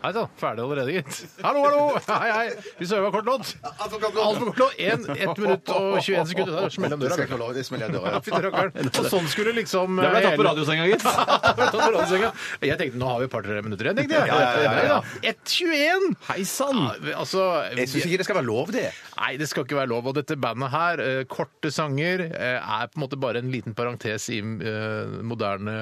Hei sann, ferdig allerede, gitt. Hallo, hallo! Hei, hei! Vi søva kort lodd. Alt for kort lodd. En- Ett minutt og 21 sekunder. Der smeller Det skal døra. ikke være lov. Det smeller jeg i døra. Fy rakkeren. Så sånn skulle liksom Jeg ble tatt på radiosenga, gitt. Jeg ble tatt på radiosenga. Jeg tenkte nå har vi et par-tre minutter igjen, tenkte jeg. Ja, ja, ja, ja. Nei da. 1.21! Hei sann! Ja, Altså Jeg syns ikke det skal være lov, det. Nei, det skal ikke være lov. Og dette bandet her, eh, korte sanger, eh, er på en måte bare en liten parentes i eh, moderne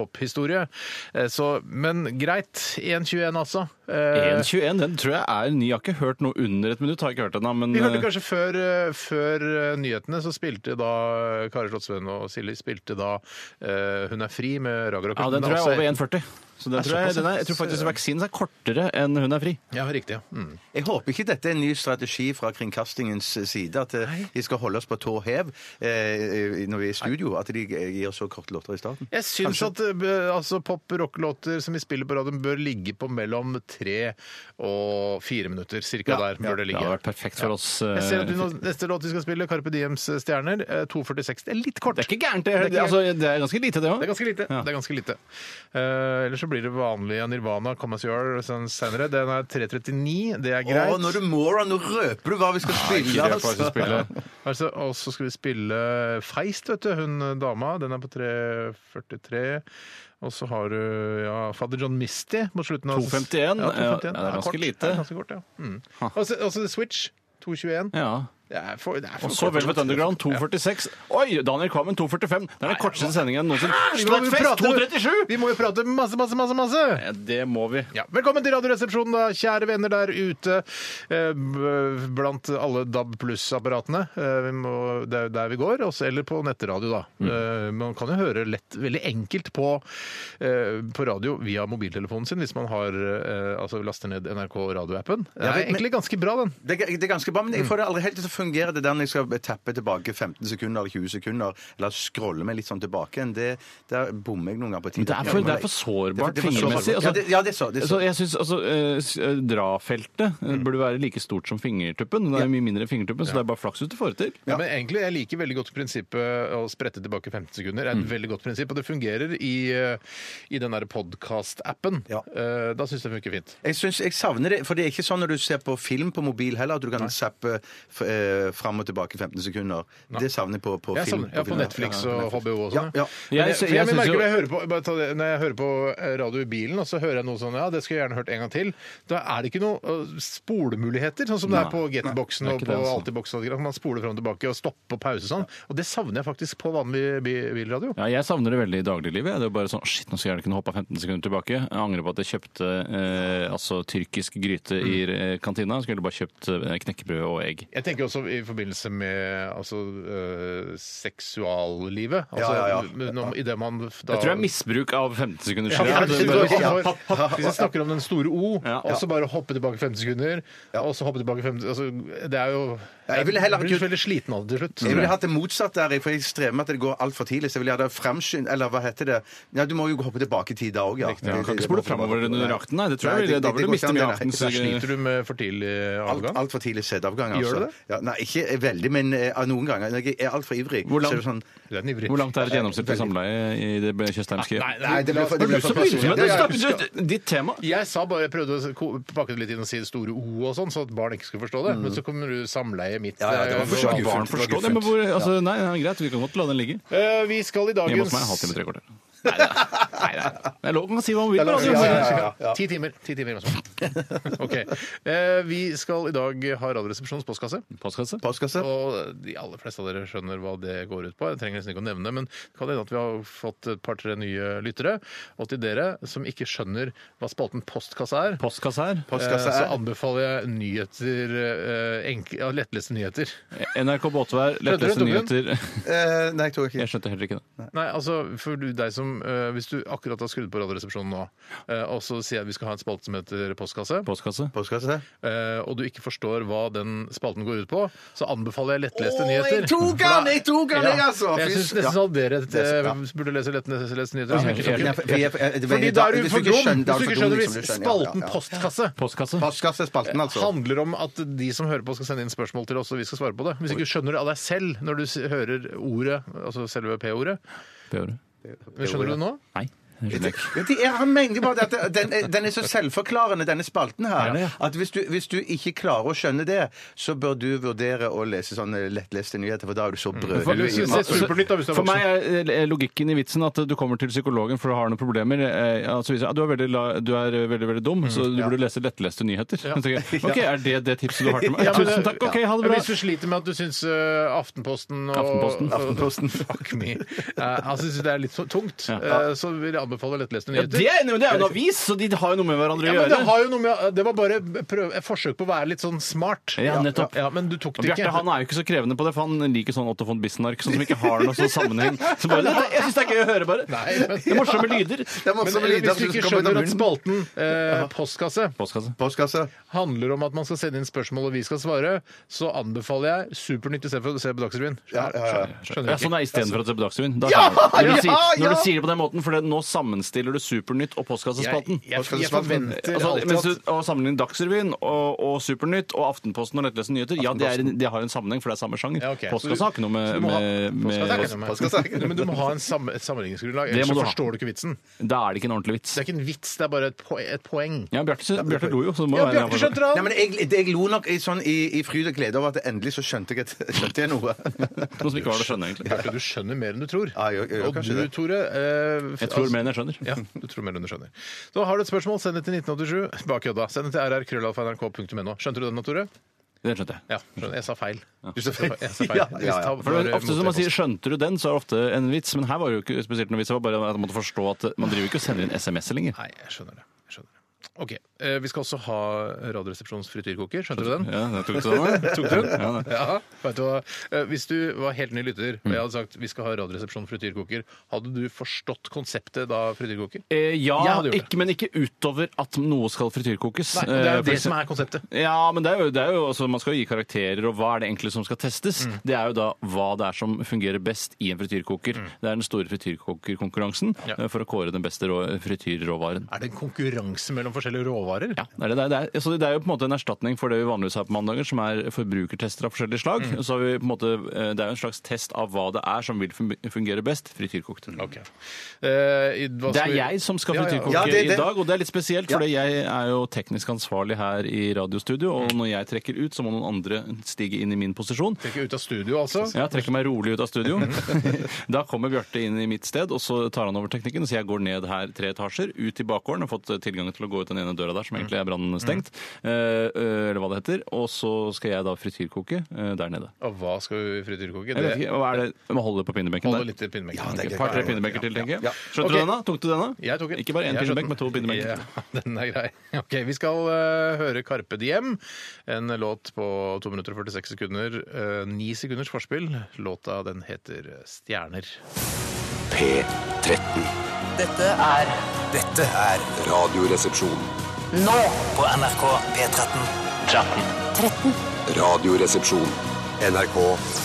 pophistorie. Eh, så, men greit. 1.21, altså. Eh, 1.21, den tror jeg er ny. Jeg har ikke hørt noe under et minutt. har jeg ikke hørt den, da, men... Vi hørte eh, kanskje før, før eh, nyhetene, så spilte da eh, Kari Slottsveen og Silje spilte da eh, Hun er fri med Raga og Ja, den tror jeg er over 1,40. Så den tror jeg, den er, jeg tror faktisk vaksinen er kortere enn hun er fri. Ja, riktig. ja. Mm. Jeg håper ikke dette er en ny strategi fra kringkastingens side, at eh, de skal holde oss på tå hev eh, når vi er i studio, at de gir så korte låter i starten. Jeg syns at eh, altså, pop-rock-låter som vi spiller på radioen, bør ligge på mellom tre og fire minutter. Cirka der bør det Det ligge. hadde vært perfekt for oss. Jeg ser at vi eh, nå, Neste låt vi skal spille, Carpe Diems Stjerner, eh, 2.46. Det er litt kort. Det er ikke gærent, Det er det. ikke Altså, det er ganske lite, det Det er òg. ganske lite. Ja. Det er ganske lite. Eh, ellers så blir det vanlig av Nirvana, Come As You Are, sånn senere. Den er 3.39. Det er greit. Å, nå er du moron! Nå røper du hva vi skal spille! altså. Altså, og så skal vi spille Feist, vet du. Hun eh, dama. Den er på 3.43. Og så har du ja, Father John Misty mot slutten. av- 2.51. Ja, 2.51. Ja, det er ganske kort. lite. Det er ganske kort, ja. Mm. Og så- og så The Switch. 2.21. Ja. Det er for, det er Og for så kort. Velvet Underground 2.46. Oi! Daniel Kvammen 2.45. Det er den korteste sendingen noensinne. Vi må jo Slettfest prate- 2.37! Vi må jo prate masse, masse, masse! masse. Ja, Det må vi. Ja, velkommen til Radioresepsjonen, da, kjære venner der ute eh, b- blant alle DAB pluss-apparatene. Eh, vi må- Det er jo der vi går. Også, eller på nettradio, da. Eh, man kan jo høre lett, veldig enkelt på, eh, på radio via mobiltelefonen sin hvis man har, eh, altså laster ned NRK radioappen. Det er men- egentlig ganske bra, den. Det, er- det er ganske bra, men Mm. jeg får det aldri helt til å fungere. Det der når jeg skal tappe tilbake 15 sekunder eller 20 sekunder, eller scrolle meg litt sånn tilbake igjen, det, der bommer jeg noen ganger på tid. Det er for, det er for sårbart fingermessig. altså. Ja, det, ja, det er så. Det er Så så. jeg synes, altså, eh, s- eh, Drafeltet eh, burde være like stort som fingertuppen. Det er jo mye mindre enn fingertuppen, så det er bare flaks hvis du får det til. Ja. men egentlig, Jeg liker veldig godt prinsippet å sprette tilbake 15 sekunder. Det er et veldig godt prinsipp, Og det fungerer i, eh, i den der podkast-appen. Ja. Eh, Da syns jeg det funker fint. Jeg, synes, jeg savner det, for det er ikke sånn når du ser på film på mobil heller, at du kan zappe f- eh, fram og tilbake 15 sekunder. Det savner jeg på, på Ja, film. sånn, ja, på film. Netflix Ja, ja, og HBO og sånn. Ja, ja. Men Jeg, Jeg sy- for jeg, jeg syns merker jo- når jeg hører på, bare ta det, når jeg hører på eh, radio i bilen, og så hører jeg noe sånn Ja, det skulle jeg gjerne hørt en gang til. Da er det ikke noen spolemuligheter, sånn som det er på Getboxen og ikke på det, altså. Altiboksen. og alt det der. Man spoler fram og tilbake og stopper og pause og sånn. Og det savner jeg faktisk på vanlig bi- bilradio. Ja, jeg savner det veldig i dagliglivet. Det er jo bare sånn, shit, nå skulle jeg gjerne kunne hoppa 15 sekunder tilbake. Jeg angrer på at jeg kjøpte eh, altså, tyrkisk gryte i eh, kantina. Jeg skulle bare kjøpt eh, knekkebrød og egg. Jeg tenker også i forbindelse med altså, øh, seksuallivet. Altså, Ja, ja, ja. men om- I det man da Jeg tror det er misbruk av 15 sekunder. Ja, skyld. for det, det er bare- er- Hvis jeg snakker om den store O, Ja. og så bare hoppe tilbake 15 sekunder, og så hoppe tilbake 15 altså, Det er jo Ja, jeg ville heller blir ikke- veldig sliten av det til Jeg ville slutt. hatt det motsatt der, for jeg strever med at det går altfor tidlig. Så jeg ville hatt det fremskynd... Eller hva heter det? Ja, du må jo hoppe tilbake i tid da òg, ja. ja, du kan ikke spole framover under akten, nei. Det tror Nei, jeg, blir- da vil det- det- det du går miste ikke an, mye det, av nei. aftens Da sliter du med for tidlig avgang. Altfor alt for tidlig sædavgang. Gjør Altså. du det? Ja, nei, ikke veldig, men eh, noen ganger. Når jeg er altfor ivrig, Hvor så langt? er det sånn Du er en ivrig. Hvor langt er et gjennomsnittlig samleie i det kjøstheimske? Nei, sånn Nei, det ble for, det ble for personlig. det. Ja, ja. Ditt tema. Jeg sa bare, jeg prøvde å ko- pakke det litt inn og si det store O og sånn, så at barn ikke skulle forstå det. Men så kommer du samleiet mitt. Mm. Ja, ja, det var eh, for så og- Barn guffent, det var forstår det, guffent. men hvor, altså, nei, nei, greit, vi kan godt la den ligge. Eh, Vi skal i Hjemme hos meg, dagens halvtime, tre kvarter. Nei, det er- nei, det er- det er lov å si hva man vil. Det er lov å si hva man vil. altså. ja, ja. Ti timer. Ti timer altså. OK. Eh, Vi skal i dag ha Radioresepsjonens postkasse. Postkasse? Postkasse? Og de aller fleste av dere skjønner hva det går ut på. Jeg trenger nesten ikke å nevne det, men det kan hende at vi har fått et par-tre nye lyttere. Og til dere som ikke skjønner hva spalten Postkasse er, Postkasse her. eh, Postkasse så er anbefaler jeg nyheter eh, enkle, ja, lettleste nyheter. NRK Båtvær, Skjønte du lettleste det, Torbjørn? nyheter. Eh, Nei, jeg tror ikke Jeg skjønte heller ikke det. Nei, altså for du- deg som som eh, Hvis du akkurat har skrudd på Radioresepsjonen nå, eh, og så sier jeg at vi skal ha en spalte som heter Postkasse, Postkasse. Postkasse? eh, og du ikke forstår hva den spalten går ut på, så anbefaler jeg lettleste nyheter. tok han! Jeg tok han, jeg, altså! Jeg syns Fy- nesten ja. alle dere eh, Ja. burde lese lettleste nyheter. som jeg ikke tok. Ja, for- for- jeg- jeg- Fordi da er du hvis for ikke dum! skjønner- da Hvis du ikke er for dum, skjønner liksom, hvis du skjønner, ja, spalten ja, ja. Postkasse Postkasse. Postkassespalten, altså. handler om at de som hører på, skal sende inn spørsmål til oss, og vi skal svare på det. Hvis ikke skjønner du av deg selv når du s- hører ordet, altså selve P-ordet. P-ordet. Men Skjønner du det nå? Nei. jeg skjønner ikke. Ja, de er, han mener jo bare at det- den, er- den er så selvforklarende, denne spalten Er det her, det? at hvis du, hvis du ikke klarer å skjønne det, så bør du vurdere å lese sånne lettleste nyheter, for da er du så Altså, For, brødhue. i se maten. Supernytt, da, hvis du er For meg voksen. er eh, logikken i vitsen at eh, du kommer til psykologen for du har noen problemer. eh, Altså, viser, jeg, ah, du er veldig, la- du er eh, veldig, veldig dum, så du burde lese lettleste nyheter. Så tenker jeg, Ok, Er det det tipset du har til meg? Ja, men Tusen det- takk. Ok, ha det bra. Hvis du sliter med at du syns eh, Aftenposten og Aftenposten. Aftenposten. Fuck me. Eh, altså, jeg syns det er litt så tungt, eh, så vil jeg anbefale lettleste Ja, nyheter. det, er, men det er jo en avis, så de har jo noe med hverandre Ja, å men det, gjøre. har jo noe med, det var bare prøv, et forsøk på å være litt sånn smart. Ja, nettopp. Ja, men du tok Og det ikke. Bjarte han er jo ikke så krevende på det, for han liker sånn Otto von Bissenark sånn som ikke har noe sånn sammenheng. Så bare, dette- jeg syns det er gøy å høre, bare. Nei, men- Det er morsomme lyder. Det er men eh, masse lyder hvis du som ikke kommer ut av skjønner at munnen. spalten eh, postkasse Postkasse. Postkasse. handler om at man skal sende inn spørsmål og vi skal svare, så anbefaler jeg Supernytt istedenfor å se på Dagsrevyen. Ja, ja, ja. Skjønner Ja, jeg sånn ikke. er Istedenfor å se på Dagsrevyen. Da Ja, skjønner jeg. Når, du ja, sier, når ja. du sier det på den måten, for det, nå sammenstiller du Supernytt og Postkassespalten. Jeg, jeg, jeg, Postkassespalten. forventer Altså, alltid mens at du, å sammenligne Dagsrevyen og, og Supernytt og Aftenposten og Lettlesende nyheter, ja, det, er, en- det har en sammenheng, for det er samme sjanger. Ja, ok. Postkasse har ikke noe med, Så du må ha- med, Postkasse er med ikke noe med- Postkasse er ikke noe med- Men du må ha en samme, et sammenligningsgrunnlag, Det ellers må så du ha. forstår du ikke vitsen. Da er det ikke en ordentlig vits. Det er ikke en vits, det er bare et, poe- et poeng. Ja, Bjarte Bjarte lo jo, så det må Ja, være en Bjarte forskjell. skjønte Nei, det! men jeg, det- jeg lo nok i, sånn, i, i fryd og glede over at endelig så skjønte jeg, et- skjønte jeg noe. Noe som ikke var det å skjønne, egentlig. Bjarte, du skjønner mer enn du tror. Ja, jeg- jeg gjør Og kanskje du, det. Tore eh, Jeg tror mer enn jeg skjønner. Ja, du tror mer enn du skjønner. Da har du et spørsmål, send det til 1987. Bare kødda. Send det til rrkrøllalfa.nrk.no. Skjønte du den, Tore? Det skjønte jeg. Ja, skjønner. Jeg sa feil. Du sa feil. Jeg sa feil. Ja, ja, ja. Hvis ta- For det er ofte som man mot- sier 'skjønte du den', så er det ofte en vits. Men her var det jo ikke spesielt noen vits. Det var bare at man måtte forstå at man driver ikke og sender inn SMS-er lenger. Nei, jeg skjønner det. Jeg skjønner det. OK. eh, Vi skal også ha Radioresepsjonens frityrkoker. Skjønte du den? Ja, det tok sånn, da. Tok du den? Ja, da. Ja. Vet du hva? Eh, Hvis du var helt ny lytter, og jeg hadde sagt vi skal ha Radioresepsjonen frityrkoker, hadde du forstått konseptet da frityrkoker? Eh, Jeg ja, hadde gjort det. ikke, men ikke utover at noe skal frityrkokes. Nei, det er Eh, jo for det som eksempel- er konseptet. Ja, men det er jo, det er jo altså, Man skal jo gi karakterer, og hva er det egentlig som skal testes? Mm. Det er jo da hva det er som fungerer best i en frityrkoker. Det er den store frityrkokerkonkurransen Mm. Ja. eh, for å kåre den beste rå frityrråvaren. Er det en konkurranse mellom forskjellige råvarer? Ja, det er, det, det, er, så det er jo på en måte en erstatning for det vi vanligvis har på mandager, som er forbrukertester av forskjellige slag. Så har vi på en måte, eh, Det er jo en slags test av hva det er som vil fun- fungere best. Frityrkokt. Ok. Eh, i- hva Det er skal vi- jeg som skal Ja, ja, ja. frityrkoke Ja, det- det- i dag, og det er litt spesielt, for jeg er jo teknisk ansvarlig her i radiostudio, og når jeg trekker ut, så må noen andre stige inn i min posisjon. Trekke ut av studio, altså. Ja, trekker meg rolig ut av studio. da kommer Bjarte inn i mitt sted, og så tar han over teknikken. Så jeg går ned her tre etasjer, ut i bakgården. Har fått tilgang til å gå ut den ene døra der, som egentlig er brannstengt. Mm. Eh, eh, eller hva det heter. Og så skal jeg da frityrkoke eh, der nede. Og hva skal vi frityrkoke? Jeg vet ikke, hva er det? Man holder på pinnebenken Holde der. litt i pinnebenken. det er Et greit. par-tre pinnebenker til, tenker jeg. Ok. Skjønte du den, da? Tok du den, da? Jeg tok den. Ikke bare én Jeg skjønner pinnebenk, men to den. pinnebenker. Ja, den er grei. Ok, Vi skal eh, høre Carpe Diem, en låt på 2 minutter og 46 sekunder. eh, 9 sekunders forspill. Låta den heter Stjerner. P13. Dette er Dette er Radioresepsjon. nå på NRK P13. Radioresepsjon. NRK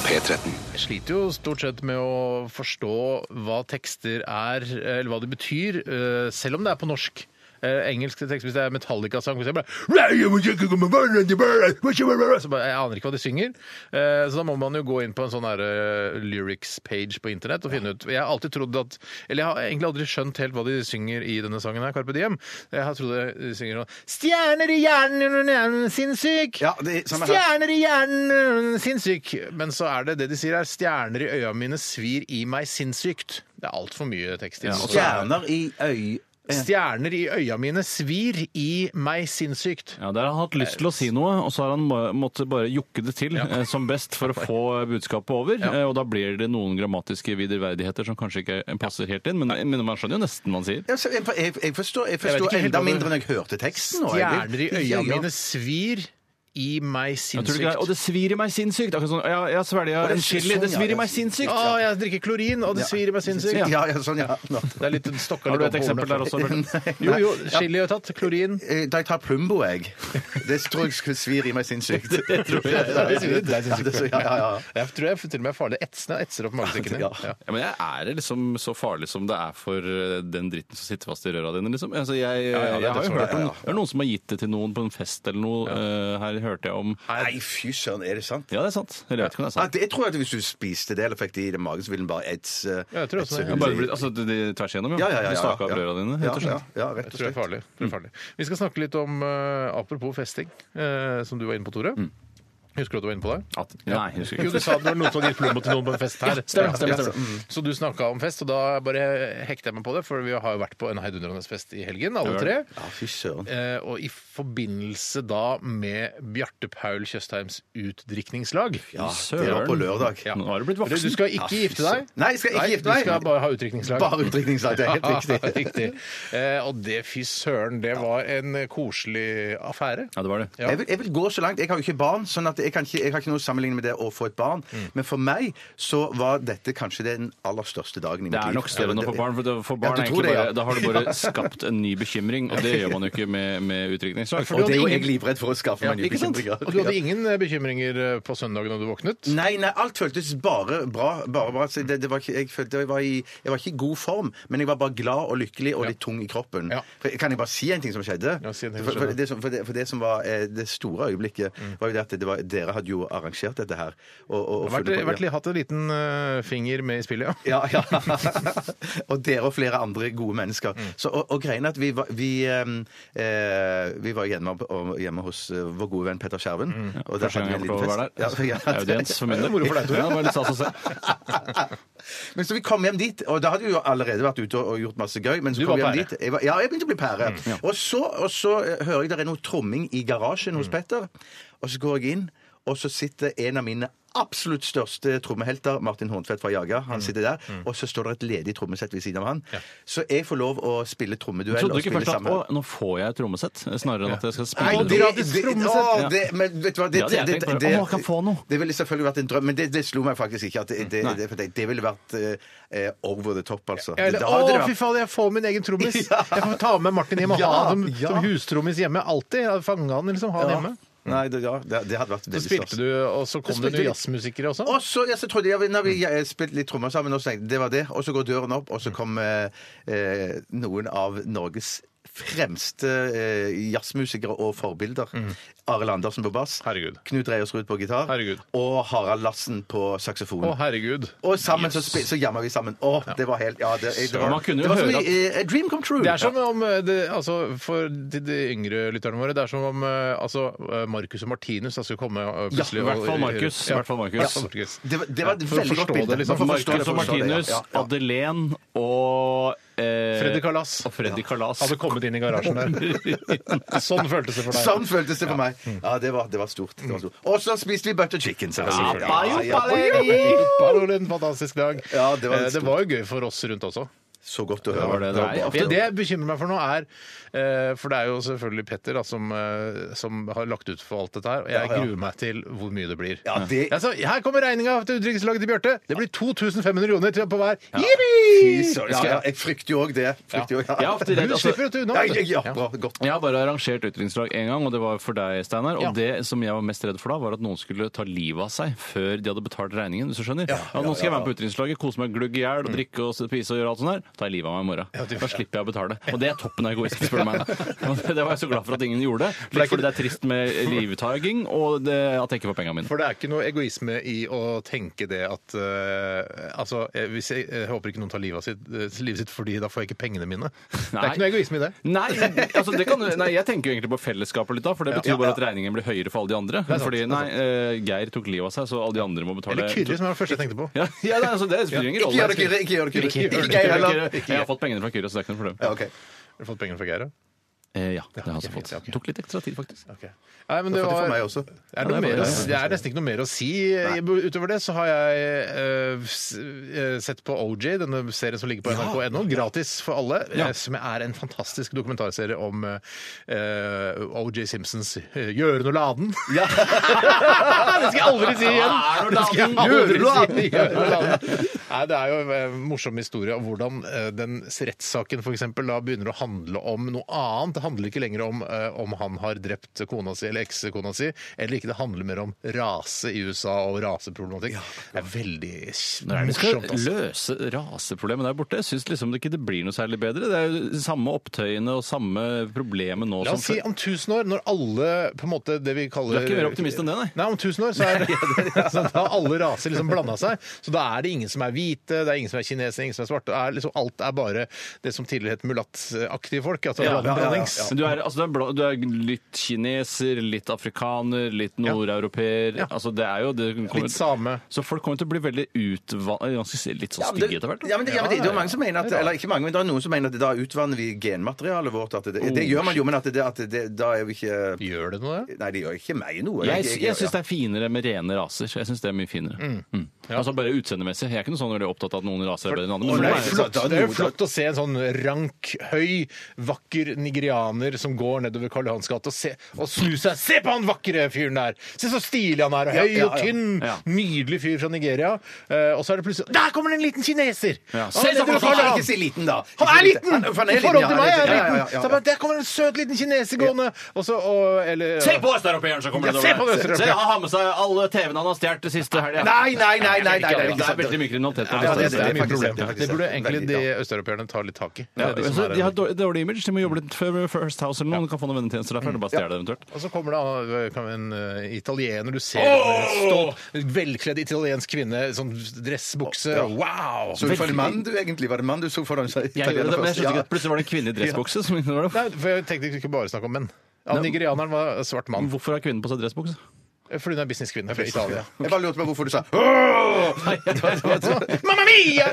P13. Jeg sliter jo stort sett med å forstå hva tekster er, eller hva de betyr, eh, selv om det er på norsk. Eh, engelske tekster, hvis det er Metallica-sang, for eksempel så bare, Jeg aner ikke hva de synger. Eh, så da må man jo gå inn på en sånn her, eh, lyrics-page på internett og finne ut Jeg har alltid trodd at Eller jeg har egentlig aldri skjønt helt hva de synger i denne sangen her, Carpe Diem. Jeg har trodd de synger sånn Stjerner i hjernen, sinnssyk! Ja, det- samme her. Stjerner i hjernen, øh, sinnssyk. Men så er det det de sier er stjerner i øya mine svir i meg sinnssykt. Det er altfor mye tekst. i den. Stjerner i øy... Stjerner i øya mine svir i meg sinnssykt. Ja, Der har han hatt lyst til å Eh, si noe, og så har han ba- måttet bare jukke det til eh, som best for å få budskapet over. Eh, Og da blir det noen grammatiske viderverdigheter som kanskje ikke eh, passer helt inn, men, men man skjønner jo nesten hva han sier. Ja, så Jeg, jeg, jeg forstår, jeg vet forstår ikke helt enda hva du- mindre enn jeg hørte teksten. nå, egentlig. Stjerner i øya mine svir i meg Jeg tror ikke det er- Og sinnssykt. det svir i meg sinnssykt! Akkurat sånn, ja, jeg svelger en chili, sånn, det svir i meg sinnssykt! Å, jeg drikker klorin, og det svir i meg sinnssykt. Ja, ja, sånn, ja. Nå. Det er litt stokka Har du et litt opp eksempel der hovedene. også? Bjarte? Jo, jo, chili har jeg tatt. Klorin. Eh, Da jeg tar Plumbo, jeg. Det tror jeg sk- svir i meg sinnssykt. Det tror jeg. Det er sinnssykt. Ja, ja, ja. Jeg tror jeg til og med er farlig. Etsende etser opp magesekkene. Ja. Ja. Ja, men jeg er det liksom så farlig som det er for eh, den dritten som sitter fast i røra dine, liksom. Altså, jeg, ja, det er jeg har det jo som er hørt det, om ja. Det er noen som har gitt det til noen på en fest eller noe. eh, Her hørte jeg om Nei, fy søren, er det sant? Ja, det er sant. Eller jeg vet ikke om det er Ja, sant. det, jeg tror at hvis du spiste det eller fikk det i den magen, så ville den bare etse Ja, jeg tror også det. Det er Bare blitt, altså, det, det, tvers igjennom, Ja, ja, ja, ja. Du staka opp Ja. røra dine, rett og slett. Ja, ja, ja, rett Jeg tror og det er slett. farlig. Jeg tror det er farlig. Vi skal snakke litt om eh, Apropos festing, eh, som du var inne på, Tore. Husker du at du var inne på det? At, nei, jeg husker Jo, du ikke. sa det var noen som hadde gitt plombo til noen på en fest her. stemmer, stemmer, stemmer. Mm. Så du snakka om fest, og da bare hekta jeg meg på det, for vi har jo vært på en heidundrende fest i helgen, alle tre. Ja, fy søren. Eh, og i forbindelse da med Bjarte Paul Tjøstheims utdrikningslag. Ah, Ja, det var på lørdag. Ja. Nå har du blitt Du, du voksen. skal ikke gifte deg. Nei, jeg skal ikke gifte meg. Du skal bare ha utdrikningslag. Bare utdrikningslag, det er helt riktig. riktig. Eh, og det, fy søren, det var en koselig affære. Ja, det var det. Ja. Jeg, vil, jeg vil gå så langt. Jeg har jo ikke barn, sånn at jeg, kan ikke, jeg har ikke noe å sammenligne med det å få et barn. Mm. Men for meg så var dette kanskje den aller største dagen i mitt Det liv. er nok større enn å få barn. For, det- for Ja, barn du er tror egentlig det, ja. bare, da har du bare skapt en ny bekymring, og det gjør man jo ikke med, med utdrikningslag. For Og du det er jo hadde jeg ingen- livredd for å skaffe meg nye ikke sant? bekymringer. Og du hadde ingen eh, bekymringer eh, på søndagen da du våknet? Nei, nei, alt føltes bare bra. Bare bra. Så Det, det var ikke, jeg, følte jeg, var i, jeg var ikke i god form, men jeg var bare glad og lykkelig og litt tung i kroppen. Ja. For, kan jeg bare si en ting som skjedde? Ja, si en ting som for, for, skjedde. det som, for, det, for det som var eh, det store øyeblikket, var jo det at det var, dere hadde jo arrangert dette her. Og, og, og Jeg har vært, fulgte på- vært, litt- hatt en liten eh, finger med i spillet, ja. Ja, ja. og dere og flere andre gode mennesker. Mm. Så, og, og greien er at vi var, vi, ehm, eh, vi var hjemme, og- hjemme hos eh, vår gode venn Petter Skjerven. Mm. Og der Første gang hadde vi jeg får lov en liten å være fest. der. Ja, ja. Audiens for min del. Moro for deg, Tore. Ja, det var litt stas å se. Men så vi kom hjem dit, og da hadde vi jo allerede vært ute og og gjort masse gøy. Men så Du kom var vi hjem pære. dit. Jeg var, ja, jeg begynte å bli pære. Mm, Og, så, og så eh, hører jeg det er noe tromming i garasjen Mm. hos Petter. Og så går jeg inn, og så sitter en av mine absolutt største trommehelter, Martin Horntvedt fra Jaga, Mm. han sitter der. Og så står det et ledig trommesett ved siden av han. Så jeg får lov å spille trommeduell. Trodde du og ikke spille først at sammen. å, nå får jeg et trommesett, snarere enn at jeg skal spille Nei, tromme? det, gratis det, trommesett. å, det, men vet du hva, det, Ja, det hadde jeg tenkt på. Å, man kan få noe. det ville selvfølgelig vært en drøm, men det, det slo meg faktisk ikke. At det, det, det, for det, det ville vært eh, over the top, altså. Eller, Da hadde det å, vært- fy faen, jeg får min egen trommis! Jeg får ta med Martin hjem og Ja, ha han som, ja. som hustrommis hjemme. Alltid. Fange han, liksom. Ha han hjemme. Nei, det, ja, det, det hadde vært veldig Så spilte du, og så kom det Jeg noen spilte litt. jazzmusikere også? Og så, ja, så trodde jeg, når vi eh, spilte litt trommer sammen, og så tenkte jeg, det var det. Og så går døren opp, og Mm. så kom eh, eh, noen av Norges fremste eh, jazzmusikere og forbilder. Arild Andersen på bass. Mm. Herregud. Knut Reiersrud på gitar. Herregud. Og Harald Lassen på saksofon. Å, herregud. og sammen så, spi- så jamma vi sammen. Å, det var helt Ja, det, det var, Man kunne jo det var som høre i, eh, A dream come true. Det er som om eh, det, altså, For de, de yngre lytterne våre, det er som om eh, altså, eh, Marcus og Martinus da skulle komme eh, plutselig i hvert og- fall Marcus, i Ja, hvert fall Marcus. Marcus. Det var, det var et For å veldig godt forstå bilde. det, liksom. Man får forstå Marcus og forstå ja. Martinus, Ja, ja. Madeleine og eh, Freddy Kalas Og Freddy Kalas. hadde kommet inn i garasjen der. Sånn føltes det for deg. Sånn føltes det for meg. Ja, Mm. det var, det var stort. det var stort. Og så spiste vi butter chicken. selvfølgelig. Ja, ja, ja. Bare en fantastisk dag. Ja, det var Eh, stort. det var jo gøy for oss rundt også. Så godt å Det var høre. det det var. bra. Det, det jeg bekymrer meg for nå, er eh, For det er jo selvfølgelig Petter da, som, eh, som har lagt ut for alt dette her. Og jeg Ja, ja. gruer meg til hvor mye det blir. Ja, det- Jeg sa, her kommer regninga til utenrikslaget til Bjarte! Det blir 2500 kroner til på hver. Fy Jippi! søren. Ja, ja, jeg frykter jo òg det. Frykter jo, ja. Jeg er ofte redd, Du altså, slipper dette unna. Ja, vet du. ja, ja, bra, godt. jeg har bare arrangert utdrikningslag én gang, og det var for deg, Steinar. Og det som jeg var mest redd for da, var at noen skulle ta livet av seg før de hadde betalt regningen. hvis du skjønner. Ja, nå skal jeg være med på utdrikningslaget, kose meg glugg i hjel, og Mm. drikke og spise og gjøre alt sånt der. tar jeg livet av meg i morgen. Da slipper jeg å betale. Og det er toppen av egoisme, spør du meg. Og Det det var jeg så glad for at ingen gjorde. Litt fordi det er trist med livtaking, og det, at jeg ikke får pengene mine. For det er ikke noe egoisme i å tenke det at eh, Altså, jeg, hvis jeg, jeg håper ikke noen tar livet av sitt, eh, livet sitt fordi da får jeg ikke pengene mine. Det er Nei. ikke noe egoisme i det. Nei, altså det kan, nei, jeg tenker jo egentlig på fellesskapet litt da, for det betyr jo bare at regningen blir høyere for alle de andre. sant, Fordi det er nei, eh, Geir tok livet av seg, så alle de andre må betale. Eller Kyrre, som var det første jeg tenkte på. Ja, ja nei, altså, det spiller ingen Ikke rolle. gjør det, Kyrre. Ikke gjør det, Kyrre. Ikke gjør det, Ikke Kyrre. Kyrre. Jeg har fått pengene fra Kyrre, så det er ikke noe problem. Ja, ok. Har du fått pengene fra Geir? ja? Eh, ja, det har jeg ok, også fått. fint, ja, ok. Tok litt ekstra tid, faktisk. Ok. Nei, men Det det er var... for meg også. Er det, Ja, noe det er mer, å bare si? det. det er nesten ikke noe mer å si. Eh, Utover det så har jeg eh, s- eh, sett på OJ, denne serien som ligger på nrk.no, gratis for alle, Ja. eh, som er en fantastisk dokumentarserie om eh, eh, OJ Simpsons eh, 'Gjøren og laden'. det skal jeg aldri si igjen! Det skal jeg aldri si. Gjøren og laden. Nei, det er jo en eh, morsom historie om hvordan eh, den rettssaken for eksempel, da begynner å handle om noe annet. Det handler ikke lenger om eh, om han har drept kona si eller ekskona si, eller ikke. Det handler mer om rase i USA og raseproblematikk. Det er veldig Når er det vi morsomt. skal Altså. løse raseproblemet der borte? Jeg syns liksom det ikke det blir noe særlig bedre. Det er jo samme opptøyene og samme problemet nå La som oss si før. om 1000 år, når alle på en måte det vi kaller Du er ikke mer optimist enn det, nei? Nei, om 1000 år så er det, så da har alle raser liksom blanda seg. Så da er det ingen som er hvite, det er ingen som er kinesere, ingen som er svarte. Det Er liksom, alt er bare det som tidligere het mulattaktige folk. Altså, Ja, ja, blandings. Men du er, altså, du, er blå, du er litt kineser, litt afrikaner, litt nordeuropeer. Altså, det er jo det kommer, Litt same. Så folk kommer til å bli veldig utva... ganske litt sånn Ja, men stygge det, etter hvert. ja, men det, ja, men det, det er jo mange som mener at, eller ikke mange, men det er noen som mener at da utvanner vi genmaterialet vårt. At det, det gjør man jo, men at det, at det, da er vi ikke Gjør det noe, det? Nei, det gjør ikke meg noe. Jeg, Jeg- jeg- jeg syns det er finere med rene raser. Jeg synes det er mye finere. Mm. Altså Bare utseendemessig. Jeg er ikke noe sånn veldig opptatt av at noen raser er bedre enn andre. Og men det noen er, er- jo flott, det er jo flott å se en sånn rank, høy, vakker nigerianer som går nedover Karl Johans gate og, se, og snur seg. Se på han vakre fyren der! Se så stilig han er! og Høy ja, og ja. tynn! Ja. Nydelig fyr fra Nigeria. Eh, og så er det plutselig Der kommer det en liten kineser! Ja. Og Se han så er flott nedover Karl han er, Johan. ikke si liten, da. Han er liten! Han- for han er I liten, forhold til ja, meg er han han er liten! liten. Ja, ja, ja, Så jeg bare, Der kommer det en søt liten kineser gående! Og så, og, eller Se på østeuropeeren som kommer Ja, se på nedover! østeuropeeren. Se, han har med seg alle TV-ene han har stjålet det siste helga. Nei, nei, nei, nei, nei, nei, Det er veldig mye kriminalitet på Ja, det det, det stedet. er mye faktisk problem. det, det er faktisk Det burde det. egentlig Veldig, de ja. østeuropeerne ta litt tak i. Det Ja, er de som så er de har dårlig, dårlig image. De må jobbe litt for First House eller noe. Du kan få noen vennetjenester derfra. eller Bare stjele det eventuelt. Og så kommer det eh, kan- en eh, italiener du ser oh! stolt, velkledd italiensk kvinne, sånn dressbukse. Wow! Så for en mann du egentlig, var det mann du så foran seg? Jeg gjorde det, men jeg skjønte ikke at Ja. plutselig var det en kvinne i dressbukse. som ikke var det. Nei, for jeg tenkte vi skulle bare snakke om menn. Ja, nigerianeren var svart mann. Hvorfor har kvinnen på seg dressbukse? Fordi hun er businesskvinne fra Italia. Jeg bare lurte på hvorfor du sa «Åh!» Mamma mia!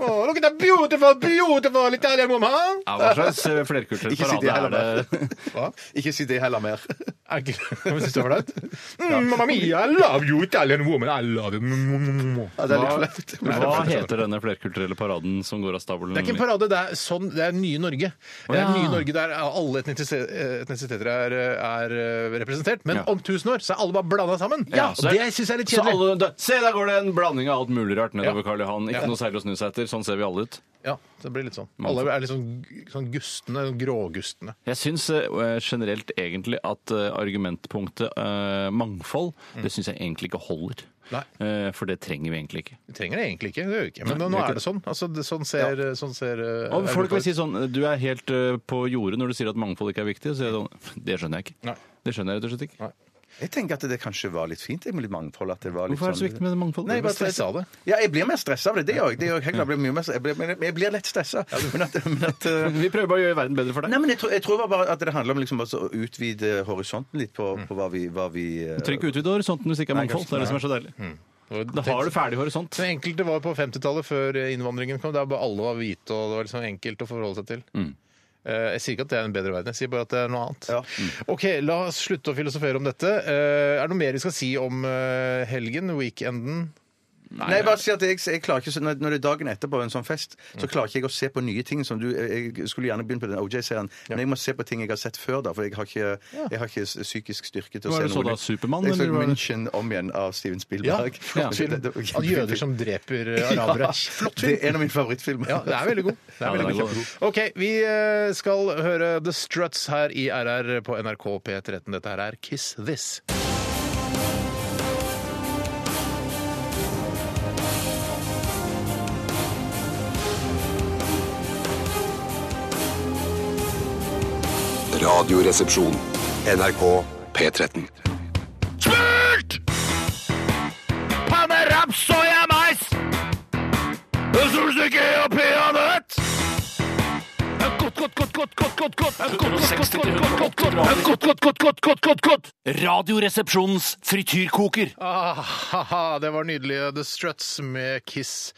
Oh, look at that beautiful, beautiful Italian woman! Ja, hva slags eh, flerkulturell Ikke sitt i parade heller. er det? Ikke si det heller mer. Er ikke Syns du det var flaut? Mm, Mamma mia, I love you, Italian woman! I love you! Mm, Ja, det er litt flaut. Hva heter denne flerkulturelle paraden som går av stabelen? Det er ikke en parade, det er sånn, det er nye Norge. Det er ja. nye Norge der alle etnise- etnisiteter er, er eh, representert. Men Ja. om tusen år så er alle bare blanda sammen. Ja, og så det syns jeg er litt Så kjedelig. alle, da, se, der går det en blanding av alt mulig rart nedover Ja. Karl Johan. Ikke Ja. noe særlig å snu seg etter. Sånn ser vi alle ut. Ja, så det blir litt sånn. Alle er litt sånn, sånn gustne, sånn grågustne. Jeg syns eh, generelt egentlig at eh, argumentpunktet eh, mangfold, det syns jeg egentlig ikke holder. Mm. Nei. Eh, for det trenger vi egentlig ikke. Vi trenger det egentlig ikke, det gjør vi ikke. men Nei, nå gjør ikke er det sånn. Altså, det, sånn ser, sånn ser eh, Og folk Europa vil si ut. sånn Du er helt eh, på jordet når du sier at mangfold ikke er viktig. Så sier jeg sånn, det skjønner jeg ikke. Nei. Det skjønner jeg rett og slett ikke. Jeg tenker at det kanskje var litt fint jeg, med litt mangfold. At det var litt Hvorfor er det så sånn- viktig med mangfold? Nei, bare stressa av det. Ja, jeg blir mer stressa av det. Det gjør jeg. Det gjør jeg, helt klart. jeg, blir mye mer, jeg, blir, men jeg blir lett stressa. Men at, men at eh, Vi prøver bare å gjøre verden bedre for deg. Nei, men jeg tror, jeg tror det var bare at det handler om liksom bare så å utvide horisonten litt på, på hva vi, hva vi eh, Du trenger ikke utvide horisonten hvis det ikke er Nei, mangfold. Det er det som er så deilig. Mm. Da har du ferdig horisont. Men enkelte var på 50-tallet før innvandringen kom. Der bare alle var hvite, og det var liksom enkelt å forholde seg til. Eh, Jeg sier ikke at det er en bedre verden, jeg sier bare at det er noe annet. Mm. Ja. Ok, La oss slutte å filosofere om dette. Eh, Er det noe mer vi skal si om eh, helgen, weekenden? Nei, bare si at jeg, jeg klarer ikke, så- når, når det er dagen etterpå en sånn fest, Mm. så klarer ikke jeg å se på nye ting som du Jeg skulle gjerne begynt på den OJ-serien, men jeg må se på ting jeg har sett før, da, for jeg har ikke, jeg har ikke psykisk styrke til å Hva se er det sånn så da, noe Supermann, Jeg så eller hva er det? München om igjen av Steven Spielberg. flott Det- Film. det- det- Av jøder som dreper eh, arabere. Flott Det er en av mine favorittfilmer. Ja, det er veldig god. Det Ja, er den veldig er god. OK, vi eh, skal høre The Struts her i RR på NRK P13. Dette her er Kiss This. Radioresepsjon. NRK P13. Smurt! Panne, raps, soya, mais! Solstykke og peanøtt! Godt, godt, godt, godt, godt, godt, godt, godt, godt, godt, godt, godt, godt, godt, godt, godt, godt. Radioresepsjonens frityrkoker. Ah, haha, det var nydelige The Struts med Kiss.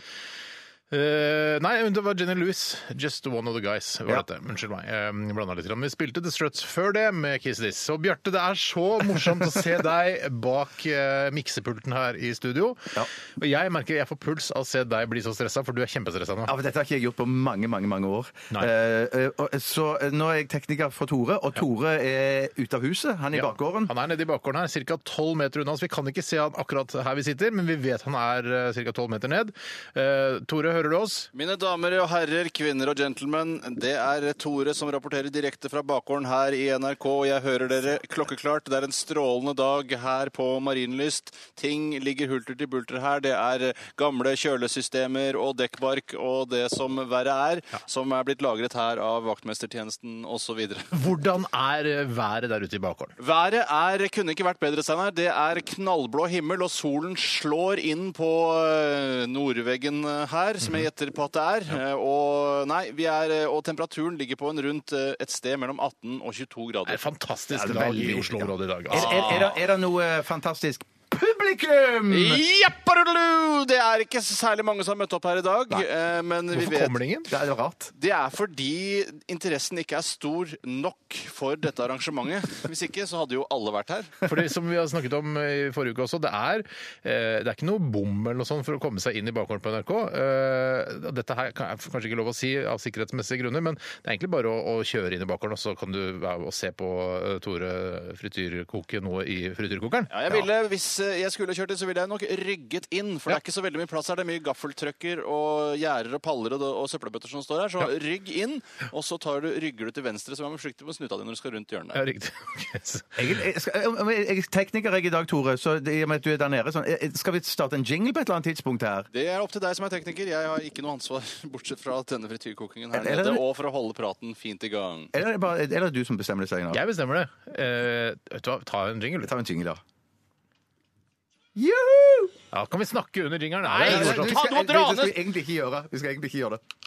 Eh, nei, det var Jenny Lewis. 'Just One of the Guys'. var Ja. dette. Unnskyld meg. Eh, Jeg blanda litt. grann. Vi spilte The Struts før det med Kiss This. Og Bjarte, det er så morsomt å se deg bak eh, miksepulten her i studio. Og jeg merker jeg får puls av å se deg bli så stressa, for du er kjempestressa nå. Ja, for Dette har ikke jeg gjort på mange mange, mange år. Nei. Eh, eh, og- så eh, nå er jeg tekniker for Tore, og Tore er ute av huset. Han er i Ja, bakgården. Han er nede i bakgården her, ca. 12 meter unna oss. Vi kan ikke se han akkurat her vi sitter, men vi vet han er ca. 12 meter ned. Eh, Tore, hører du oss? Mine damer og herrer, kvinner og gentlemen. Det er Tore som rapporterer direkte fra bakgården her i NRK. og Jeg hører dere klokkeklart. Det er en strålende dag her på Marienlyst. Ting ligger hulter til bulter her. Det er gamle kjølesystemer og dekkbark og det som verre er, som er blitt lagret her av vaktmestertjenesten osv. Hvordan er eh, været der ute i bakgården? Været er, kunne ikke vært bedre, Steinar. Det er knallblå himmel, og solen slår inn på eh, nordveggen eh, her, som Mhm. jeg gjetter på at det er. Eh, Og, nei, vi er, eh, og temperaturen ligger på en rundt eh, et sted mellom 18 og 22 Det er en grader. fantastisk det er dag i veldig- Oslo-området i dag. Er, altså. er, er, det, er det noe fantastisk publikum? Japparudelu! Det er ikke særlig mange som har møtt opp her i dag, eh, men vi Hvorfor vet kommer det ingen? Det er jo rart. Det er fordi interessen ikke er stor nok for dette arrangementet. Hvis ikke, så hadde jo alle vært her. Fordi som vi har snakket om i forrige uke også, det er, eh, det er ikke noe bom eller noe sånt for å komme seg inn i bakgården på NRK. Eh, Dette her kan- er kanskje ikke lov å si av sikkerhetsmessige grunner, men det er egentlig bare å, å kjøre inn i bakgården, og så kan du være og se på eh, Tore frityrkoke noe i frityrkokeren. Ja, jeg ville, Hvis eh, jeg skulle kjørt inn, så ville jeg nok rygget inn. For det er ikke så veldig mye plass her. Det er mye gaffeltrucker og gjerder og paller og, og søppelbøtter som står her. Så rygg inn, og så tar du, rygger du til venstre, så vær forsiktig med snuta di når du skal rundt Ja, hjørnet. riktig. Ok, så- Jeg, jeg, skal- jeg, jeg er tekniker jeg i dag, Tore, så det- i og med at du er der nede sånn, jeg- Skal vi starte en jingle på et eller annet tidspunkt her? Det er opp til deg som er tekniker. Jeg har ikke noe ansvar, bortsett fra at denne frityrkokingen her Eller- nede, og for å holde praten fint i gang. Eller er det, bare, eller er det du som bestemmer det, Steinar? Jeg bestemmer det. Eh, vet du hva, ta en jingle. Vi tar en jingle, da. Juhu! Ja, kan vi snakke under jingeren? Nei, det sånn. er morsomt. det, skal, det, det skal vi egentlig ikke gjøre. Vi skal egentlig ikke gjøre det.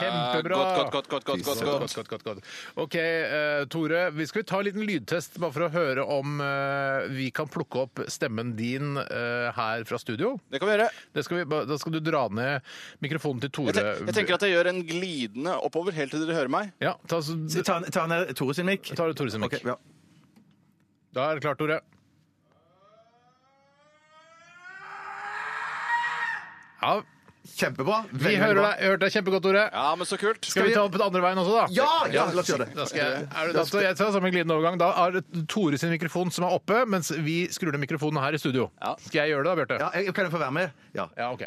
Kjempebra! Eh, Godt, godt, godt, godt, godt, godt. Godt, godt, godt, godt. OK, eh, Tore. Vi skal ta en liten lydtest bare for å høre om eh, vi kan plukke opp stemmen din eh, her fra studio. Det kan vi gjøre. Det skal vi, ba- da skal du dra ned mikrofonen til Jeg, Tore. ten- jeg tenker at jeg gjør en glidende oppover helt til dere hører meg. Ja, ta, så, Så Ta, ta ned Tore sin mikk. ta Tore sin mikk. Ok, ja. Da er det klart, Tore. Ja, Kjempebra. vi Veldig, hører veldig bra. deg. Jeg hørte deg kjempegodt, Tore. Ja, men så kult. Skal vi ta opp den andre veien også, da? Ja, ja, la oss gjøre det. Da skal jeg, er det, da, skal jeg tar samme glidende overgang. Da er det Tore sin mikrofon som er oppe, mens vi skrur ned mikrofonen her i studio. Ja. Skal jeg gjøre det da, Bjarte? Ja, jeg, kan jeg få være med? Ja. Ja, ok.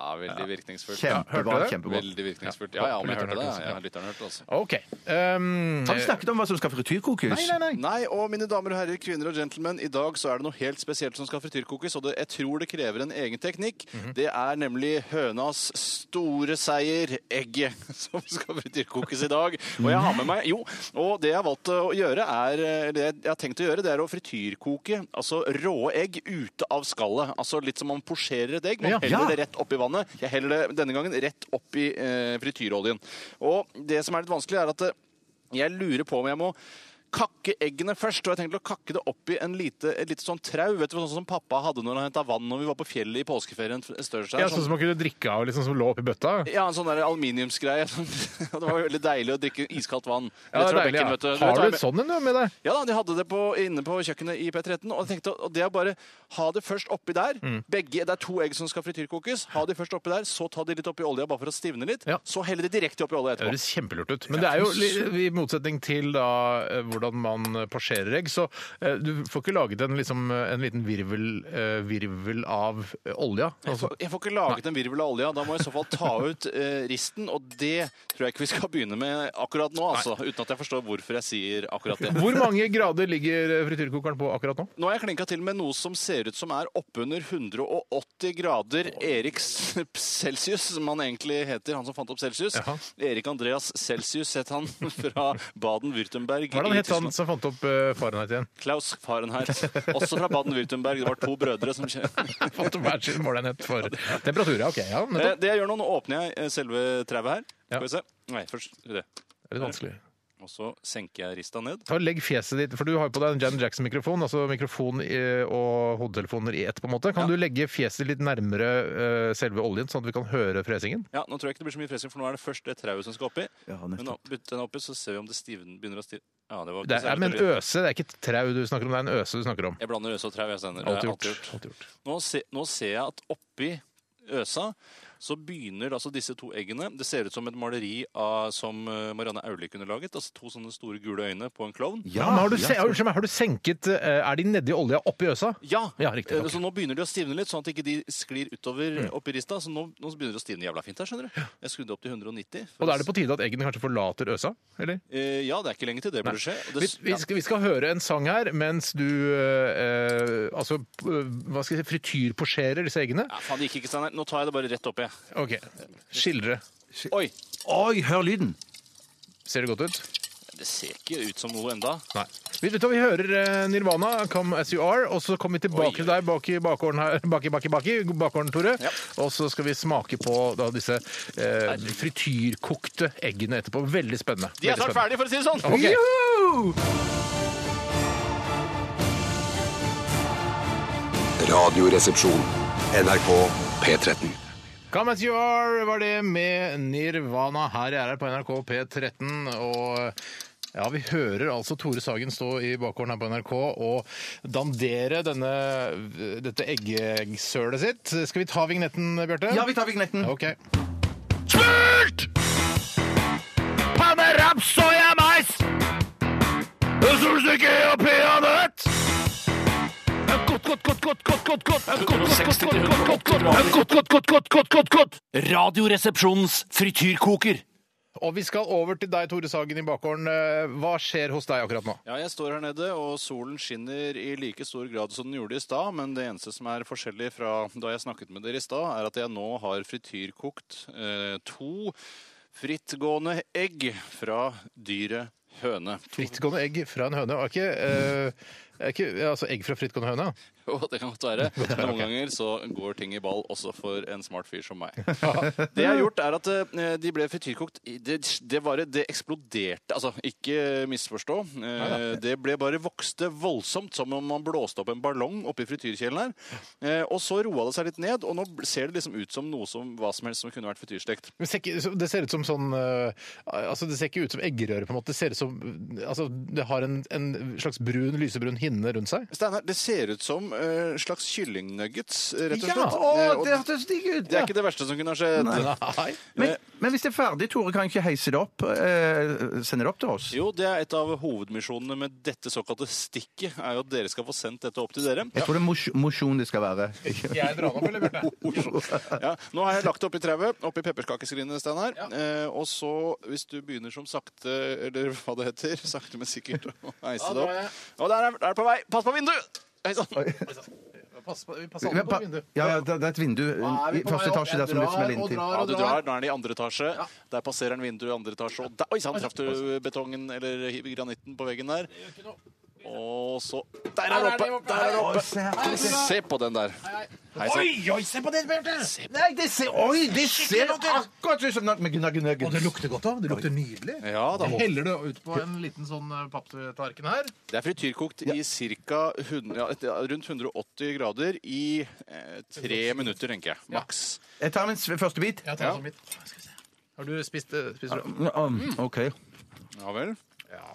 Ja, veldig virkningsfullt. Kjempebra. hørte du det? kjempebra. Veldig virkningsfullt. Ja, ja, om jeg Lytteren hørte det. hørte det, Ja, ja. lytteren hørte det altså. også. Ok. Um, Har vi snakket om hva som skal frityrkokes? Nei, nei, nei. Nei, og mine damer og herrer, kvinner og gentlemen, i dag så er det noe helt spesielt som skal frityrkokes, og det, jeg tror det krever en egen teknikk. Mhm. Det er nemlig hønas store seier, egget, som skal frityrkokes i dag. Og jeg har med meg, jo, og det jeg har valgt å gjøre er, eh, det jeg har tenkt å gjøre, det er å frityrkoke, altså rå egg ute av skallet. Altså litt som man posjerer et egg, man Ja. heller Ja. det rett opp i vannet. Jeg heller det denne gangen rett opp i eh, frityroljen. Og det som er litt vanskelig er at eh, jeg lurer på om jeg må kakke eggene først, og jeg tenkte å kakke det opp i en lite, et lite sånn trau, vet du, sånn som pappa hadde når han hentet vann når vi var på fjellet i påskeferien en større seg. Ja, sånn som man kunne drikke av, liksom, som lå oppi bøtta? ja, en sånn der aluminiumsgreie. Og det var jo veldig deilig å drikke iskaldt vann. Rett Ja, fra det er deilig, bekken, vet ja. vet Har hva du jeg et men- sånn en du, med deg? Ja da, de hadde det på, inne på kjøkkenet i P13, og jeg tenkte og det er bare ha det først oppi der. Mm. Begge, det er to egg som skal frityrkokes. Ha de først oppi der, så ta de litt oppi olja bare for å stivne litt. Ja. Så helle de direkte oppi olja Det etterpå. høres kjempelurt ut. Men det er jo li- i motsetning til da, eh, hvordan man passerer egg, så eh, du får ikke laget en, liksom, eh, en liten virvel, eh, virvel av eh, olja. Jeg får, jeg får ikke laget en virvel av olja. Da må jeg i så fall ta ut eh, risten, og det tror jeg ikke vi skal begynne med akkurat nå, altså. Uten at jeg forstår hvorfor jeg sier akkurat det. Hvor mange grader ligger eh, frityrkokeren på akkurat nå? Nå har jeg klinka til med noe som ser ut som er oppunder 180 grader Eriks Celsius, som han egentlig heter, han som fant opp Celsius. Jaha. Erik Andreas Celsius het han fra Baden-Württemberg. Hva er det han i het het han som fant opp eh, Fahrenheit igjen? Klaus Fahrenheit. Også fra Baden-Württemberg. Det var to brødre som kjente Fant opp hver sin målenhet for temperatur, ja. Ok, ja. Eh, nettopp. Det jeg gjør nå, nå åpner jeg eh, selve trauet her. Ja. Skal vi se. Nei, først det. Det er litt vanskelig. Og så senker jeg rista ned. Ta og Legg fjeset ditt, for du har jo på deg en Janet Jackson-mikrofon, altså mikrofon i- og hodetelefoner i ett, på en måte. Kan du legge fjeset litt nærmere eh, selve oljen, sånn at vi kan høre fresingen? Ja, Nå tror jeg ikke det blir så mye fresing, for nå er det først det trauet som skal oppi. Ja, Men nå nettopp. putter jeg den oppi, så ser vi om det stivner, begynner å stivne. Ja, det var ikke Det særlig er, men tydelig. øse, det er ikke et trau du snakker om, det er en øse du snakker om. Jeg blander øse og trau. jeg sender. Det Alt har jeg gjort. alltid gjort. Alt gjort. Nå, se, nå ser jeg at oppi øsa så begynner altså disse to eggene Det ser ut som et maleri av, som eh, Marianne Aulie kunne laget. altså To sånne store gule øyne på en klovn. Ja, men har du, se, unnskyld meg, har du senket eh, Er de nedi olja oppi øsa? Ja! Ja, riktig, Mm. Eh, ok. Så nå begynner de å stivne litt, sånn at ikke de sklir utover oppi rista. Så nå, nå begynner det å stivne jævla fint her, skjønner du. Jeg skrudde opp til 190. for Og da å er det på tide at eggene kanskje forlater øsa? Eller? Eh, ja, det er ikke lenge til det burde skje. Og Vi, det, vi, skal, vi skal høre en sang her mens du eh, eh, altså, p- hva skal jeg si, frityrposjerer disse eggene. ja, faen, det gikk ikke, Steinar. Nå tar jeg det bare rett opp, jeg. Ok, Skildre. Oi! Oi, hør lyden! Ser det godt ut? Det ser ikke ut som noe enda. Nei. Vi, vet du, hva, vi hører eh, Nirvana, 'Come As You Are', og så kommer vi tilbake Oi. til deg bak i bakgården her, bak i, bak i, bak i bakgården, Tore. Og så skal vi smake på da, disse eh, frityrkokte eggene etterpå. Veldig spennende. De er Veldig snart spennende. ferdige, for å si det sånn! Ok. Radioresepsjon. NRK P13. Come as you are var det med Nirvana. Her jeg er her på NRK P13. og... Ja, Vi hører altså Tore Sagen stå i bakgården her på NRK og dandere denne, dette eggesølet sitt. Skal vi ta vignetten, Bjarte? Ja, vi tar vignetten. Ok. Smurt! Panne, raps, soya, mais! Solstykke og peanøtt! Godt, godt, godt, godt, godt, godt, godt, godt, godt, godt, godt, godt, godt, godt, godt, godt, godt, godt. Radioresepsjonens frityrkoker. Og vi skal over til deg, Tore Sagen i bakgården. Hva skjer hos deg akkurat nå? Ja, jeg står her nede, og solen skinner i like stor grad som den gjorde i stad. Men det eneste som er forskjellig fra da jeg snakket med dere i stad, er at jeg nå har frityrkokt eh, to frittgående egg fra dyret høne. Frittgående egg fra en høne. Er ikke, eh, er ikke, altså egg fra frittgående høne? Og det kan godt være. Noen ganger så går ting i ball også for en smart fyr som meg. Det jeg har gjort, er at eh, de ble frityrkokt i- Det, det, bare, det eksploderte. Altså, ikke misforstå. Eh, Det ble bare vokste voldsomt, som om man blåste opp en ballong oppi frityrkjelen her. Eh, Og så roa det seg litt ned, og nå bl- ser det liksom ut som noe som hva som helst som kunne vært frityrstekt. Men ser ikke, så- det ser ut som sånn eh, altså Det ser ikke ut som eggerøre, på en måte. Det ser ut som eh, altså Det har en, en slags brun, lysebrun hinne rundt seg. Steinar, det ser ut som eh, slags kyllingnuggets, eh, rett og Ja, slett. Å, Eh, og det hørtes digg ut! det er ikke det verste som kunne ha skjedd. Nei. Men, men hvis det er ferdig, Tore, kan ikke heise det opp? Eh, sende det opp til oss? Jo, det er et av hovedmisjonene med dette såkalte stikket, er jo at dere skal få sendt dette opp til dere. Jeg tror det er mos- mosjon det skal være. Jeg drar opp, eller, Bjarte? Ja, nå har jeg lagt det oppi trauet, oppi pepperkakeskrinet, Steinar. Eh, og så, hvis du begynner som sakte, eller hva det heter, sakte, men sikkert, å heise det opp. Og der er der er det på vei! Pass på vinduet! Hei sann! Pass på, vi passer Men alle pa- på vinduet. Ja, ja, det det er et vindu er vi i på første vei opp? etasje der Jeg som du drar smeller og inn til. drar. Ja, du drar. Nå er den i andre etasje. Der passerer den vinduet i andre etasje. Og der, oi sann, traff du betongen eller granitten på veggen der. Og så Der er det oppe! Der er det oppe! Se her. Se på den der. Hei sann. oi, se på den, Bjarte! Nei, det ser Oi, det ser akkurat ut som nugg- med gnagg gnagg. Og det lukter godt òg. Det lukter nydelig. Ja, da. Heller det ut på en liten sånn eh, papptallerken her. Det er frityrkokt i cirka 100, ja, et- ja, rundt 180 grader i eh, tre minutter, tenker jeg. Maks. Jeg tar min s- første bit. Jeg tar en sånn bit. Skal vi se. Har du spist, eh, spist det? Um, OK. Ja vel. Ja,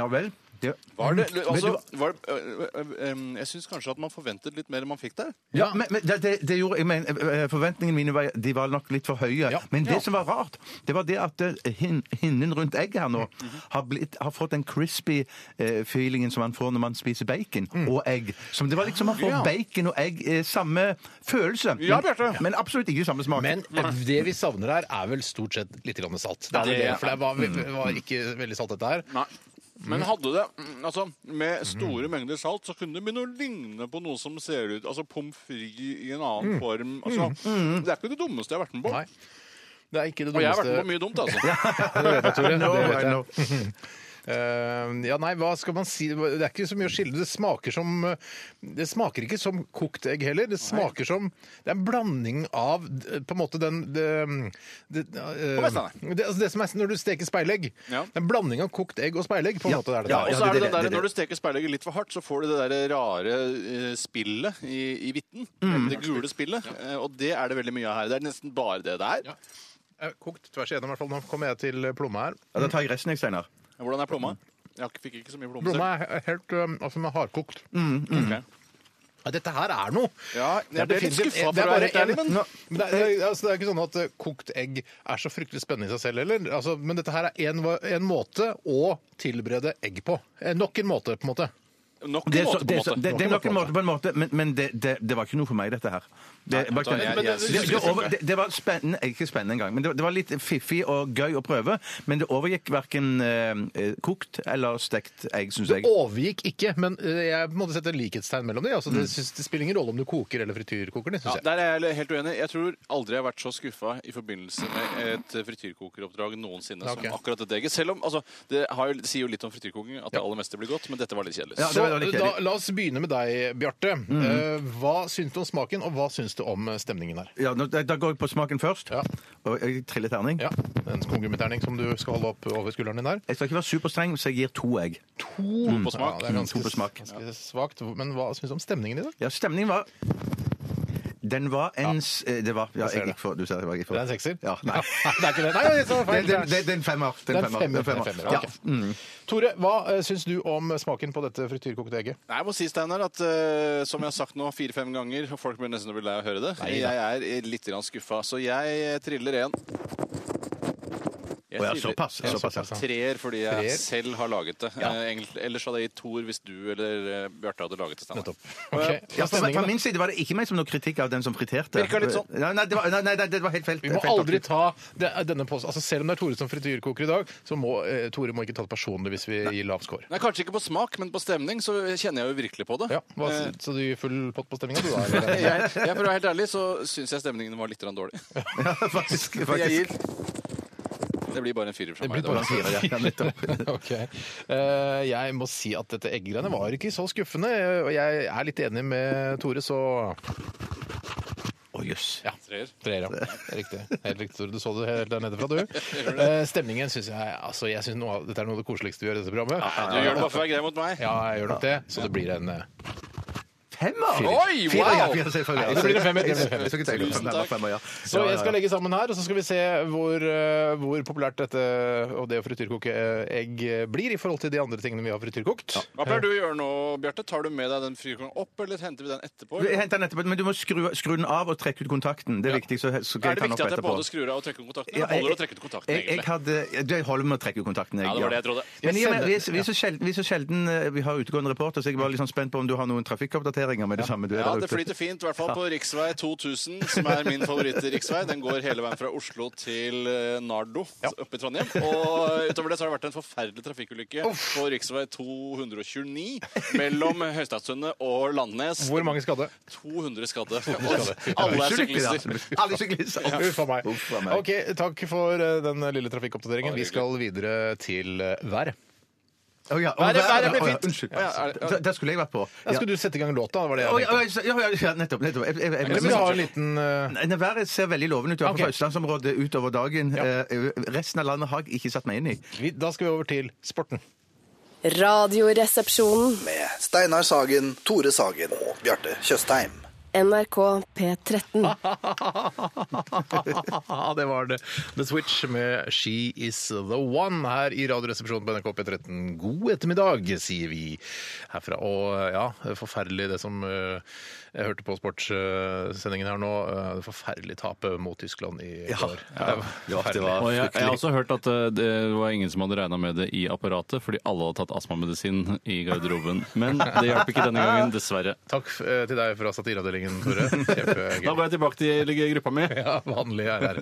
ja vel. Det- Var det, altså, Men var det, ø- ø- ø- em, jeg syns kanskje at man forventet litt mer enn man fikk der. Ja, men, men det, det, det gjorde, jeg mener, eh, Forventningene mine var, de var nok litt for høye. Ja. Men det som var rart, det var det at eh, hin, hinnen rundt egget her nå har, blitt, har fått den crispy eh, feelingen som man får når man spiser bacon og egg. Som det var liksom man får bacon og egg eh, samme følelse. Ja, Men- Bjarte. Men absolutt ikke samme smak. Men det vi savner her, er vel stort sett litt grann salt. Det er vel det, for det var, Mm. det var ikke veldig salt, dette her. Nei. Men hadde det mm, altså, Med store mengder salt så kunne det begynne å ligne på noe som ser ut Altså pommes frites i en annen form. Altså, Det er ikke det dummeste jeg har vært med på. Nei. Det er ikke det Og jeg har dummeste vært med på mye dumt, altså. Det vet jeg, Tore. No, Det vet I jeg. know. Eh, ja, nei, hva skal man si? Det er ikke så mye å skille. Det smaker som Det smaker ikke som kokt egg heller. Det smaker som Det er en blanding av eh, på en måte den det, det, eh, Vestlandet. det, altså det som er når du steker speilegg. Ja. Det er en blanding av kokt egg og speilegg. på en måte er det Ja, ja, og så er det- det den det- der, det- Når du steker speilegget litt for hardt, så får du det der rare eh, spillet i, i hvitten. Mm. Det gule spillet. Eh, Og det er det veldig mye av her. Det er nesten bare det der. Eh, Kokt tvers igjennom, i hvert fall. Nå kommer jeg til plomma her. Ja, da tar jeg resten, jeg, Steinar. Hvordan er plomma? Jeg har ikke- fikk ikke så mye plomme selv. Plomma er helt um, altså, den er hardkokt. Mm. Ok. Ja, dette her er noe. Ja, jeg Det er ble litt definitivt- skuffa, for det er å være bare helt ærlig, en- men- Nå, men det, er, altså, det er ikke sånn at eh, kokt egg er så fryktelig spennende i seg selv heller. Altså, men dette her er en, va- en måte å tilberede egg på. Eh, Nok en måte, på en måte. Nok en Det er, så, måte, på det, er en så, måte. det, det er nok en måte på en måte, men, men det, det, det var ikke noe for meg, dette her. Det, Nei, bare, jeg- jeg synes det, det, ikke det, det over, det, det var spennende eh, Ikke spennende engang, men det, det var litt fiffig og gøy å prøve. Men det overgikk verken eh, eh, kokt eller stekt egg, syns jeg. Overgikk ikke, men eh, jeg måtte sette likhetstegn mellom dem. Altså, det, synes, det spiller ingen rolle om du koker eller frityrkoker det, Mm. Ja, syns jeg. der er jeg helt uenig. Jeg tror aldri jeg har vært så skuffa i forbindelse med et frityrkokeroppdrag noensinne Ok. som akkurat dette egget. Selv om altså, det, har jo, det sier jo litt om frityrkoking at det aller meste blir godt, men dette var litt kjedelig. Ja, det Så, var litt da, kjedelig. la oss begynne med deg, Bjarte. Mm. Eh, hva syns du om smaken, og hva syns du om eh, stemningen her? Ja, nå- da, da går jeg på smaken først. Ja. Og jeg triller terning. Ja, En skumgummiterning som du skal holde opp over skulderen din her. Jeg skal ikke være superstreng, så jeg gir to egg. To Mm. på smak. Ja, det er ganske, To på smak. ganske svakt. Men hva syns du om stemningen i dag? Ja, stemningen var Den var en s- eh, Det var Ja, ser jeg det. gikk for Du ser det var jeg gikk for. Det er en sekser? Ja, nei. det er ikke det. Nei, det er så feil. Det det- det- det er en femmer. Det Det er er en femmer. en femmer. Ja. Mm. ok. Tore, hva uh, syns du om smaken på dette frityrkokte egget? Nei, jeg må si, Steinar, at eh, som jeg har sagt nå fire-fem ganger, og folk blir nesten bli lei av å høre det, jeg er litt grann skuffa, så jeg eh, triller en. Jeg Å ja, triller såpass. Ja, såpass, såpass, ja. ja. Treer fordi jeg Treer. selv har laget det. Eh, egentlig- ellers hadde jeg gitt toer hvis du eller eh, Bjarte hadde laget det. Steinar. Nettopp. Okay. Ja, Ja, altså, fra, fra Eh, stemningen, da? min side var det ikke meg som noe kritikk av den som friterte. Virker litt sånn. Nei, nei, det var, nei, nei, det var helt feil. Vi må feil aldri taktikk. ta det, denne posten. Altså, selv om det er Tore som frityrkoker i dag, så må eh, Tore må ikke ta det personlig hvis vi gir lav score. Nei, Kanskje ikke på smak, men på stemning så kjenner jeg jo virkelig på det. Ja, hva, Eh, så du gir full pott på stemninga, du da? eller? jeg, jeg, for å være helt ærlig, så syns jeg stemningen var litt grann dårlig. Ja, faktisk, Jeg faktisk. gir Det blir bare en firer fra Det meg. i blir dag. bare en firer, Ja, nettopp. Ok. Eh, jeg må si at dette eggegreiene var ikke så skuffende, eh, og jeg er litt enig med Tore, så Å, jøss. ja. Treer. Treer, ja. Riktig. Helt riktig, Tore. Du så det helt der nede fra, du. Eh, stemningen syns jeg altså, jeg synes noe, av- Dette er noe av det koseligste vi gjør i dette programmet. Du gjør det bare for å være grei mot meg. Ja, jeg gjør nok det. Så det blir en eh, Femmer! Oi, wow! Fire, ja, fire, selvfølgelig. Nei, det blir en femmer, det blir en femmer. Jeg skal ikke tenke på Tusen femmer, takk. femmer, ja. Så Ja, ja, jeg skal ja. legge sammen her, og så skal vi se hvor, eh, hvor populært dette og det å frityrkoke eh, egg eh, blir i forhold til de andre tingene vi har frityrkokt. Hva pleier du å gjøre nå, Bjarte? Tar du med deg den fyrkongen opp, eller henter vi den etterpå? Jeg henter den etterpå, men du må skru, skru den av og trekke ut kontakten. Det er viktig. Så, så kan Er det jeg ta den opp viktig at jeg etterpå. både skrur av og trekker ut kontakten? Ja, Jeg holder å trekke ut kontakten, jeg, jeg egentlig. hadde, det holder med å trekke ut kontakten. Jeg, Ja, det var det jeg trodde. Men i og med, vi, er- vi, er så sjelden, vi er så sjelden eh, vi har utegående reporter, så jeg var litt sånn spent på om du har noen trafikkoppdateringer med det samme du er Ja, der det ute. flyter fint, i hvert fall på riksvei 2000, som er min favoritt-riksvei. Den går hele veien fra Oslo til eh, Nardo oppe i Trondheim. Og utover det så har det vært en forferdelig trafikkulykke på riksvei 229 mellom Høystadssundet og Landnes. Hvor mange skadde? 200 skadde. Alle er Ulykkelig, da. syklister. Alle er syklister. Uff a meg. Uff a meg. Ok, takk for eh, den lille trafikkoppdateringen. Vi skal videre til eh, været. Å ja, og Været- været- været blir å ja, fint. Å Unnskyld. ja, er det- Da- Der skulle jeg vært på. Da skal du sette i gang låta, var det Ja. jeg Å, ja, tenkte. ja, ja, ja, nettopp. nettopp. Jeg, jeg, jeg, Eller vil du ha en liten eh, Nei, Været ser veldig lovende ut. Jeg er Ok. på østlandsområdet utover dagen. Eh, resten av landet har jeg ikke satt meg inn i. vi, Da skal vi over til sporten. Radioresepsjonen. med Steinar Sagen, Tore Sagen og Bjarte Tjøstheim. NRK P13. det var det. The Switch med She Is The One her i Radioresepsjonen på NRK P13. God ettermiddag, sier vi herfra. Og eh, ja, forferdelig det som eh, jeg hørte på sportssendingen her nå. eh, Det forferdelige tapet mot Tyskland i går. Ja, det var, Og jeg, jeg har også hørt at eh, det var ingen som hadde regna med det i apparatet, fordi alle hadde tatt astmamedisin i garderoben. Men det hjalp ikke denne gangen, dessverre. Takk eh, til deg fra satireavdelingen, Tore. Kjempegøy. Da går jeg tilbake til gruppa mi. Ja, vanlig er her.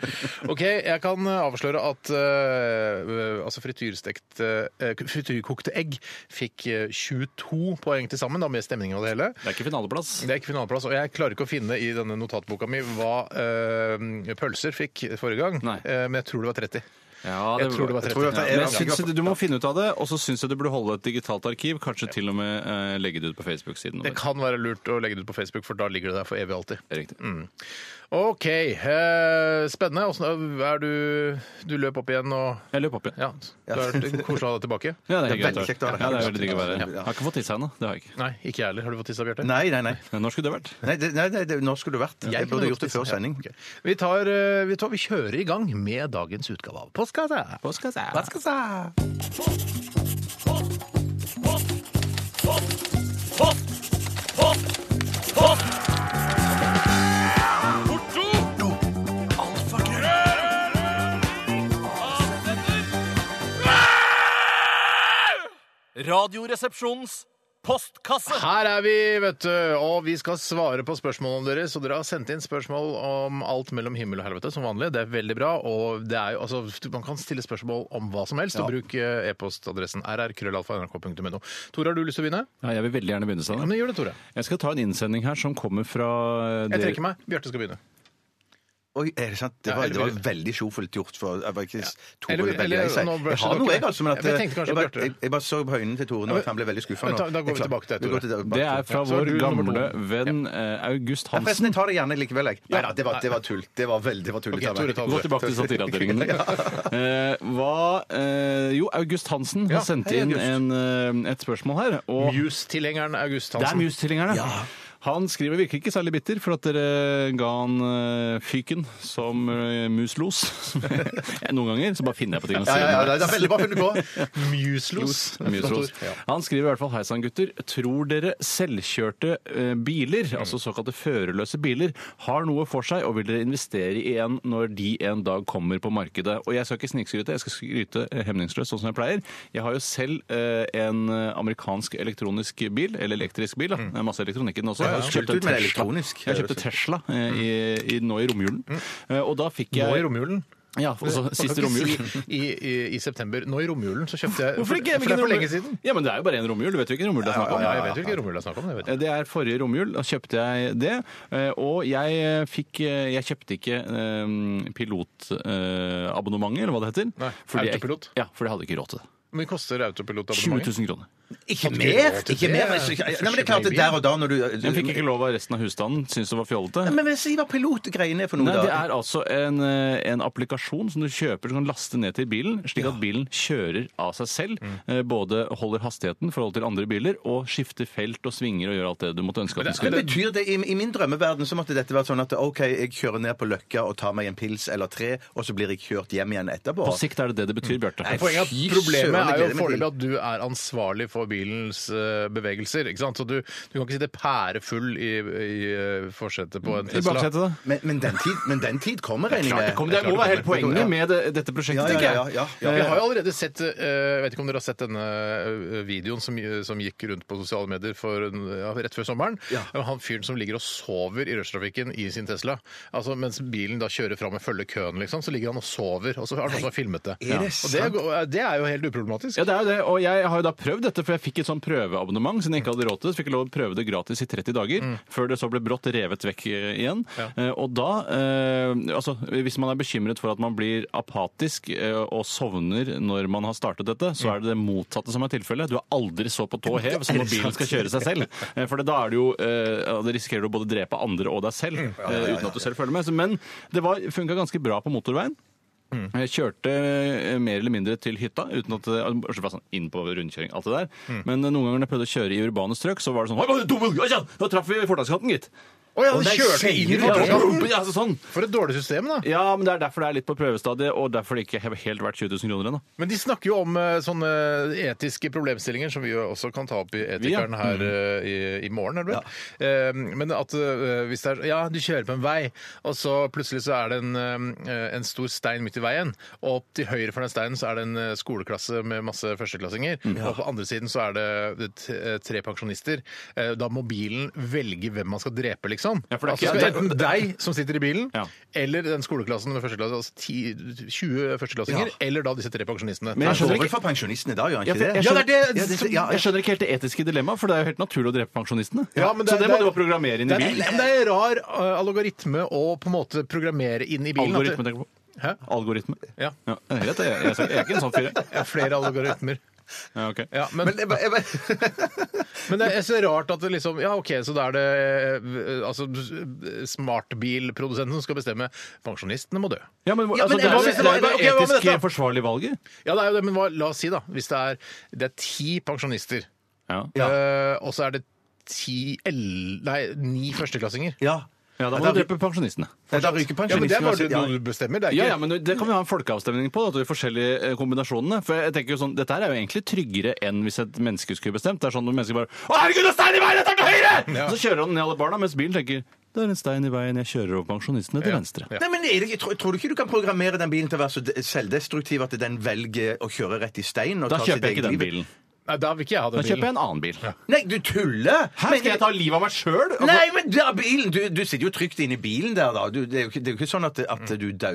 Ok, jeg kan avsløre at eh, altså frityrstekt eh, frityrkokte egg fikk eh, 22 poeng til sammen, da, med stemningen og det hele. Det er ikke finaleplass. Det er ikke finaleplass, og jeg klarer ikke å finne i denne notatboka mi hva eh, pølser fikk forrige gang, Nei. eh, men jeg tror det var 30. Ja, Jeg tror det var jeg 30. tror i hvert fall- Men Ja. jeg synes, du må finne ut av det, og så syns jeg du burde holde et digitalt arkiv. Kanskje til og med eh, legge det ut på Facebook-siden. Det kan være lurt å legge det ut på Facebook, for da ligger det der for evig og alltid. Det er Riktig. OK. eh, spennende. Åssen er du Du løp opp igjen og Jeg løp opp igjen. Ja. Det har vært koselig å ha deg tilbake. Ja, det er Det er hyggelig. veldig kjekt å ha deg Ja, her. det er veldig digg å være her. Ja. Jeg har ikke fått tissa ennå. Det har jeg ikke. Nei, ikke jeg heller. Har du fått tissa, Bjarte? Nei, nei, nei. Men Når skulle det vært? nei, det- nei, nei det, nå skulle du vært. Jeg burde gjort det før sending. Ja, ok. vi, tar, eh, vi, tar, vi kjører i gang med dagens utgave av Postkassa. Postkassa. Radioresepsjonens postkasse. Her er vi, vet du, og vi skal svare på spørsmålene deres. Og dere har sendt inn spørsmål om alt mellom himmel og helvete, som vanlig. Det er veldig bra. Og det er jo, altså, man kan stille spørsmål om hva som helst, og bruk eh, e-postadressen rrkrøllalfa.nrk.no. Tore, har du lyst til å begynne? Ja, jeg vil veldig gjerne begynne, Ja, Steinar. men gjør det, Tore. Jeg skal ta en innsending her som kommer fra eh, Jeg trekker meg. Bjarte skal begynne. Oi, er det sant? Det Ja, var, eller det var vil- veldig sjofelt gjort. For, jeg, var ikke, Tore Eller- er veldig eller- lei seg. nå jeg har brushet noe, dere. jeg, altså. Men at, Jeg tenkte kanskje jeg, Bjarte. bare, jeg, jeg bare så på øynene til Tore Ja, nå, men- at han ble veldig skuffa. Da- da går vi tilbake til deg, Tore. Det er fra Så er vår du nummer gamle to. venn eh, August Ja, Hansen. forresten, jeg tar det gjerne likevel, jeg. Nei da, det var, det var tull. Det var veldig det var tull. Ok, Tore, ta Gå tilbake til satireavdelingen. Eh, hva eh, Jo, August Hansen Ja, har sendt hei, inn August. en, eh, et spørsmål her. Og Muse-tilhengeren August det er Hansen. Muse-tilhengerne. Han skriver virker ikke særlig bitter for at dere ga han eh, fyken som eh, muslos. Ja, Noen ganger så bare finner jeg på ting å si. Ja, ja, ja, det er veldig bra funnet på. Muselos. Mjøsros. Ja. Han skriver i hvert fall Hei sann, gutter. Tror dere selvkjørte eh, biler, Mm. altså såkalte førerløse biler, har noe for seg, og vil dere investere i en når de en dag kommer på markedet? Og jeg skal ikke snikskryte, jeg skal skryte eh, hemningsløst, sånn som jeg pleier. Jeg har jo selv eh, en amerikansk elektronisk bil, eller elektrisk bil, da. Mm. Det er Masse elektronikk i den også. Ja, ja. Jeg har kjøpt Kult en ut med Tesla. elektronisk. Jeg kjøpte Tesla eh, i, i, nå i romjulen. Eh, Og da fikk jeg Mm. Nå i romjulen. Ja, altså Man siste kan ikke romjul. si I, i, I september. Nå i romjulen så kjøpte jeg Hvorfor ikke? For det er for lenge siden. Ja, men det er jo bare en romjul. Du vet jo hvilken romjul det er snakk om. Eh, Ja, jeg vet jo ikke romjul det er snakk om. Jeg vet. Det er forrige romjul. Da kjøpte jeg det. eh, Og jeg eh, fikk eh, Jeg kjøpte ikke eh, pilotabonnementet, eller hva det heter. Nei, autopilot. Jeg, ja, for jeg hadde ikke råd til det. Hvor mye koster autopilot 20 000 kroner. Ikke mer! Ikke mer. men så- Nei, men det er klart at der og da når du Jeg fikk ikke lov av resten av husstanden. Syntes det var fjollete. Men men si hva pilotgreiene er for noe, Nei, det da. er altså en, eh, en applikasjon som du kjøper som kan laste ned til bilen, slik at bilen kjører av seg selv. Mm. eh, Både holder hastigheten i forhold til andre biler, og skifter felt og svinger og gjør alt det du måtte ønske at den Men skulle. betyr det, I, I min drømmeverden så måtte dette vært sånn at OK, jeg kjører ned på Løkka og tar meg en pils eller tre, og så blir jeg kjørt hjem igjen etterpå. På sikt er det det det betyr, Bjarte. Nei, Poenget er Fy at Problemet søren, er jo det gleder jeg meg foreløpig til. at du er ansvarlig for bilens eh, bevegelser. ikke sant? Så du, du kan ikke sitte pærefull i, i eh, forsetet på en I Tesla. baksetet, da. Men, men, den tid, men den tid kommer, regner jeg Klart det med. kommer. Det må være hele poenget Ja. med det, dette prosjektet, Ja, ja, tenker jeg. ja, ja, ja. Vi har jo allerede sett eh, Jeg vet ikke om dere har sett denne eh, videoen som, som gikk rundt på sosiale medier for, en- ja, rett før sommeren. Ja. Det var Han fyren som ligger og sover i rushtrafikken i sin Tesla. Altså Mens bilen da kjører fram og følger køen, liksom, så ligger han og sover. Og så er det noen som har filmet det. er det Og det, er- eh, det er jo helt uproblematisk. Ja, det er jo det, og jeg har jo da prøvd dette, for jeg fikk et sånn prøveabonnement siden jeg ikke hadde råd til det. Så fikk jeg lov å prøve det gratis i 30 dager, før det så ble brått revet vekk eh, igjen. Eh, og da, eh, altså hvis man er bekymret for at man blir apatisk eh, og sovner når man har startet dette, så er det det motsatte som er tilfellet. Du er aldri så på tå hev som når bilen skal kjøre seg selv. Eh, for da er det jo, eh, ja, det risikerer du å både drepe andre og deg selv, eh, uten at du selv følger med. Så- Men det var- funket ganske bra på motorveien. Mm. Jeg kjørte eh, mer eller mindre til hytta, uten at, eh, bortsett fra sånn inn på rundkjøring. alt det der. Mm. Men eh, noen ganger når jeg prøvde å kjøre i urbane strøk, så var det sånn «Oi, oi, dumme, oi, ja, Da traff vi fortauskanten, gitt! Å ja, du Og der kjørte sier inn i du det. Ja, fortauet. ja, altså, sånn. For et dårlig system, da. ja, men Det er derfor det er litt på prøvestadiet, og derfor det ikke har helt vært 20 000 kroner ennå. Men de snakker jo om eh, sånne etiske problemstillinger som vi jo også kan ta opp i Etikeren Vi, ja. Mm. her eh, i, i morgen. Er det vel? Eh, Men at eh, hvis det er Ja, du kjører på en vei, og så plutselig så er det en, eh, en stor stein midt i veien, og opp til høyre for den steinen så er det en eh, skoleklasse med masse førsteklassinger, Mm. og på andre siden så er det det t- eh, tre pensjonister. Eh, Da må bilen velge hvem man skal drepe, liksom. Ja, for det er altså, ikke- skal enten deg som sitter i bilen, Ja. eller den skoleklassen med førsteklasse, altså ti, 20 førsteklassinger, eller da disse tre pensjonistene. Men jeg Han skjønner går vel ikke- for pensjonistene i dag, gjør han Ja, ikke for det? jeg, Ja, skjønner, det er det Ja, det- ja, jeg skjønner ikke helt det etiske dilemmaet, for det er jo helt naturlig å drepe pensjonistene. Ja, men det så er- det må det du er- bare programmere inn Det i er, bilen. men det er rar eh, algoritme å på en måte programmere inn i bilen. at Algoritme, det- tenker du på. Hæ? Algoritme. Ja. Ja, jeg vet det. Jeg, jeg er ikke en sånn fyr. jeg. Jeg har flere algoritmer. Ja, ok. Ja, men, Men jeg bare- jeg bare- men det er så rart at det liksom Ja, OK, så da er det eh, altså, smartbilprodusenten som skal bestemme. Pensjonistene må dø. Ja, men, Ja, altså, men det er hva jo hvis det det er jo bare- ok, det hva med etisk dette? forsvarlige valget. Ja, det er jo det, men hva, la oss si, da. Hvis det er, det er ti pensjonister, Ja. eh, og så er det ti el... Nei, ni førsteklassinger. Ja. Ja, da må du drepe pensjonistene. Nei, Da ryker Ja, men det er pensjonisten bare uansett. Ja. noe du bestemmer. Det er Ja, ikke ja, men Det kan vi ha en folkeavstemning på, da, de forskjellige eh, kombinasjonene. For jeg tenker jo sånn, Dette her er jo egentlig tryggere enn hvis et menneske skulle bestemt. Det er sånn når mennesker bare 'Å, herregud, det er stein i veien! Jeg tar til høyre!' Ja. Og Så kjører han ned alle barna, mens bilen tenker 'Det er en stein i veien, jeg kjører over pensjonistene til venstre'. Nei, men er det, ikke- tror, tror du ikke du kan programmere den bilen til å være så de- selvdestruktiv at den velger å kjøre rett i stein? Og Da ta sitt kjøper jeg ikke eget den liv? bilen. Nei, da vil ikke jeg ha Da den kjøper jeg bilen. en annen bil. Nei, du tuller! Her Men- skal jeg ta livet av meg sjøl! Nei, men da, bilen, du, du sitter jo trygt inne i bilen der, da. Du, det, er jo ikke, det er jo ikke sånn at, at du dauer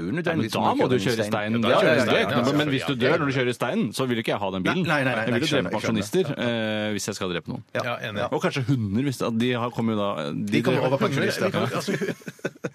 Mm. nødvendigvis. da når må du du kjøre kjører i steinen. Det Ja, ja, er ja, jo greit, ja, ja. men- Men hvis du dør når du kjører i steinen, så vil ikke jeg ha den bilen. Nei, nei, nei, Jeg vil jo nei, skjønner, drepe pensjonister eh, hvis jeg skal drepe noen. Ja, enig. Og kanskje hunder. hvis det- De har- kommer jo da De kommer over på- Hunder, vi kan, altså,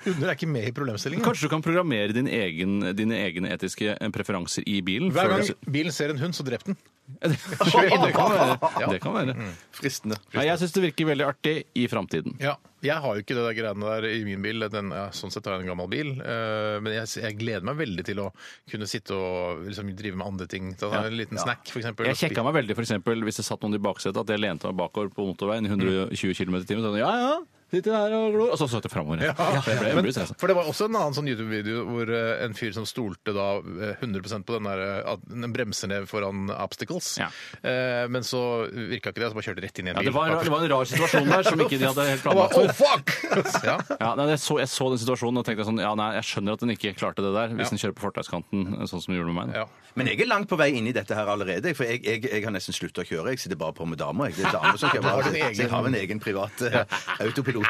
hunder er ikke med i problemstillingen. Kanskje du kan programmere din egen, dine egne etiske eh, preferanser i bilen? Hver før gang du- bilen ser en hund, så drep den. det kan være. Det kan Mm, være. Fristende. Nei, jeg syns det virker veldig artig i framtiden. Ja, Jeg har jo ikke det der greiene der i min bil. Den, ja, sånn sett har jeg en gammel bil. eh, men jeg, jeg gleder meg veldig til å kunne sitte og liksom, drive med andre ting. Ta en liten snack, for eksempel. Jeg kjekka meg veldig for eksempel, hvis det satt noen i baksetet, at jeg lente meg bakover på motorveien i 120 km i timen. Sånn, ja, ja, sitter her og glor. Og så satt jeg framover. Ja, jeg ble- altså. jeg Men, ble stresset. for det var også en annen sånn YouTube-video hvor eh, en fyr som stolte da eh, 100 på den der eh, at den bremser ned foran obstacles. Ja. Eh, men så virka ikke det, så bare kjørte rett inn i en ja, bil. det, var, det var en rar situasjon der som ikke de hadde helt Og planlagt bare, for. oh, fuck! ja. Ja, nei, jeg, så, jeg så den situasjonen og tenkte sånn, ja, nei, jeg skjønner at den ikke klarte det der, hvis Ja. den kjører på fortauskanten, sånn som den gjorde med meg. Ja. nå. Men jeg er langt på vei inn i dette her allerede, for jeg, jeg, jeg har nesten slutta å kjøre. Jeg sitter bare på med damer. Jeg. Det er damer som kjører. har din Så jeg har en egen privat eh, autopilot.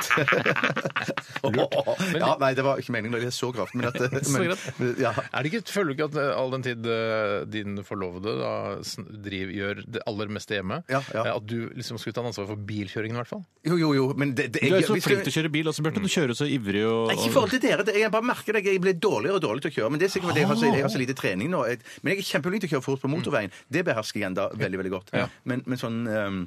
ja, nei, det var ikke meningen å gjøre det så grovt, men at eh, men, ja. Er det ikke, Føler du ikke at eh, all den tid eh, din forlovede da, sn- driv, gjør det aller meste hjemme, Ja, ja. eh, at du liksom skulle ta ansvar for bilkjøringen i hvert fall? Jo, jo, jo, men det, det Du er jo så hvis flink til å kjøre bil, altså, Bjarte. Du kjører så ivrig og, Nei, Ikke i forhold til dere. det- Jeg bare merker det. Jeg blir dårligere og dårligere til å kjøre. Men det er sikkert fordi jeg har så, jeg har så lite trening nå. Jeg- Men jeg er kjempeflink til å kjøre fort på motorveien. Mm. Det behersker jeg enda veldig, veldig godt. Men, men sånn ehm,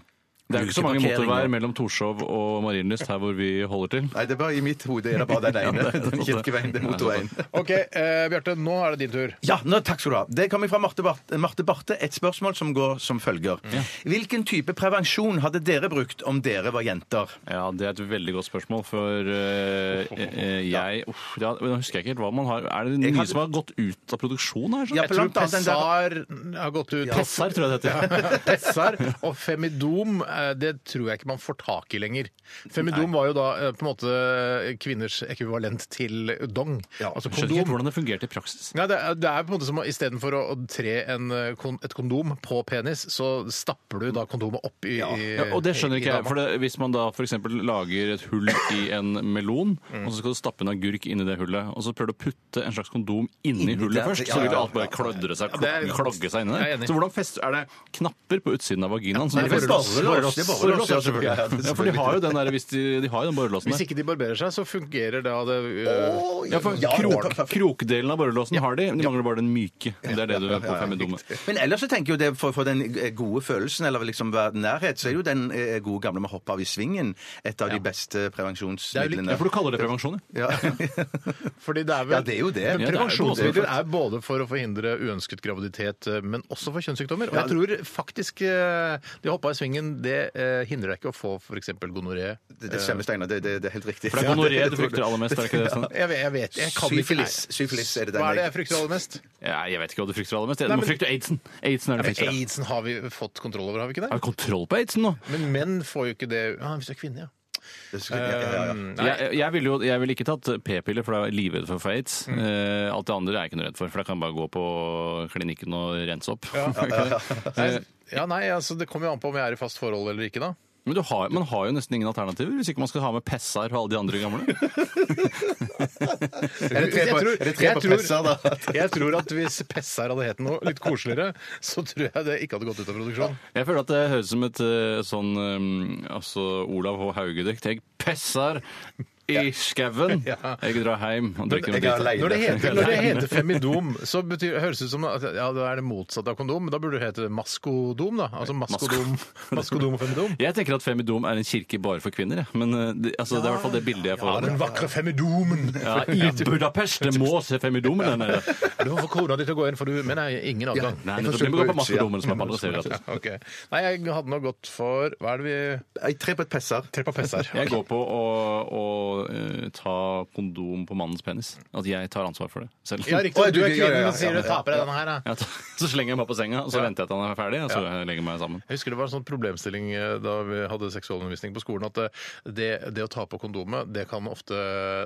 Det er jo ikke så mange lukeparkering motorveier og- mellom Torshov og Marienlyst her hvor vi holder til. Nei, det er bare i mitt hode er det bare den ene. det er Den sant det. kirkeveien, det Ja, er det er motorveien. OK, eh, Bjarte, nå er det din tur. Ja, nå, takk skal du ha. Det kommer fra Marte Barthe, Marte Barthe, et spørsmål som går som følger. Hvilken type prevensjon hadde dere brukt om dere var jenter? Ja, det er et veldig godt spørmål, for eh, eh, jeg uff, ja, men Nå husker jeg ikke helt hva man har Er det Jeg mye hadde- som har gått ut av produksjon her? sånn? Ja, Jeg tror blant annet den der- Pessar har gått ut. Pessar, tror jeg det heter. Pessar og Femidom, eh, det tror jeg ikke man får tak i lenger. Femidom var jo da eh, på en måte eh, kvinners ekvivalent til dong. altså Jeg skjønner ikke helt kondom. hvordan det fungerte i praksis. Nei, det, er, det er på en måte som å- istedenfor å å tre en, eh, kon- et kondom på penis, så stapper du da kondomet opp i, i Ja, og det skjønner i- i ikke jeg. dama. For det, hvis man da f.eks. lager et hull i en melon, og så skal du stappe en agurk inni det hullet, og så prøver du å putte en slags kondom inni Inni hullet der, først, ja, så vil ja, alt bare ja. klodre seg, det er- klogge seg inni Jeg er der. enig. Så hvordan fest, Er det knapper på utsiden av vaginaen? som Nei, du det er fester? borrelås. Det er borrelås, Borrelås, ja, ja, selvfølgelig. Ja, det er selvfølgelig. Ja, for de har jo den der, hvis de, de har jo den borrelåsen Hvis der. ikke de barberer seg, så fungerer da det eh, Ja, for krok, krokdelen av borrelåsen har de, men de mangler bare den myke. Det er det du påfører med dumme. Men ellers så tenker jeg jo det for, for den eh, gode følelsen, eller liksom være nærhet, så er jo den eh, gode gamle med å hoppe av i svingen et av de beste prevensjonsmidlene. Ja, for du kaller det prevensjon, ja. Ja. Fordi det er vel Ja, det er jo det. Men Ja, det er jo Prevensjonsmidler det. er, både for å forhindre uønsket graviditet, eh, men også for kjønnssykdommer. Og Ja, jeg tror faktisk eh, de hoppa i svingen, det eh, hindrer deg ikke å få f.eks. gonoré. det, det stemmer, Steinar. Det, det, det er helt riktig. For det er gonoré du frykter aller mest, er det ikke det? Sånn? Jeg vet, jeg vet jeg kan Syfilis. ikke Syfilis er det den Hva er det jeg- jeg frykter aller mest? Ja, jeg vet ikke hva du frykter aller mest. Du Nei, må men- frykte aidsen. Aidsen er det du frykter. ja. Aidsen har vi fått kontroll over, har vi ikke Har det? vi kontroll på aidsen nå? Men menn får jo ikke det ja, Hvis du er kvinne, ja. Det skulle- ja, ja, ja. Eh, Um, nei, Jeg, jeg ville jo jeg ville ikke tatt p-piller, for da er jeg livredd for å få aids. Mm. Eh, alt det andre er jeg ikke noe redd for, for da kan jeg bare gå på klinikken og rense opp. Eh, nei, ja, nei, altså Det kommer jo an på om jeg er i fast forhold eller ikke, da. Men du har, man har jo nesten ingen alternativer, hvis ikke man skal ha med pessar og alle de andre gamle. Er det tre Jeg på, tror- er det tre jeg på tror- presser, da? Jeg tror at hvis Pessar hadde hett noe litt koseligere, så tror jeg det ikke hadde gått ut av produksjon. Jeg føler at det høres som et eh, sånn eh, altså Olav H. Hauge-dikt. Jeg pesser i skauen. Ja. Jeg drar hjem og drikker noe jeg er dritt. alene. Når det heter, Nei. når det heter femidom, så betyr, høres det ut som at ja, det er det motsatte av kondom. men Da burde det hete maskodom, da. Altså maskodom, maskodom og femidom. Jeg tenker at Femidom er en kirke bare for kvinner, jeg. men eh, det, altså, det er i hvert fall det bildet jeg får. av det. vakre femidomen! Ja, I Budapest! Det må se Femidomen der nede. Du må få kona di til å gå inn, for du men jeg har ingen adgang. Nei, Jeg nettopp. forsøker Vi må gå på på Maskedomen, som er på andre steder. Ja, ok. Nei, jeg hadde nå gått for Hva er det vi Jeg tre på et pesser. Tre på pess her. Jeg går på å, å eh, ta kondom på mannens penis. At jeg tar ansvar for det selv. Ja, riktig. Oi, Du du- er ja, ja, kvinnen, ja, men sier du ja, ja. ta på deg denne her, da. Ja, ta- så slenger jeg meg på senga, og så venter jeg til han er ferdig, og så legger jeg meg sammen. Jeg husker det var en sånn problemstilling eh, da vi hadde seksualundervisning på skolen, at eh, det, det å ta på kondomet, det kan ofte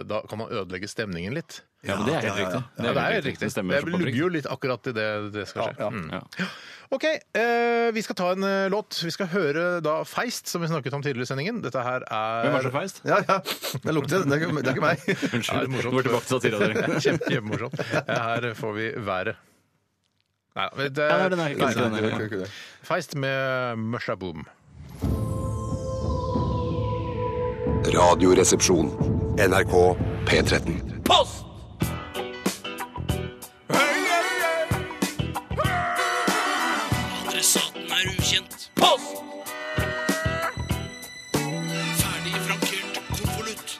Da kan man ødelegge stemningen litt. Ja, men det er helt riktig. Ja, det er helt riktig. Det stemmer. jeg så på lugger prikk. jo litt akkurat i det det skal skje. Mm. Ja. OK, eh, vi skal ta en eh, låt. Vi skal høre da Feist, som vi snakket om tidligere i sendingen. Dette her er Hvem var så feist? Ja, ja. Det lukter. Det er ikke- det er ikke meg. Ja, det er Unnskyld. morsomt. Du var tilbake til satira, dere. Kjempe, kjempemorsomt. Her får vi været. Nei, men det Ja, den er- Nei, den er- det er ikke det. Feist med Mushaboom. Radioresepsjon. NRK P13. Adressaten er ukjent. Post! Ferdig frankert konvolutt.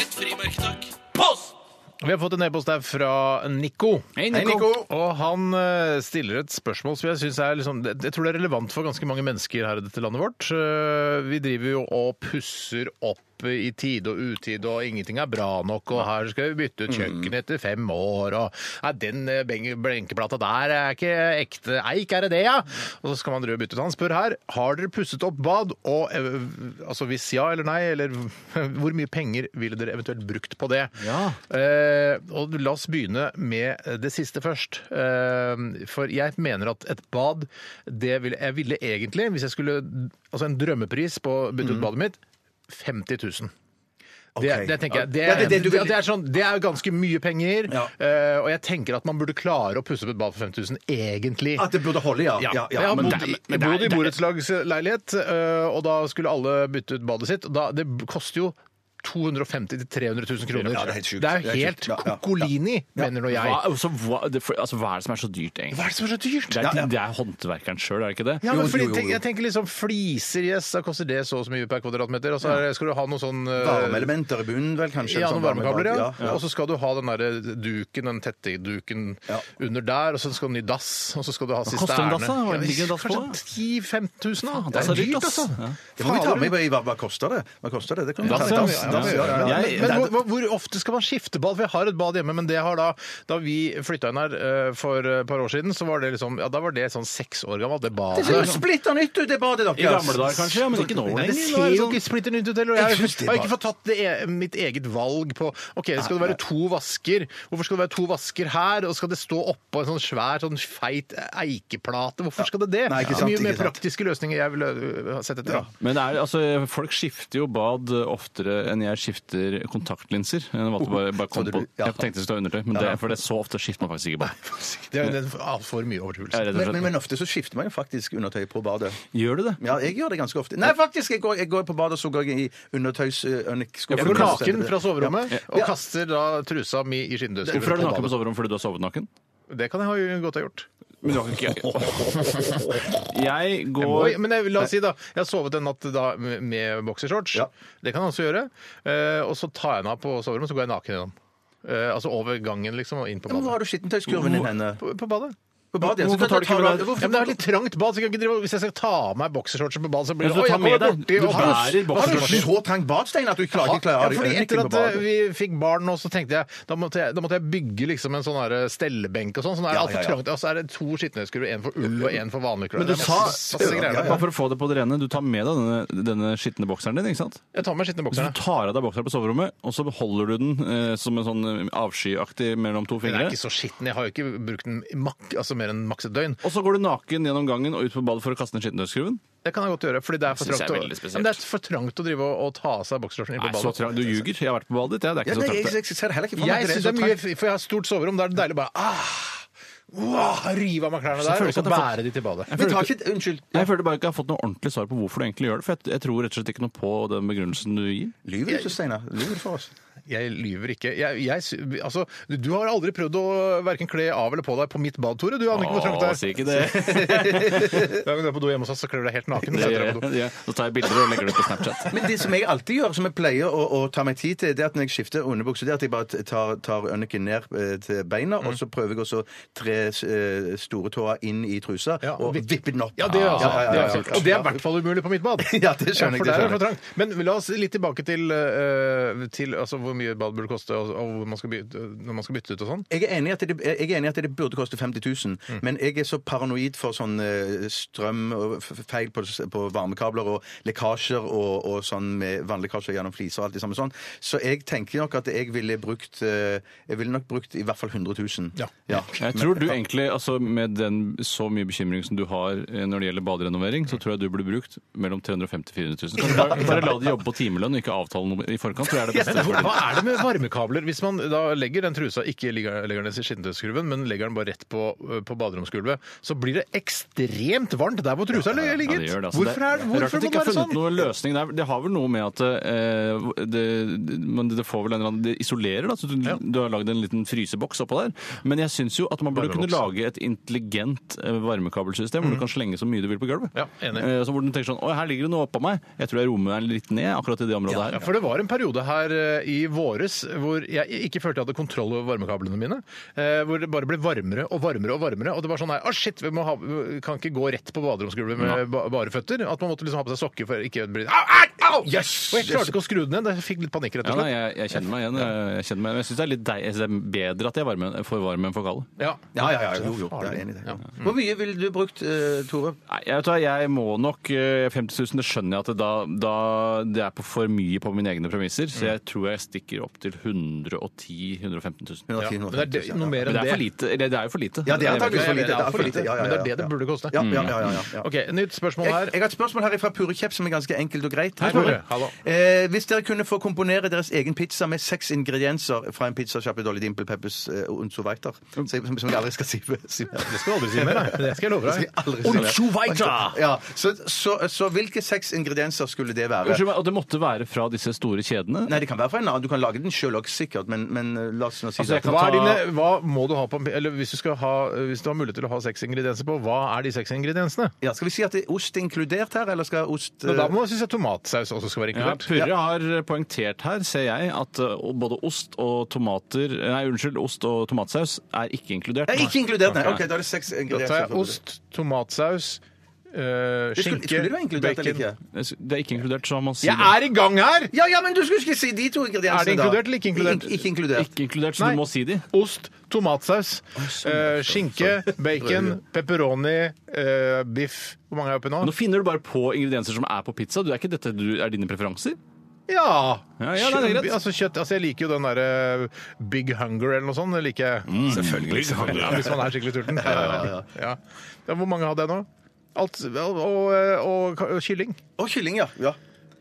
Et frimerke, takk. Post! Vi har fått en e-post her fra Nico. Hei, Nico. Hei, Nico. Og han eh, stiller et spørsmål som jeg synes er liksom, det- jeg tror det er relevant for ganske mange mennesker her i dette landet vårt. Eh, Vi driver jo og pusser opp i tide og utide, og ingenting er bra nok, og her skal vi bytte ut Mm. kjøkkenet etter fem år, og nei, den eh, beng- benkeplata der er ikke ekte eik, er det det, ja? Og så skal man drive og bytte ut. Han spør her, har dere pusset opp bad, og eh, altså hvis ja eller nei, eller hvor mye penger ville dere eventuelt brukt på det? Ja. Eh, og la oss begynne med det siste først. Eh, for jeg mener at et bad, det ville jeg ville egentlig, hvis jeg skulle Altså en drømmepris på å bytte ut badet mitt, 50 000. Det, Mm. Ok. det tenker jeg, det, Ja, det- det du vil- ja, det er sånn, det er ganske mye penger, Ja. eh, og jeg tenker at man burde klare å pusse opp et bad for 50 000, egentlig. At det burde holde, ja. Ja. ja, jeg ja. har Men bodd, det- i- men det er- bodd i det er- borettslagsleilighet, øh, eh, og da skulle alle bytte ut badet sitt. og Da, det koster jo 250 000-300 000 kroner. Ja, det er helt sjukt. Det er Det jo er helt sjukt. Ja, ja, ja. kokolini, mener nå jeg. Hva, altså, hva, det, for, altså, hva er det som er så dyrt, egentlig? Hva er det som er så dyrt? Det er, det er håndverkeren sjøl, er det ikke det? Ja, men Jo, fordi, jo, jo, tenk- jo. Jeg tenker liksom fliser, yes, da koster det så og så mye per kvadratmeter. Og så er det- skal du ha noe sånn øh, Varmeelementer i bunnen, vel, kanskje? ja, Sånn noen varmekabler, ja. varmebad. Og så skal du ha den der duken, den tette duken Ja. under der, og så skal du ha ny dass, og så skal du ha koster en sisterne. dass, da? Hva ligger en dass på, Kanskje da? 10 000-15 000, da. Det dass er er dyrt, dyrt, ass. altså. Ja. Det må vi ta Fader. med i hva, hva koster det? Hva koster det? Det kan vi Dass, ta ja. med. Dass, Ja, dass, ja, ja. Jeg- Men, men hvor, hvor ofte skal man skifte bad? For jeg har et bad hjemme, men det har da Da vi flytta inn her eh, for et par år siden, så var det liksom Ja, da var det sånn seks år gammelt, det badet. Det ser jo splitter nytt ut, det badet deres! I gamle dager kanskje, ja, men ikke nå lenger. Nei, det Nå ser er det jo sånn- ikke splitter nytt ut heller. og Jeg, Jeg synes det har ikke var- fått tatt det, e, mitt eget valg på OK, skal det være to vasker? Hvorfor skal det være to vasker her? Og skal det stå oppå en sånn svær, sånn feit eikeplate? Hvorfor skal det det? Nei, Det ikke er sant, mye ikke mer sant. praktiske løsninger jeg ville øh, ha sett etter. da. Men det er, altså, folk skifter jo bad eh, oftere enn jeg skifter kontaktlinser. Eh, Jeg, valgte bare, bare kom Trodde på. du- ja. jeg tenkte det skulle være undertøy, men det, for det er så ofte skifter man faktisk ikke bad. Det er jo en altfor mye Jeg overtryvelse. er redd og Men, slett. men, men ofte så skifter man jo faktisk undertøy på badet. Gjør du det? Ja, jeg gjør det ganske ofte. Nei, faktisk! Jeg går, jeg går på badet, og så går jeg i eh, undertøys-ønik-skuffen. Jeg går naken fra soverommet og Ja. kaster da trusa mi i skinndøsen. Hvorfor er du på naken på badet. soverommet fordi du har sovet naken? Det kan jeg ha godt ha gjort. Men du har ikke Jeg Oi, går men jeg, la oss si da, jeg har sovet en natt da med- med boksershorts. Ja. Det kan jeg også gjøre. Eh, og så tar jeg den av på soverommet, så går jeg naken gjennom. Eh, altså over gangen, liksom, og inn på Ja, men Hvor badet. har du skittentøyskurven din henne? På, på badet. På badet? ja. Så Hvorfor tar du ikke med av- deg- Ja, Hvorfor- men det er litt trangt bad, så jeg kan ikke drive, og- hvis jeg skal ta av meg boksershortsen på badet, så blir Ja, så det du Oi, tar jeg kommer med deg- borti du bærer og har- har du Har du så trang badstein at du klarer ikke Ja, klarer fordi etter øyenikken på at eh, badet? vi fikk barn nå, så tenkte jeg da måtte jeg, da måtte jeg bygge liksom en sånn her, eh, stellebenk og sånn. Så nå er det Ja, altfor ja, ja. trangt. Og så er det to skitnøyskurver, én for ull og én for vanlig klær. Men du Det er sa masse- masse greier der. Bare for å få det på det rene, du tar med deg denne, denne skitne bokseren din, ikke sant? Jeg tar med skitne Så bokserne. du tar av deg bokseren på soverommet, og så beholder du den eh, som en sånn eh, avskyaktig mellom to Den er fingre. ikke så skitten. Jeg har jo ikke brukt den i mak altså mer enn maks et døgn. Og så går du naken gjennom gangen og ut på badet for å kaste ned skittentøyskruen? Det kan jeg godt gjøre, fordi det er for Det synes trangt, jeg er å- veldig spesielt. Ja, men det er for trangt å drive og, og ta av seg boksershortsen inn Nei, på så badet. trangt. Du ljuger. Jeg har vært på badet ditt, jeg. Det er Ja, ikke nei, så jeg, trangt. jeg ser heller ikke for meg Jeg at synes så det er mye, trangt. for jeg har stort soverom. Da er det deilig bare ah, wow, rive av meg klærne Så jeg føler ikke der, og så at jeg har fått- bære de til badet. Jeg Men føler tar ikke- ikke Unnskyld. Nei, Jeg føler bare ikke jeg har fått noe ordentlig svar på hvorfor du egentlig gjør det. For jeg, jeg tror rett og slett ikke noe på den begrunnelsen du gir. Lyver du ikke, Steinar? Lyver du for oss? Jeg lyver ikke. Jeg, jeg, sy- altså, du har aldri prøvd å verken kle av eller på deg på mitt bad, Tore. Du aner ikke hvor trangt det Å, er. si ikke det. Hver gang du er på do hjemme hos oss, så kler du deg helt naken. det og setter gjør deg jeg. på do. Det gjør jeg. Så tar jeg bilder og legger det ut på Snapchat. Men det som jeg alltid gjør, som jeg pleier å, å ta meg tid til, det er at når jeg skifter underbukse, det er at jeg bare tar, tar ønniken ned eh, til beina, og Mm. så prøver jeg også å tre eh, store tåa inn i trusa Ja, og og vipp- vippe den opp. Ja, det, er altså, Ja, ja, ja, det ja. er kult. Og det er i hvert fall umulig på mitt bad. Ja, det skjønner jeg, For der er det det skjønner for trangt. Men la oss litt tilbake til eh, til, altså, hvor mye et bad burde koste, og, og hvor man skal bytte, når man skal bytte ut og sånn. Jeg er, enig i at det, jeg er enig i at det burde koste 50 000, Mm. men jeg er så paranoid for sånn eh, strøm og f- f- feil på, på varmekabler og lekkasjer og, og sånn med vannlekkasjer gjennom fliser og alt det samme sånn. Så jeg tenker nok at jeg ville brukt eh, Jeg ville nok brukt i hvert fall 100 000. Ja. Jeg tror du egentlig, altså Med den så mye bekymring som du har eh, når det gjelder baderenovering, så tror jeg du burde brukt mellom 350 000 og 400 000. Kan du Bare, bare la de jobbe på timelønn og ikke avtale noe i forkant. tror jeg er det beste for Hva deg. er det med varmekabler? Hvis man da legger den trusa, ikke ligger, legger den i skinnetøyskurven, men legger den bare rett på, på baderomsgulvet, så blir det ekstremt varmt der hvor trusa Ja, ligger. det gjør det, altså. Hvorfor, er, det, hvorfor det er rart at må det de ikke har være funnet sånn? noen løsning der. Det har vel noe med at eh, det, men det får vel en eller annen, det isolerer, da. Så du, du har lagd en liten fryseboks oppå der. Men jeg syns jo at man burde kunne Varmeboks. lage et intelligent eh, varmekabelsystem hvor du kan slenge så mye du vil på gulvet. Mm. Ja, enig. Eh, så hvor du tenker sånn Å, her ligger det noe oppå meg. Jeg tror jeg rommet er litt ned akkurat i det området her. Ja, for det var en periode her eh, i våres hvor jeg ikke følte jeg hadde kontroll over varmekablene mine. eh, Hvor det bare ble varmere og varmere og varmere. Og det var sånn nei, å shit, vi må ha, vi kan ikke gå rett på baderomsgulvet med ba bare føtter. At man måtte liksom ha på seg sokker for ikke å bli Au, au, au! Yes! Og jeg klarte ikke å skru den ned. Jeg fikk litt panikk, rett Ja, og nei, slett. jeg, jeg kjenner meg igjen. Jeg, jeg, kjenner meg, igjen. jeg syns det er litt deig, jeg synes det er bedre at jeg er varme, for varm enn for kald. Ja. Ja, ja, ja, jo, jo, jeg er enig i det. Mm. Hvor mye ville du brukt, eh, Tore? Nei, jeg, vet hva, jeg må nok eh, 50 000. Det skjønner jeg at det, da, da det er på for mye på mine egne premisser, så jeg tror jeg stikker opp til 110 000-115 000. Ja, Men det er det, noe mer Men det enn er det. for lite. Eller det er jo for lite. Ja, det er Jeg vet antakeligvis ikke. for lite. Det er for lite. Ja, ja, ja, Men det er det ja. det burde koste. Ja, ja, ja, ja, ja. OK, nytt spørsmål Jeg, her. jeg har et spørsmål her fra Pure Kjepp som er ganske enkelt og greit. Hei, Tore. Hallo. Eh, hvis dere kunne få komponere deres egen pizza med seks ingredienser fra en pizzasjappe Dolly Dimple Peppers eh, und so weiter Mm. Så- Som som jeg aldri skal si. si Det skal du aldri si mer, nei. Det skal jeg love skal jeg deg. aldri si. Ja, så, så, så hvilke seks ingredienser skulle det være? Unnskyld meg, og det måtte være fra disse store kjedene? Nei, det kan være fra en annen. Du kan lage den sjøl òg, sikkert, men, men eh, la oss nå si Altså, jeg det. kan Hva, er ta- dine, hva må du ha på Eller hvis du, skal ha, hvis du har mulighet til å ha seks ingredienser på, hva er de seks ingrediensene? Ja, skal vi si at det er ost inkludert her, eller skal ost Men da eh, må synes jeg tomatsaus også skal være Ja, inkludert. Purre har poengtert her, ser jeg, at eh, både ost og tomater Nei, unnskyld, ost og tomatsaus er ikke inkludert. eh, Nei, ikke inkludert, nei. OK, da er det seks Da tar jeg ingredienser. ost, tomatsaus, eh, Det skulle, skinke, skulle det være inkludert eller bacon ikke? Det er ikke inkludert, så man sier Jeg er i gang her! Ja, ja, men du skulle ikke si de to ingrediensene, Er det inkludert eller ikke inkludert? Ik ikke inkludert. Ikke inkludert, så Nei. du må si de. Ost, tomatsaus, eh, skinke, bacon, pepperoni, eh, biff Hvor mange er jeg oppe nå? Nå finner du bare på ingredienser som er på pizza. Du er ikke dette du, er dine preferanser? Ja! Ja, ja, det er greit. Altså, kjøtt, altså, jeg liker jo den derre Big Hunger eller noe sånt. Det liker jeg. Selvfølgelig. Mm. Ja, hvis man er skikkelig tulten. Ja, Ja. Ja, hvor mange hadde jeg nå? Alt, og, og, og, og kylling. Og kylling, ja. ja.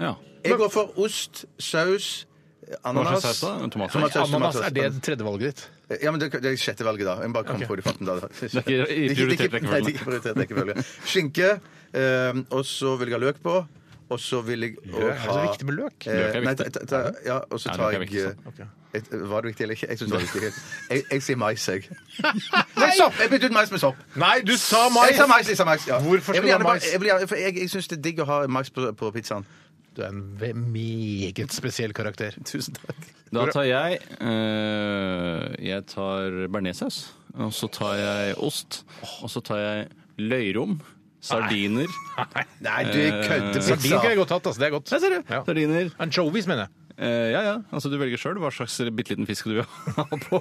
Ja. Jeg går for ost, saus, eh, Hva ananas slags saus da? En tomatsaus? Tomatsaus, Ananas, tomatsaus. er det tredjevalget ditt? Ja, men det, det er sjette valget, da. Jeg bare kom på det i farten da. Det er ikke i prioritert rekkefølge. Nei, det er ikke i prioritert rekkefølge. Skinke, eh, og så vil jeg ha løk på. Og så vil jeg og Er det så viktig med løk? Eh, Løk er nei, viktig. ta- ta- ja, og så Nei, tar løk er jeg viktig, Ok. eh, et, Var det viktig eller ikke? Jeg syns det var viktig. Jeg, jeg sier mais, jeg. Nei, sopp! Jeg bytter ut mais med sopp. Nei, du sa Jeg sa mais, jeg sa mais, ja. Hvorfor skal Jeg vil du ha gjerne bare- mais? Jeg, vil gjerne- for jeg, jeg syns det er digg å ha mais på, på pizzaen. Du er en ve- meget spesiell karakter. Tusen takk. Da tar jeg eh, Jeg tar bearnéssaus. Og så tar jeg ost. Og så tar jeg løyrom. Sardiner. Nei, du kødder. Sardin Pizza. kunne jeg godt hatt. altså, det er godt. Nei, ser du! Eh, Ja. Sardiner. Anchovies, mener jeg. Eh, ja, ja. Altså, du velger sjøl hva slags bitte liten fisk du vil ha på.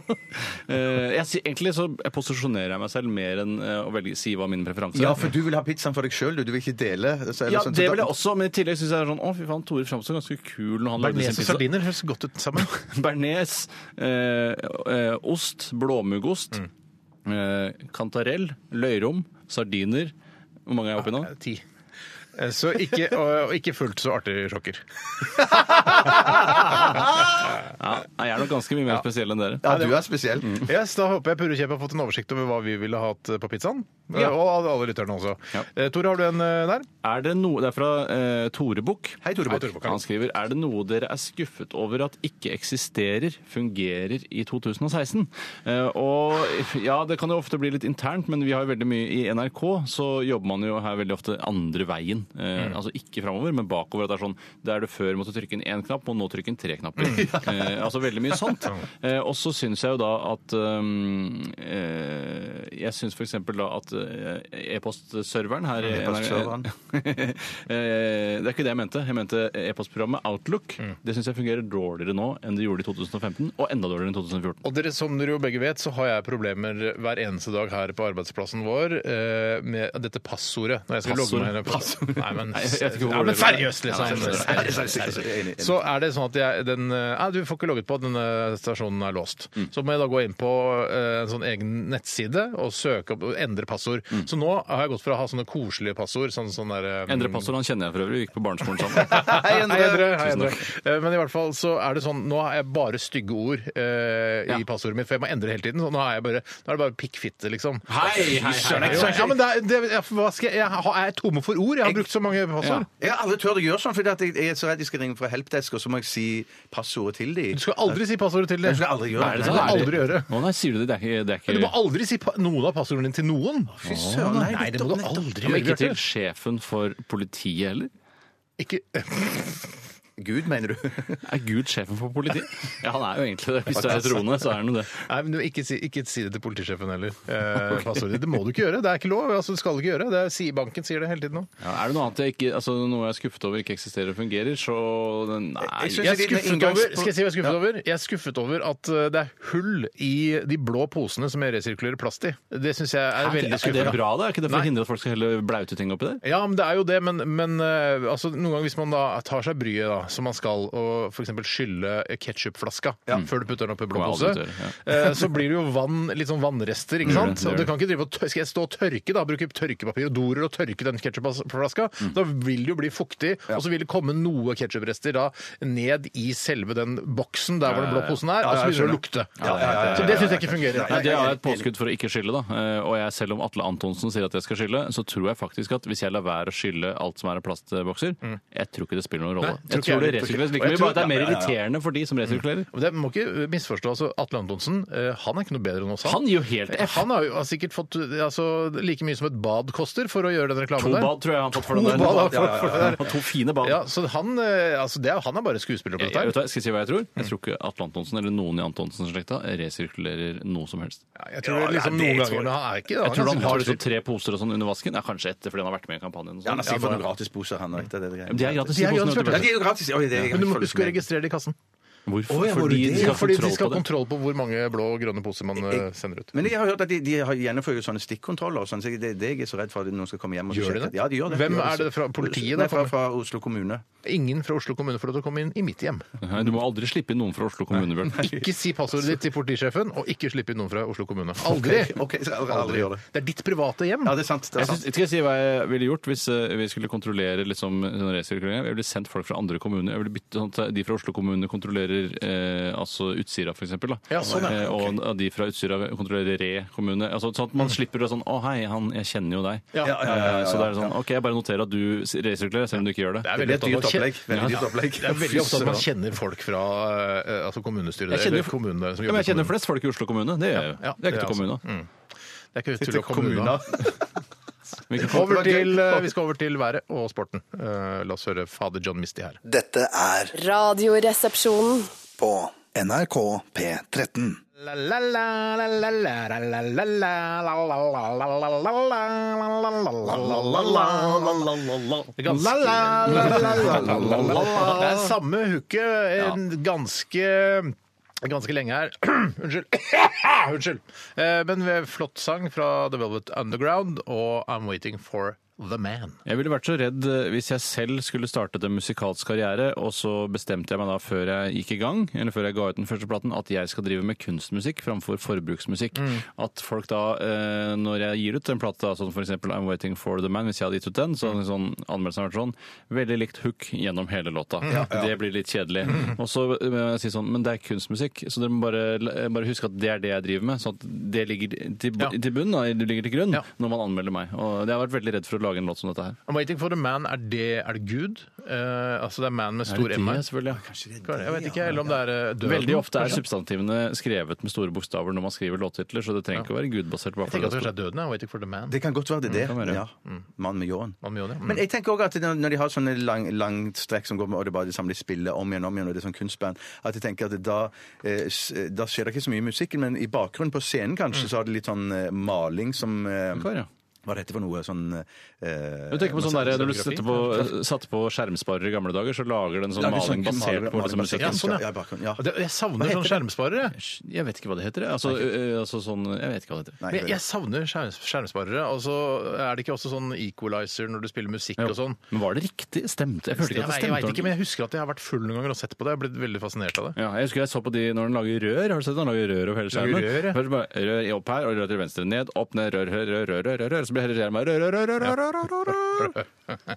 Eh, jeg, sier- egentlig så posisjonerer jeg meg selv mer enn eh, å velge, si hva mine preferanser Ja, er. for du vil ha pizzaen for deg sjøl, du. Du vil ikke dele. så er Ja, sånn- det vil jeg også, men i tillegg syns jeg det er sånn Å, fy faen, Tore framstår ganske kul når han lagde sin Bearnés og pizza. sardiner høres godt ut sammen. Bearnés, eh, eh, ost, blåmuggost, Mm. eh, kantarell, løyrom, sardiner Hvor mange er jeg oppi nå? Ti. Eh, Så ikke, og, og ikke fullt så artig sjokker. Ja, nei, jeg er nok ganske mye mer spesiell enn dere. Ja, Mm. du er spesiell. Yes, da håper jeg Purrekjepp har fått en oversikt over hva vi ville hatt på pizzaen. Eh, Ja. Og alle- alle lytterne også. Ja. Eh, Tore, har du en eh, der? Er det, noe, det er fra eh, Tore Bukk. Hei, Tore Bukk. Hei, Tore Bukk. Han skriver er det noe dere er skuffet over at ikke eksisterer, fungerer i 2016. Eh, og ja, det kan jo ofte bli litt internt, men vi har jo veldig mye i NRK, så jobber man jo her veldig ofte andre veien. Mm. Eh, Altså ikke framover, men bakover. At det er sånn der du før måtte trykke inn én knapp, må nå trykke inn tre knapper. eh, altså veldig mye sånt. Eh, og så syns jeg jo da at um, eh, Jeg syns f.eks. da at eh, e-postserveren her i E-postserveren. NRK Eh, det er ikke det jeg mente. Jeg mente e-postprogrammet Outlook. Mm. Det syns jeg fungerer dårligere nå enn det gjorde i 2015, og enda dårligere enn 2014. Og dere, som dere jo begge vet, så har jeg problemer hver eneste dag her på arbeidsplassen vår eh, med dette passordet. Når jeg skal Passord. logge meg inn på- Passord. Nei, men, Nei, jeg vet ikke hvor ja, men det- seriøst, Ja, liksom. seriøst. Seriøst, seriøst. Så er det sånn at jeg, den, eh, nei, du får ikke logget på, denne stasjonen er låst. Mm. Så må jeg da gå inn på eh, en sånn egen nettside og søke opp og endre passord. Mm. Så nå har jeg gått fra å ha sånne koselige passord, sånn, sånn der eh, Endre passord han kjenner jeg for øvrig. Vi gikk på barneskolen sammen. Hei, Endre. Hei, Endre. Hei, Endre. Tusen Eh, Men i hvert fall så er det sånn, nå har jeg bare stygge ord eh, i Ja. passordet mitt, for jeg må endre hele tiden. Så nå er, jeg bare, nå er det bare pikkfitte, liksom. Hei, hei, sånn? hei. Jo, Ja, men det er, det, er- hva skal jeg, jeg, har- er jeg tomme for ord? Jeg har brukt så mange passord. Jeg har aldri turt å gjøre sånn, for jeg jeg er så redd de skal ringe fra helpdesk, og så må jeg si passordet til dem. Du skal aldri si passordet til det. Jeg skal aldri gjøre Nei, det. det skal du aldri gjøre. Å sånn? nei, sier du det? Det er ikke, det er Men Du må ikke aldri si pa noen av passordene til noen. Fy søren, nei, Nei, det må du nettopp, nettopp. aldri ja, men gjøre. ikke til Bjarte. sjefen for politiet heller? Ikke, Gud, mener du? Er Gud sjefen for politiet? Ja, han er jo egentlig det. Hvis du er troende, så er han jo det. nei, men du, ikke, si, ikke si det til politisjefen heller. Eh, passordet. Det må du ikke gjøre. Det er ikke lov. Altså, du skal ikke gjøre det. Er, sier- banken sier det hele tiden nå. Ja, er det noe annet jeg ikke, altså noe jeg er skuffet over ikke eksisterer og fungerer, så Nei. Jeg Jeg synes- er Disse lille skuffet inngangs- over, skal jeg si hva jeg er skuffet over? Jeg er skuffet over at eh, det er hull i de blå posene som jeg resirkulerer plast i. Det syns jeg er veldig Er det skuffende. bra, da? Er ikke det for å Nei. hindre at folk skal helle blaute ting oppi der? Ja, men det er jo det, men, men eh, altså, noen ganger hvis man da tar seg bryet, da, som man skal, og f.eks. skylle ketsjupflaska før du putter den opp i blå Kommer pose, jeg aldri til å gjøre, eh, så blir det jo vann, litt sånn vannrester, ikke sant? Mm, det gjør Og du kan ikke drive og tør- Skal jeg stå og tørke, da, bruke tørkepapir og dorull og tørke den ketsjupflaska? Mm. Da vil det jo bli fuktig, og så vil det komme noe ketsjuprester da ned i selve den boksen der hvor den blå posen er, og så begynner det å lukte. Så det syns jeg ikke fungerer. Nei, det er et påskudd for å ikke skylle, da. Eh, Og jeg, selv om Atle Antonsen sier at jeg skal skylle, så tror jeg faktisk at hvis jeg lar være å skylle alt som er av plastbokser, jeg tror ikke det spiller noen rolle. Mm. Nei, tror Jeg tror det ikke jeg heller. resirkuleres Og like jeg mye, tror- bare at det er mer ja, Mm. ja, ja. irriterende for de som resirkulerer. Men Det må ikke misforstå. altså Atle Antonsen eh, han er ikke noe bedre enn oss. Han gir jo helt F. Eh, Han har jo har sikkert fått eh, altså, like mye som et bad koster for å gjøre den reklamen To der. bad tror jeg han har fått for To den der. bad har han fått for den der. Og to fine bad. Ja, så han, eh, altså, det er, han er bare skuespiller på Jeg, jeg, dette. vet du hva, skal jeg si hva jeg tror? Mm. Jeg tror ikke Atle Antonsen eller noen i Antonsen-slekta resirkulerer noe som helst. her. Jeg tror det liksom noen ganger men han er ikke det. Jeg tror han har liksom det. tre poser og sånn under vasken. Ja, kanskje etter fordi han har vært med i kampanjen. og Ja, sånn. Han har sikkert fått noen gratisposer, han. og etter det greiene. De er gratis. De er i posen, vet gratis, du, Ja, de er jo gratis. Oi, det er jeg Men du må følger huske å med. registrere det i kassen. Hvorfor? Å, ja, var det fordi de det? skal Ja, ha fordi de kontroll skal på ha det. kontroll på hvor mange blå og grønne poser man eh, Jeg- sender ut. Men jeg har hørt at de, de har gjennomfører jo sånne stikkontroller. og Sånn, så det, det jeg er så redd for at noen skal komme hjem og Gjør de sjekke. det? Ja, de gjør det. Hvem De gjør er det fra politiet da Nei, fra, kommer? fra Oslo kommune. Ingen fra Oslo kommune får lov til å komme inn i mitt hjem. Nei, du må aldri slippe inn noen fra Oslo kommune, Bjørn. Ikke si passordet ditt til politisjefen, og ikke slippe inn noen fra Oslo kommune. Aldri! Ok, så jeg skal aldri gjøre det. Det er ditt private hjem. Ja, det er sant. Det Jeg er synes, sant. skal jeg si hva jeg ville gjort hvis eh, vi skulle kontrollere liksom, sånn resirkulering? Jeg ville sendt folk fra andre kommuner. Jeg ville bytte sånn at De fra Oslo kommune kontrollerer eh, altså Utsira, for eksempel. Da. Ja, sånn, ja. Eh, Og eh, de fra Utsira kontrollerer Re kommune. Altså, sånn at man slipper å sånn Å, hei, han, jeg kjenner jo deg. Mm. Ja. Ja, ja, Eh, Så det er sånn OK, jeg bare noterer at du resirkulerer, selv om du ikke gjør det. Det er Det blir veldig et opptatt av å dyrt kjen- opplegg. Veldig dyrt opplegg. Det er veldig opptatt av at man kjenner folk fra eh, altså kommunestyret Jeg kjenner, eller kommunene som ja, men jobber jeg kjenner i kommunen. flest folk i Oslo kommune. Det gjør jeg jo. Ja, det er ikke det til er altså- kommune. Det er ikke tull å komme unna. kommuner. Men ikke- Over til, eh, vi skal over til været og sporten. Eh, la oss høre fader John Misty her. Dette er Radioresepsjonen. på NRK P13. Det er ganske- Det er samme hooket en ganske Ganske lenge her. Unnskyld. Unnskyld. Eh, Men flott sang fra The Velvet Underground og I'm Waiting for the man. Jeg ville vært så redd eh, hvis jeg selv skulle startet en musikalsk karriere, og så bestemte jeg meg da før jeg gikk i gang, eller før jeg ga ut den første platen, at jeg skal drive med kunstmusikk framfor forbruksmusikk. At folk da, eh, når jeg gir ut en plate, da, sånn for eksempel I'm Waiting for the Man, hvis jeg hadde gitt ut den, så hadde sånn, anmeldelsen vært sånn veldig likt hook gjennom hele låta. Mm. Det blir litt kjedelig. Og så eh, må jeg si sånn, men det er kunstmusikk, så dere må bare, eh, bare huske at det er det jeg driver med, sånn at det ligger til, Ja. til bunn, da, det ligger til grunn, Ja. når man anmelder meg. Og jeg har vært veldig redd for å lage en låt som dette her. I'm waiting for the man. Er det, er det Gud? Eh, altså det er man med stor M her. Jeg vet ikke eller om det er eh, døden. altså? Veldig ofte er Kanskje. substantivene skrevet med store bokstaver når man skriver låttitler, så det trenger ikke å være gudbasert. bare Jeg tenker at det for kanskje det. er døden. I'm waiting for the man. Det kan godt være det er kan være. det. Ja. Mann med ljåen. Man gjør det. Men jeg tenker også at når- når de har sånne lang, langt strekk som går med, og det bare de samler spillet om igjen om igjen, og det er sånn kunstband, at jeg tenker at da, eh, s- da skjer det ikke så mye i musikken, men i bakgrunnen på scenen kanskje så har det litt sånn eh, maling som eh, kan være, ja. Hva det heter for noe sånn eh, Du tenker på sånn der, Når du Scenografi, satte på, satte på skjermsparer i gamle dager, så lager den sånn Lager sånn maling basert maling- på liksom, maling- Ja, musikken. sånn, ja. Ja, bakgrunn, ja. Og Det, jeg savner Hva sånn heter skjermsparere. jeg. Jeg vet ikke hva det heter. jeg. Altså, ø, ø, altså sånn Jeg vet ikke hva det heter. Nei, Men jeg, jeg savner skjerm, skjermsparere. Og så er det ikke også sånn equalizer når du spiller musikk Jo. og sånn? Men var det riktig? Stemte? Jeg følte Jeg, ikke at det vet- jeg stemte. vet ikke, men jeg husker at jeg har vært full noen ganger og sett på det. Jeg har blitt veldig fascinert av det. Ja, jeg husker jeg så på de når den lager rør. Har du sett den lager rør over hele skjermen? rør, ja. Først bare rør i opp her, og rør til venstre. Ned, opp, ned, rør, rør, rør, rør, rør, rør. Så blir hele skjermen rør, rør, rør, rør, rør, rør, rør, rør.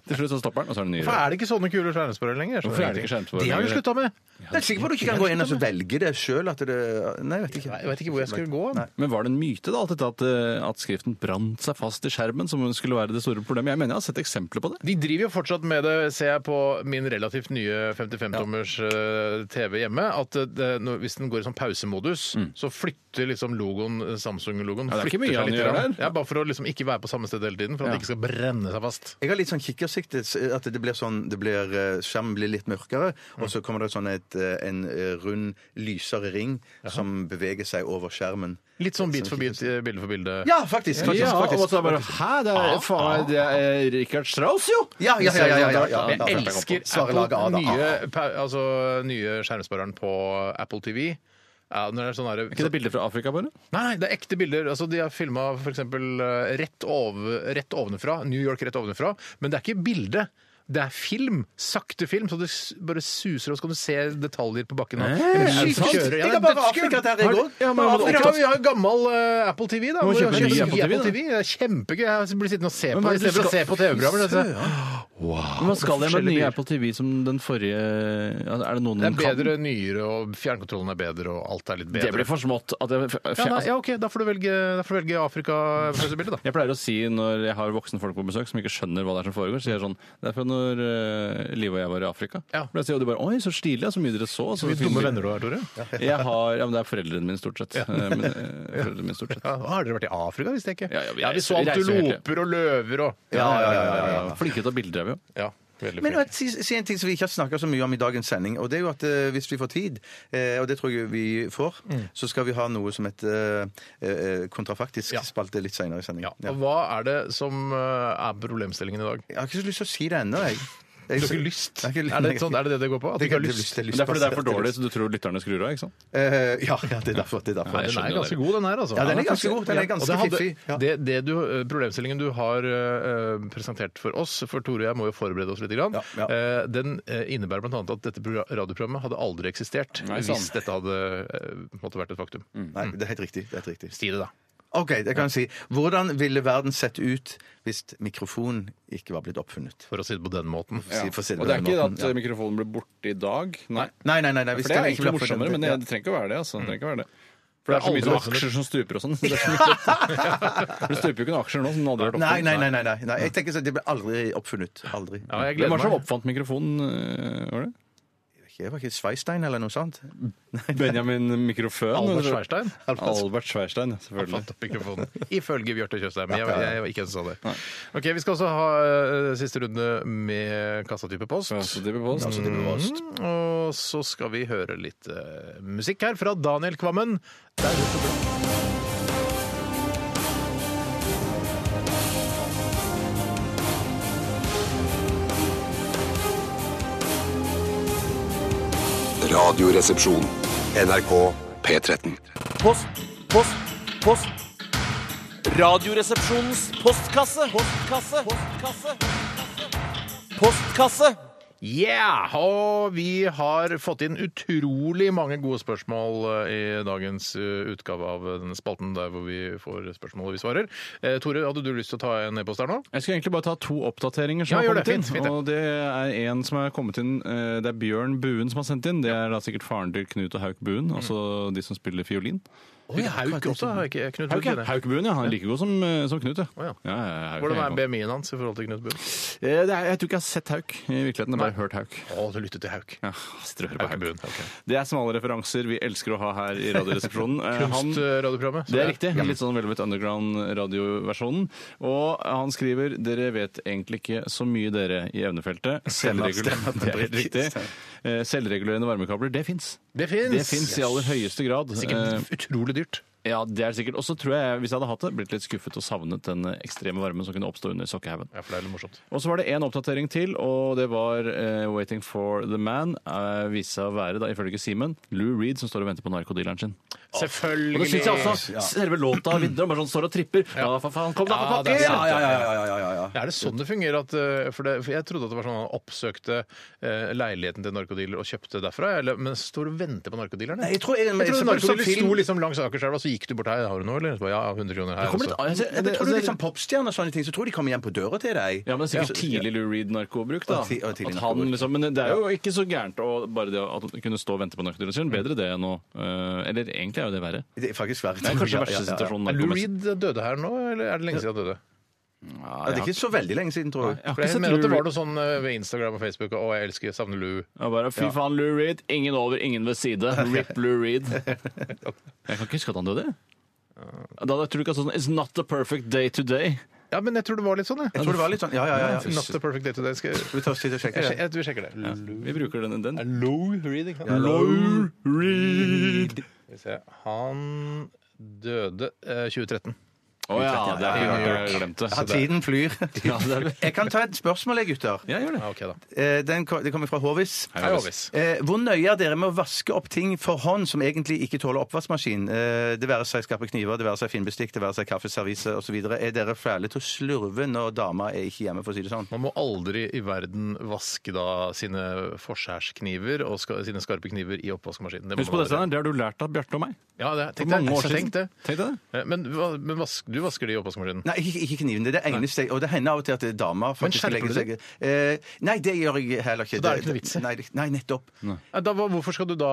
Til slutt så stopper den, og så er det nye Hvorfor rør. er det ikke sånne kule skjermsparere lenger? Jeg skjønner Hvorfor er det ikke skjermsparere De har jo lenger? slutta med! Jeg er sikker på at du ikke kan gå inn og så velge det sjøl. Nei, jeg vet ikke. Jeg vet ikke hvor jeg skulle gå. Nei. Men var det en myte da, alt dette at, eh, at skriften brant seg fast i skjermen, som skulle være det store problemet? Jeg mener jeg har sett eksempler på det. De driver jo fortsatt med det, ser jeg på min relativt nye 55-tommers eh, TV hjemme, at eh, når, hvis den går i sånn pausemodus, så flytter liksom logoen, eh, Samsung-logoen Ja, det er ikke mye flytter seg han litt gjør grann. der. Ja, bare for å liksom ikke være på samme sted hele tiden, for at det ikke skal brenne seg fast. Jeg har litt sånn kikkersikt. At det blir sånn, det blir, eh, skjermen blir litt mørkere, og så kommer det sånn et, eh, en eh, rund, lysere ring som beveger seg over skjermen. Litt sånn bit for bit, eh, bilde for bilde. Ja, faktisk! faktisk, Ja, og faktisk. så er det bare Hæ, det er, faen, det er Richard Strauss, jo! Ja, ja, ja, ja, ja, ja, ja. Jeg elsker Svaret Apple, laget av det. nye, pa- altså, nye skjermspareren på Apple TV. Ja, når det er sånn der, Er ikke det bilder fra Afrika, bare? Nei, det er ekte bilder. Altså, de har filma f.eks. eh, Rett, over, rett ovenfra. New York rett ovenfra. Men det er ikke bilde. Det er film. Sakte film. Så det s- bare suser, og så kan du se detaljer på bakken. Eh, Men er det sykt sant? kjøre. Ja, Jeg det har er bare dødskult. Afrika Har der, jeg du- òg. Ja, men Afrika- Afrika, vi har jo gammel eh, Apple TV, da. må Vi har kjøpe en ny kjøpt Apple TV, da. Det er kjempegøy. Jeg blir sittende og se på hva er det det istedenfor å skal- se på TV-programmer. Det er- Men Hva skal jeg med den forskjellige nye bilder. Apple TV som den forrige altså, Er det noen Det den er bedre, nyere, og fjernkontrollen er bedre, og alt er litt kan? Det bedre. blir for smått. At jeg, Ja, nei, altså, ja, OK, da får du velge, da får du velge Afrika-bildet, da. Jeg pleier å si når jeg har voksne folk på besøk som ikke skjønner hva det er som foregår, så sier jeg sånn Det er fra når eh, Liv og jeg var i Afrika. Ja. Pleier å si, og de bare Oi, så stilig, ja, så mye dere så. Så Hvor mye fine dumme bilder». venner du har, Tore. Jeg har Ja, men det er foreldrene mine, stort sett. Eh, Men, eh, foreldrene mine, stort sett. Ja, har dere vært i Afrika, visste jeg ikke. Ja, ja, vi vi så reiser- reiser antiloper og løver og Ja, ja, ja, ja, ja. Ja, Flinke til å ta bilder, er vi jo. Ja, veldig Men eh, flink. si, si en ting som vi ikke har snakka så mye om i dagens sending. og det er jo at eh, Hvis vi får tid, eh, og det tror jeg vi får, Mm. så skal vi ha noe som et eh, eh, kontrafaktisk Ja. spalte litt seinere i sendingen. ja. Og hva er det som eh, er problemstillingen i dag? Jeg har ikke så lyst til å si det ennå, jeg. jeg. Du har ikke lyst? Jeg har ikke- Er det, sånn, er det det det går på? At du ikke har lyst? er lyst. Men Det er fordi det er for dårlig, så du tror lytterne skrur av, ikke sant? Eh, ja, ja, det er derfor. Det er derfor. Nei, den er skjønner ganske god, den her. altså. Ja, den er ganske god, den er Ja, og ganske det hadde- fiffig, ja. Det, det du, eh, problemstillingen du har eh, presentert for oss, for Tore og jeg må jo forberede oss litt, grann, Ja, ja. eh, den eh, innebærer bl.a. at dette progra- radioprogrammet hadde aldri eksistert Nei, sant. Mm. hvis dette hadde eh, måtte vært et faktum. Nei, det er helt riktig. Det er helt riktig. Si det, da. OK, det kan jeg si. Hvordan ville verden sett ut hvis mikrofonen ikke var blitt oppfunnet? For å si det på den måten. Si- for å si Og det er på ikke den måten, at ja. eh, mikrofonen blir borte i dag. Nei. Nei, nei, nei. nei hvis For det er den ikke ble egentlig morsommere, men oppfunnet- det, det trenger ikke å være det. altså. Det trenger ikke å være det. For det er så mye aldri sånn aksjer som stuper og sånn. Det, er så mye- For det stuper jo ikke noen aksjer nå som aldri har vært Nei, oppfunnet. nei, nei, nei, nei, nei. Jeg tenker så, Det ble aldri oppfunnet. Aldri. Ja, Hvem jeg gleder var det som meg. oppfant mikrofonen? eh, Var det? Jeg var ikke Sveistein eller noe sånt. Benjamin Mikroføn? Albert eller? Schweirstein. Albert Schweirstein, selvfølgelig. Fant opp mikrofonen. Ifølge Bjarte Tjøstheim. men Jeg, jeg, var ikke en som sa det. Ok, Vi skal også ha eh, siste runde med kassatype post. Ja, så det blir post. Mm, og så skal vi høre litt eh, musikk her fra Daniel Kvammen. Det er rett og slett- Radioresepsjon. NRK P13. Post, post, post. Radioresepsjonens postkasse. Postkasse. Postkasse. Postkasse. Yeah! Og vi har fått inn utrolig mange gode spørsmål eh, i dagens eh, utgave av denne spalten der hvor vi får spørsmål og vi svarer. Eh, Tore, hadde du lyst til å ta en e-post her nå? Jeg skulle egentlig bare ta to oppdateringer som Ja, har gjør det. kommet inn. Fint, fint, ja. og det er en som er kommet inn, eh, det er Bjørn Buen som har sendt inn. Det er da sikkert faren til Knut og Hauk Buen, altså de som spiller fiolin. Oh, ja, Hauk også, har jeg ikke Knut Hauk, ja. Buen. Hauk Buen, ja. Han er like god som, eh, som Knut, ja. Å, ja. Ja, ja, Hauk Hvordan er er helt BMI-en hans i forhold til Knut Buen? god. Eh, det er, jeg tror ikke jeg har sett Hauk i virkeligheten, jeg har bare hørt Hauk. Å, du lyttet til Hauk. Ja, strør på Hauk Hauk. Buen, ok. Det er smale referanser vi elsker å ha her i Radioresepsjonen. Eh, han- Kunstradioprogrammet. så Det er riktig. Litt sånn Velvet Underground-radioversjonen. Og han skriver dere vet egentlig ikke så mye, dere, i evnefeltet. Selvregulerende, det er helt riktig. Eh, Selvregulerende varmekabler, det fins. Det fins! Det fins i aller høyeste grad. Eh, Sikkert utrolig dyrt. Ja, det er det sikkert. Og så tror jeg, hvis jeg hadde hatt det, blitt litt skuffet og savnet den ekstreme varmen som kunne oppstå under sokkehaugen. Ja, for det er litt morsomt. Og så var det en oppdatering til, og det var eh, 'Waiting for the Man'. Uh, viste seg å være, da, ifølge Simen, Lou Reed som står og venter på narkodealeren sin. Selvfølgelig! Og det syns jeg også. Selve låta vidner om bare sånn står og tripper. Ja, for faen, kom da, for Ja, det er pakker! sant. Ja, ja, ja, ja, ja, ja, ja. Er det sånn det fungerer? At, eh, for, det, for Jeg trodde at det var sånn at han oppsøkte eh, leiligheten til narkodealer og kjøpte derfra, eller, men står og venter på narkodealeren? Nei, jeg tror- jeg- jeg- trodde jeg- narkodealer som film- sto liksom langs Akerselva, så gikk du bort her, har du noe, eller? Så bare, Ja, 100 kroner her. Kommer litt- også. altså, Jeg det- tror det er litt altså- sånn popstjerne og sånne ting, så tror jeg de kommer hjem på døra til deg. Ja, men det er sikkert tidlig Lou Reed-narkobruk, da. Og ti- og tidlig At han, narkobruk. liksom, men det er jo ikke så gærent å bare det å- at han kunne stå og vente på narkodealeren sin. Bedre det enn å eh, Eller egentlig er jo det verre. Det er faktisk verre. Det er kanskje verste situasjonen. Er Lou narkomess- Reed døde her nå, eller er det lenge siden han døde? Ja, Ja, det jeg er ikke så veldig lenge siden, tror jeg. har- jeg har For jeg ikke mener sett at det Lou var Reed. noe sånn eh, ved Instagram og Facebook, og å, jeg elsker, jeg savner Lou. Jeg bare, Fy faen, Lou Reed. Ingen over, ingen ved side. Rip Lou Reed. Jeg kan ikke huske at han døde. Da tror du ikke at sånn It's not the perfect day today. Ja, men jeg tror det var litt sånn, Jeg jeg. tror det var litt sånn Ja, ja, ja. ja. Not the perfect day today. Skal jeg, Vi tar oss tid til å sjekke jeg, jeg, det. vi sjekker det. Lou- Vi bruker den. den. Lou Reed, ikke sant? Lou Reed. Skal vi se. Han døde eh, 2013. Å ja, det er Ja, jeg glemte. Ja, tiden flyr. Ja, det er- Jeg kan ta et spørsmål, jeg, gutter. Ja, gjør det. Ja, ok da. Eh, Den, ko- det kommer fra Håvis. Hei, Håvis. Eh, hvor nøye er dere med å vaske opp ting for hånd som egentlig ikke tåler oppvaskmaskin? Eh, det være seg skarpe kniver, det være seg finbestikk, det være seg kaffeservise osv. Er dere fæle til å slurve når dama er ikke hjemme, for å si det sånn? Man må aldri i verden vaske da sine forskjærskniver og ska, sine skarpe kniver i oppvaskmaskinen. Det må Husk på man det, Steinar. aldri. Det har du lært av Bjarte og meg. Ja, det, For tenk mange år det. siden. Tenk det. Tenk deg det. Eh, Men, hva- men vask, du vasker de i oppvaskmaskinen? Nei, ikke, ikke knivene. Det er det eneste. Og det hender av og til at damer faktisk skjerper legger du seg eh, Nei, det gjør jeg heller ikke. Så da er det ikke noe vits i? Nei, det- nei, nettopp. Eh, Da, hva- hvorfor skal du da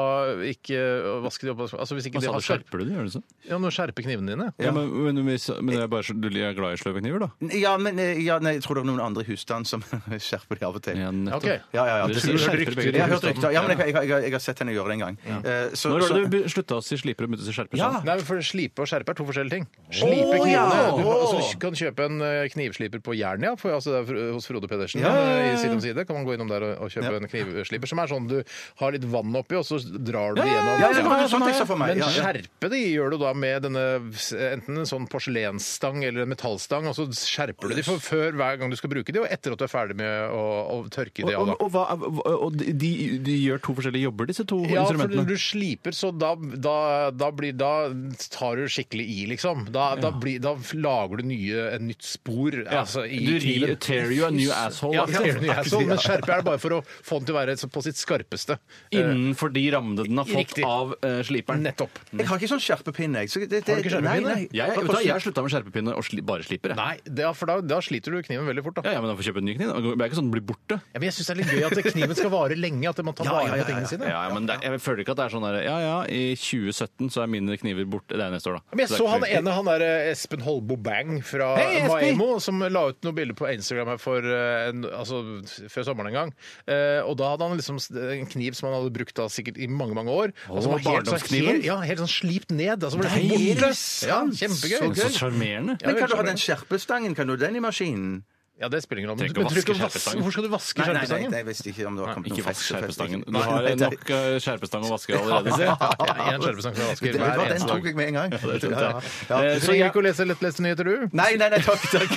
ikke vaske de i oppvaskmaskinen? Altså, hvis ikke Hva de sa har du? skjerp, Skjerper du det? Gjør du så? ja, nå skjerper knivene dine. Ja, men, men, hvis- men det er bare så, du er glad i sløve kniver, da? Ja, men eh, ja, nei, jeg tror det er noen andre i husstanden som skjerper de av og til. Ja, nettopp. Ok. Ja, ja, ja. Dere Tror sier du hørte skjerper rykter begge i Jeg har to. hørt rykter. Ja, men jeg, jeg, jeg, jeg har sett henne gjøre det en gang. Eh, så- Når så- har du be- slutta å si sliper og begynte å si skjerper? Ja. Nei, men for Slipe og skjerpe er to forskjellige ting. Slipe Å, knivene. ja. Du kan, Å. altså, du kan kjøpe en eh, knivsliper på Jernia for, altså, det er fr- hos Frode Pedersen. Ja, ja, ja, eh, ja. I Side om side kan man gå innom der og, og kjøpe en knivsliper som er sånn du har litt vann oppi, og så drar du det gjennom. Ja, ja, det var noe sånt jeg så for meg. Men Ja, ja. skjerpe de gjør du da med denne, s- enten en sånn porselensstang eller en metallstang, og så skjerper du de for før hver gang du skal bruke de, og etter at du er ferdig med å, å tørke Og, de av. og, da. og, hva, og de, de gjør to forskjellige jobber, disse to Ja, for instrumentene? du sliper, så da, da, da, blir, da tar du skikkelig i, liksom. Da, da, blir, da lager du nye, et nytt spor altså, i du rir, kniven. tear you a new asshole. Ja, aktig. tear den i asshole, men skjerpe er det bare for å få den til å være så- på sitt skarpeste. Innenfor de rammene den har fått Riktig. av eh, sliperen. Nettopp. Jeg har ikke sånn skjerpepinne, jeg. Så det, det, Har du ikke skjerpepinne? Nei, nei. Jeg, vet du hva, jeg har slutta med skjerpepinne og sli, bare sliper. Jeg. Nei, det, er- for da, da sliter du kniven veldig fort, da. Ja, ja, men da får jeg kjøpe en ny kniv. da. Det er ikke sånn den blir borte. Ja, men jeg syns det er litt gøy at kniven skal vare lenge, at man tar Ja, vare ja, ja, på tingene ja, sine. Ja, ja, men det, jeg føler ikke at det er sånn der, Ja, ja, i 2017 så er mine kniver borte. Det er neste år, da. Men jeg det er så ikke han så- ene, han der eh, Espen Holbo Bang fra Hei, Espen! Maemo, som la ut noen bilder på Instagram her for, eh, en, altså, før sommeren en gang. Eh, og da hadde han liksom s- en kniv som han hadde brukt da sikkert i mange, mange år. og som var helt, sånn- barndomskniven? helt, ja, helt sånn slipt ned. Altså, var det Nei, helt er det borte. Ja, sant? kjempegøy. Så gøy. Så sjarmerende. Ja, Men kan du ha skjønner. den skjerpestangen? Kan du den i maskinen? Ja, det spiller ingen rolle. Men Trenger du- men ikke du skal vaske vas- skjerpestangen. Hvorfor skal du vaske Nei, nei, nei, skjerpestangen? jeg visste ikke om det var kommet Ikke noen vask fest- skjerpestangen. fest- Du har Nei, nei, nok eh, skjerpestang å vaske allerede. Se. Ja, en skjerpestang som jeg vasker det- det- hver Den eneste tok dag. jeg med en gang. skjønte jeg. Ja, ja. Eh, Så jeg gikk og leste lettleste nyheter, du. Nei, nei, nei, takk, takk.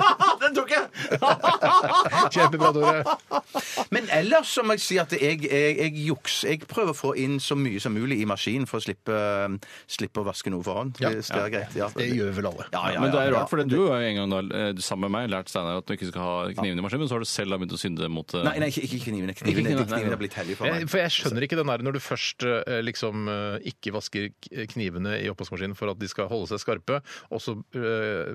den tok jeg! Kjempebra, Tore. Men ellers så må jeg si at jeg, jeg, jeg juks. Jeg prøver å få inn så mye som mulig i maskinen for å slippe, slippe å vaske noe for hånd. Ja. Hvis det er greit. Ja. Det gjør vel alle. Ja, ja, ja, men det er rart, ja. for du har jo en gang da, eh, du sammen med meg lært Steinar at du ikke skal ha kniven i maskinen, men så har du selv da begynt å synde mot eh, Nei, nei, ikke, ikke knivene. Ikke Knivene, knivene, de knivene nei. er blitt hellige for Jeg, meg. Eh, for jeg skjønner ikke den der når du først eh, liksom eh, ikke vasker k- eh, knivene i oppvaskmaskinen for at de skal holde seg skarpe, og så eh,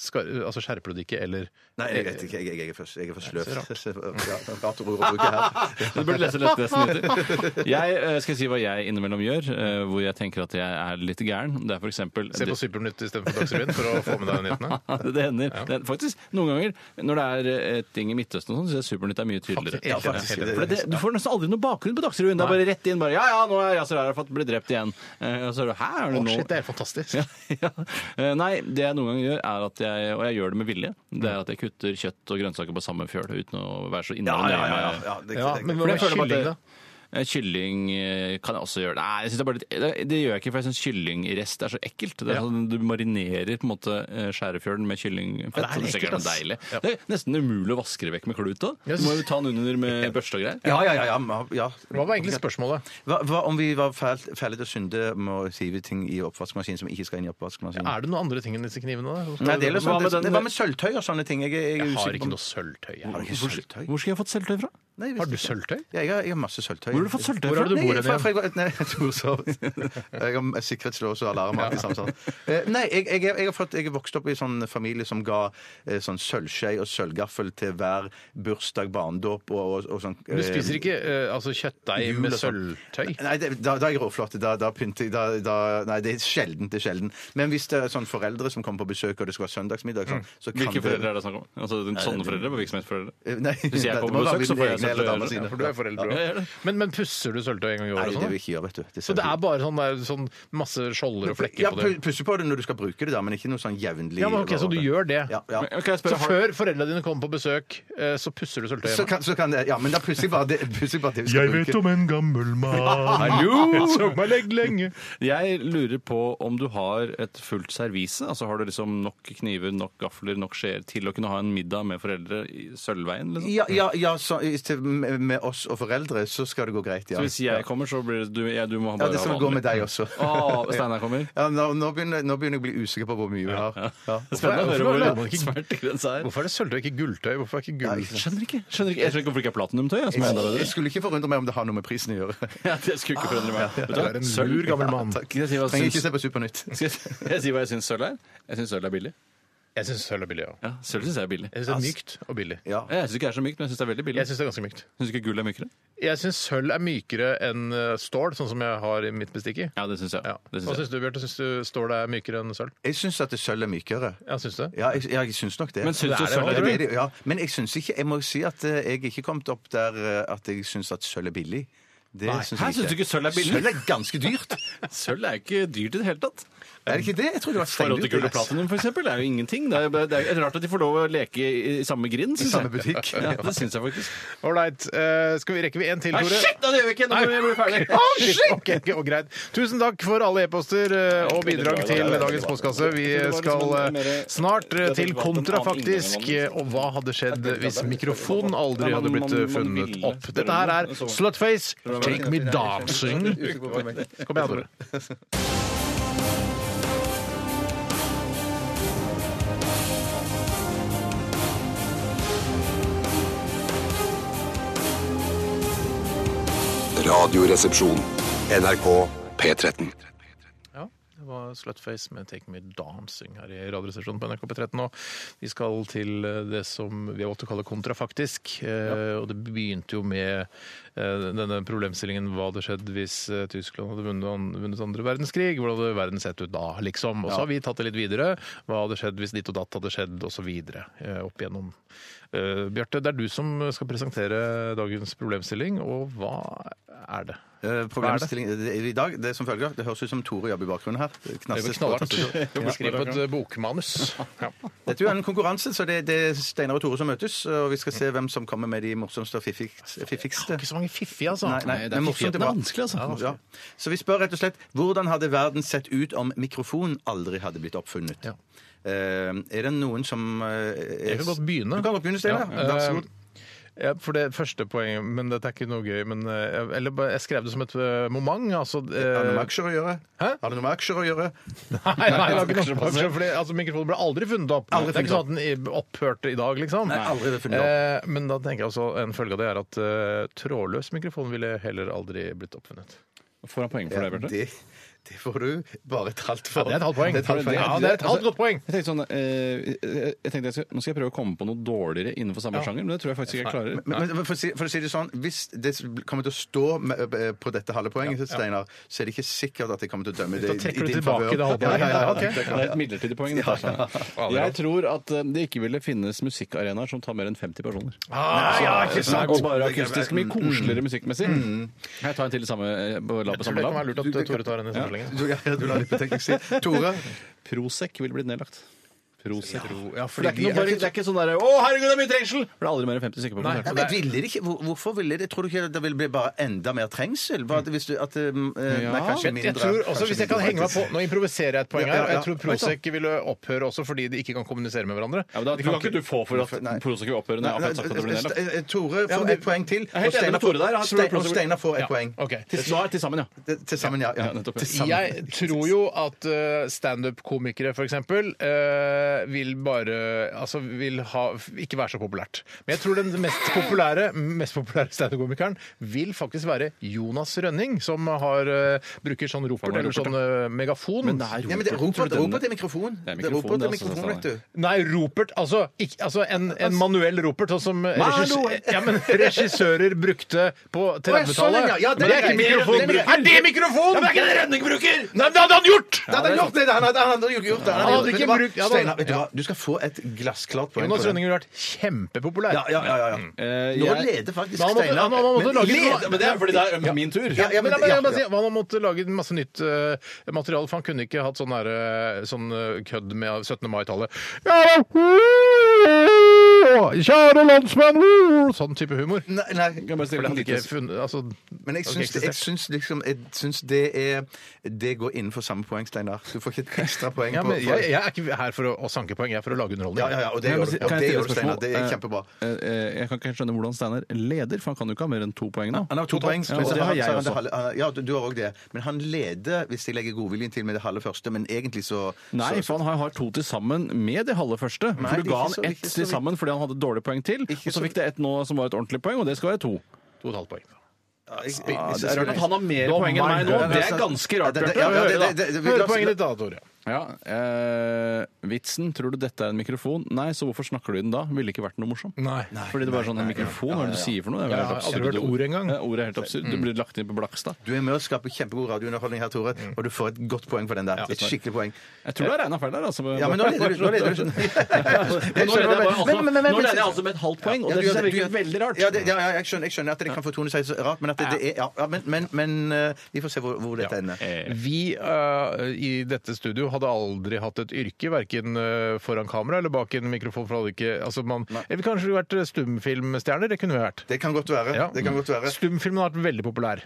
skar, altså skjerper du det ikke, eller Nei, jeg vet ikke. Jeg, jeg, jeg er for, jeg er for sløv. Det Ja, rart ord å bruke her. Du burde lese litt det som heter. Jeg eh, skal si hva jeg innimellom gjør, eh, hvor jeg tenker at jeg er litt gæren. Det er for eksempel Se på Supernytt istedenfor Dagsrevyen for å få med deg nyhetene. det, det hender. Det, faktisk, noen ganger når det er eh, ting i Midtøsten og sånn, syns jeg Supernytt er mye tydeligere. Faktisk, ja, faktisk. Ja, for det, du får nesten aldri noe bakgrunn på Dagsrevyen. Det er bare rett inn bare Ja, ja, nå er Yasir Arafat blitt drept igjen. Eh, Og så er det Hæ, er det Å, nå shit, det er fantastisk. ja, ja. Eh, Nei, det jeg noen ganger gjør, er at jeg, og jeg gjør det med vilje, det er at jeg kutter kjøtt og grønnsaker på samme fjøl uten å være så Ja, innmari ja, nøye ja. ja, med- ja, det, Ja, det- men for hva jeg med føler kylling, at da? det- Eh, Kylling eh, kan jeg også gjøre. Nei, jeg synes det, er bare litt, det, det gjør jeg ikke, for jeg syns kyllingrest er så ekkelt. Det er Ja. sånn, du marinerer på en måte eh, skjærefjølen med kyllingfett. Ja, og Det det er er ekkelt, sikkert ass. deilig. Ja. Det er nesten umulig å vaske det vekk med klut. da. Yes. Du må jo ta den under med børste og greier. Ja, ja, ja. ja, ja. Hva var egentlig spørsmålet? Hva, hva, om vi var fæl- fæle til å synde med å hive ting i oppvaskmaskinen som ikke skal inn i oppvaskmaskinen? Er det noen andre ting enn disse knivene? Da? Nei, det er liksom, Hva med det, den- det var med sølvtøy og sånne ting. Jeg, jeg, Jeg er har usikker på- ikke noe sølvtøy. Jeg. Har du ikke Hvor, sølvtøy? hvor skal jeg ha fått selvtøy fra? Nei, jeg Har du visste ikke. sølvtøy? Ja, jeg har, jeg har masse sølvtøy. Hvor har du fått sølvtøy Hvor er fra? det du Nei, bor hen fra- fra igjen? jeg går- Nei, jeg tror så Jeg har sikkerhetslås og alarm. og alt det samme sånn. Eh, Nei, jeg, jeg, jeg har fått, jeg er vokst opp i en sånn familie som ga eh, sånn sølvskje og sølvgaffel til hver bursdag, barnedåp og, og, og sånn. Du spiser ikke eh, altså, kjøttdeig Jul med og sånn. sølvtøy? Nei, det, da, da er jeg råflott. Da, da pynter jeg da, da, Nei, det er sjelden det er sjelden. Men hvis det er sånn foreldre som kommer på besøk, og det skal være søndagsmiddag sånn, Mm. så kan Hvilke det foreldre er det snakk om? Altså, sånne foreldre? Virksomhetsforeldre? Eh, Nei, Hvis jeg det- kommer det må på være besøk, så mine får jeg egne eller sølvtøy. damer sine. Ja, for du er forelder Ja, jeg er òg. det. Men, men pusser du sølvtøy en gang i Nei, året? det og sånn, vil da? jeg ikke gjøre, vet du. Det Så det er bare sånn, der, sånn masse skjolder og flekker ja, på det? pu- pusse på det når du skal bruke det, da, men ikke noe sånn jevnlig Ja, men ok, Så du gjør det? Ja, ja. Men Kan jeg Så spørre, har, før foreldrene dine kommer på besøk, eh, så pusser du sølvtøyet Så hjemme? kan, så kan det, ja, men da pusser jeg bare det, pusser jeg bare det vi skal bruke. om en gammel mann Hallo! som har ligget lenge. Jeg lurer på om du har et fullt servise? Altså Har du liksom nok kniver, nok gafler, nok skjeer til å kunne ha en middag med foreldre i Sølvveien? Liksom? Ja, ja, ja så, i sted- med med oss og foreldre så skal det gå greit, ja. Så hvis jeg kommer, så blir det du, ja, du må Ja, bare det skal gå med deg også. Å, Steinar kommer. Ja, nå, nå, begynner, nå begynner jeg å bli usikker på hvor mye vi har. Ja. Spennende å Hvorfor- høre hvorfor- hvor smertegrensa er. Hvorfor er det sølvtøy, ikke gulltøy? Hvorfor er ikke gull... Nei, Skjønner ikke. Skjønner ikke. Jeg skjønner ikke hvorfor det ikke er platinumtøy. jeg, Som er enda Jeg bedre. skulle ikke forundre meg om det har noe med prisen å gjøre. Ja, det skulle ikke forundre meg. Vet du Du hva? er en Sølv- lur gammel mann. Skal jeg si hva Trenger jeg ikke syns- se på Supernytt. skal jeg- skal jeg si hva jeg syns sølv er? Jeg syns sølv er billig. Jeg syns sølv er billig. Ja. Ja, Sølv syns jeg er billig. Jeg syns det er mykt og billig. Ja. Jeg syns ikke det er så mykt, men jeg syns det er veldig billig. Jeg syns det er ganske mykt. Syns du ikke gull er mykere? Jeg syns sølv er mykere enn eh, stål, sånn som jeg har i mitt bestikk i. Ja, det syns jeg. Ja. Det Hva syns jeg. syns du, Bjarte? Syns du stål er mykere enn sølv? Jeg syns at det sølv er mykere. Ja, syns du? Ja, jeg, ja, jeg syns nok det. Men syns Det du er det, sølv er hva tror det billig? er det, ja. Men jeg syns ikke Jeg må si at eh, jeg er ikke kommet opp der eh, at jeg syns at sølv er billig. Det Nei. syns Hæ, jeg syns du ikke sølv er billig? Sølv er ganske dyrt. Sølv er ikke dyrt i det hele tatt. Er det ikke det? Jeg trodde det var Forhold til steindyrt. gull og platinum, for eksempel, er jo ingenting. Det er, bare- det er rart at de får lov å leke i, i samme grind, synes samme jeg. butikk. Ja, det syns jeg faktisk. Ålreit. eh, skal vi rekke vi en til, Nei, Tore? shit, da gjør vi ikke! Nå må vi bli ferdig. Å, shit! Ok, ok, og greit. Tusen takk for alle e-poster eh, og bidrag til dagens postkasse. Vi skal eh, snart eh, til kontra, faktisk. Eh, Og hva hadde skjedd hvis mikrofonen aldri hadde blitt eh, funnet opp? Dette her er Slutface, Take Me Dancing. Kom igjen, Tore. Radioresepsjon. NRK P13. Ja, det var Slutface med Take Me Dancing her i Radioresepsjonen på NRK P13. Og vi skal til eh, det som vi har valgt å kalle kontrafaktisk. Eh, Og det begynte jo med eh, denne problemstillingen hva hadde skjedd hvis eh, Tyskland hadde vunnet, an- vunnet andre verdenskrig. Hvordan hadde verden sett ut da, liksom? Og så har vi tatt det litt videre. Hva hadde skjedd hvis ditt og datt hadde skjedd, og så videre eh, opp igjennom. Eh, Bjarte, det er du som skal presentere dagens problemstilling, og hva er det? Eh, Problemstilling i dag det er som følger. Det høres ut som Tore jobber i bakgrunnen her. Det Det knasses blir knallhardt. på tastatur. Ja. Skriv på et eh, bokmanus. Ja. Dette er jo en konkurranse, så det, det er Steinar og Tore som møtes. Og vi skal se hvem som kommer med de morsomste og fiffigst- fiffigste. Ikke så mange fiffige, altså. Nei, nei, Nei, det er men morsomt fiffigheten er bra. vanskelig, altså. Ja, ja. Så vi spør rett og slett hvordan hadde verden sett ut om mikrofon aldri hadde blitt oppfunnet? Ja. Eh, er det noen som eh, er- Jeg kan godt begynne. Du kan godt begynne, Steinar. Ja. eh, Vær så god. Ja, for det første poenget, men dette er ikke noe gøy. Men, eh, eller bare- jeg skrev det som et eh, moment. Altså, Har det eh, noe med aksjer å gjøre? Hæ? Har det noe med aksjer å gjøre? eh, Nei, nei, det var ikke noe aksjer, fordi, altså, mikrofonen ble aldri funnet opp. Aldri det er ikke funnet sånn at den i- opphørte i dag, liksom. Nei, aldri det funnet Eh, men da tenker jeg altså, en følge av det er at eh, trådløs mikrofon ville heller aldri blitt oppfunnet. Får han poeng for det, Bjarte? det, det får du bare et halvt for. Ja, det er et halvt poeng. Det er et halvt Ja, poeng. det altså, er et halvt godt poeng. Jeg tenkte sånn, eh, eh, jeg tenkte jeg skal, Nå skal jeg prøve å komme på noe dårligere innenfor samme sjanger, men det tror jeg faktisk ikke jeg klarer. Men, men for, å si, for å si det sånn, Hvis det kommer til å stå med, eh, på dette halve poenget, Steinar, så er det ikke sikkert at jeg kommer til å dømme det Da i- trekker i du din tilbake favør. det halve Ja, ja, ja, poenget. ja, Det er et midlertidig poeng. dette her, sånn. Jeg tror at eh, det ikke ville finnes musikkarenaer som tar mer enn 50 personer. Ah, ja, ikke Så det går bare akustisk mye koseligere musikkmessig. Jeg tar en til i samme, eh, på- la på Jeg tror det samme kan være lapp. lurt at Tore tar en i sammenhengen. Du, ja, du lar litt betenkningstid. Tore? Prosec ville blitt nedlagt. Prosec. Ja, For det er ikke, vi- noe, bare, det er ikke sånn derre 'Å, herregud, det er mye trengsel!' For det er aldri mer enn 50 stykker på Nei. konsert. Nei, men ville det ikke, hvor- hvorfor ville det? Tror du ikke det ville bli bare enda mer trengsel? Bare at hvis du, at, eh, nei, kanskje mindre. Jeg tror også, kanskje Altså, hvis jeg kan mindre, henge meg på, faktisk. Nå improviserer jeg et poeng Ja, ja, her. og ja. Jeg tror Prosec ville opphøre også fordi de ikke kan kommunisere med hverandre. Ja, men da De kan ikke du få for Nei. at Prosec vil opphøre når jeg Nei, har sagt at det blir nedlagt. Ste- eh, Ja, Tore men får det- ett poeng til. er helt enig og med Steinar får- Tore der. Han tror Ste- Prosec- Og Steinar får Ja. ett poeng. Ok. Til, nå er det til sammen, ja. Til- Til sammen, ja. ja. Ja, nettopp, ja. Til sammen. Jeg tror jo at eh, standup-komikere f.eks. Uh, vil bare Altså vil ha ikke være så populært. Men jeg tror den mest populære mest populære standup-komikeren vil faktisk være Jonas Rønning, som har, eh, bruker sånn Han ropert har eller ropert, sånn eh, megafon. Ja, men det er Tror du ropert den- ropert til mikrofon. Det er Det er ropert mikrofon, til det, altså, mikrofon, vet du. Nei, ropert Altså, ikke, altså en, en manuell ropert, sånn som regissører, ja, men regissører brukte på ja, sånn, 30-tallet. ja. Ja, men det det er er ikke greit. Det er mikrofonbruk. greit. Er det mikrofon?! Det er ikke det Rønning bruker! Nei, men det hadde han gjort! Ja, det er gjort det! Han hadde, han hadde gjort det. Han hadde gjort det. ikke Vet du hva? brukt- ja, da- Steinar, vet du hva? Du skal få et glassklart poeng. Jonas på den. Rønning ville vært kjempepopulær. Ja, ja, ja, ja, ja. Eh, Nå jeg- leder faktisk Men han måtte- Steinar han- han måtte Men lage- leder- Men det er fordi det er min tur. Ja, ja, men, men, nei, men, jeg må ja, si, han måtte lage masse nytt eh, materiale, for han kunne ikke hatt sånn, der, eh, sånn eh, kødd med 17. mai-tallet. Ja, da. Kjære landsmenn! Sånn type humor. ja. Nei, nei. Kan jeg bare For stille det hadde politisk- ikke funnet altså, Men jeg hadde syns, ikke jeg eksistert. syns liksom jeg syns det er Det går innenfor samme poeng, Steinar. Du får ikke et ekstra poeng ja, på men jeg, jeg er ikke her for å, å sanke poeng, jeg er for å lage underholdning. Ja, ja, ja, og det Kan jeg bare si- kan jeg stille gjør du. Ja, det gjør du, et Steinar. Det er spørsmål? kjempebra. Eh, eh, Jeg kan ikke skjønne hvordan Steinar leder, for han kan jo ikke ha mer enn to poeng nå. Han har to poeng. Ja, og det har jeg også. Ja, du du har òg det. Men han leder, hvis jeg legger godviljen til, med det halve første, men egentlig så Nei, så- for han har- har to til sammen med det halve første. Nei, for du ga ikke han så- ett ikke så til vidt. sammen fordi han hadde dårlig poeng til, og så så fikk det ett nå som var et ordentlig poeng, og det skal være to. To og et halvt poeng. Ja, jeg- jeg- Ja, jeg- det er rart at han har mer Dommer. poeng enn meg nå. Det er ganske rart, Ja, det- det- Bjarte. ja, det- Hør, det- det- det- Eh, vi- Hør poenget ditt, da, Tore. Ja, eh, Vitsen 'Tror du dette er en mikrofon?' Nei, så hvorfor snakker du i den da? Ville ikke vært noe morsom. Nei. Fordi det var sånn en mikrofon, hva er det du sier for noe? Det er Ja, jo helt jeg har absurd aldri hørt ordet engang. Ja, ordet er helt absurd. Mm. Du blir lagt inn på Blakstad. Du er med og skaper kjempegod radiounderholdning her, Tore, Mm. og du får et godt poeng for den der. Et skikkelig poeng. Jeg tror du har regna feil der, altså. Ja, men nå leder du. Nå leder du. Men nå leder jeg bare altså- Men- men- men- men- nå leder jeg altså med et halvt poeng, og Ja, det du gjør synes jeg du virker gjør- veldig rart. Ja, det, ja, ja, jeg, skjønner, jeg skjønner at det kan fortone seg så rart, men at det, det er ja, ja, Men, men, men eh, vi får se hvor, hvor dette ender. Vi eh, i dette studio hadde aldri hatt et yrke, verken eh, foran kamera eller bak en mikrofon. For hadde ikke, altså man, jeg ville kanskje vært eh, stumfilmstjerner. Det kunne vi vært. Det kan godt være. Ja. Det kan godt være. Stumfilmen har vært veldig populær.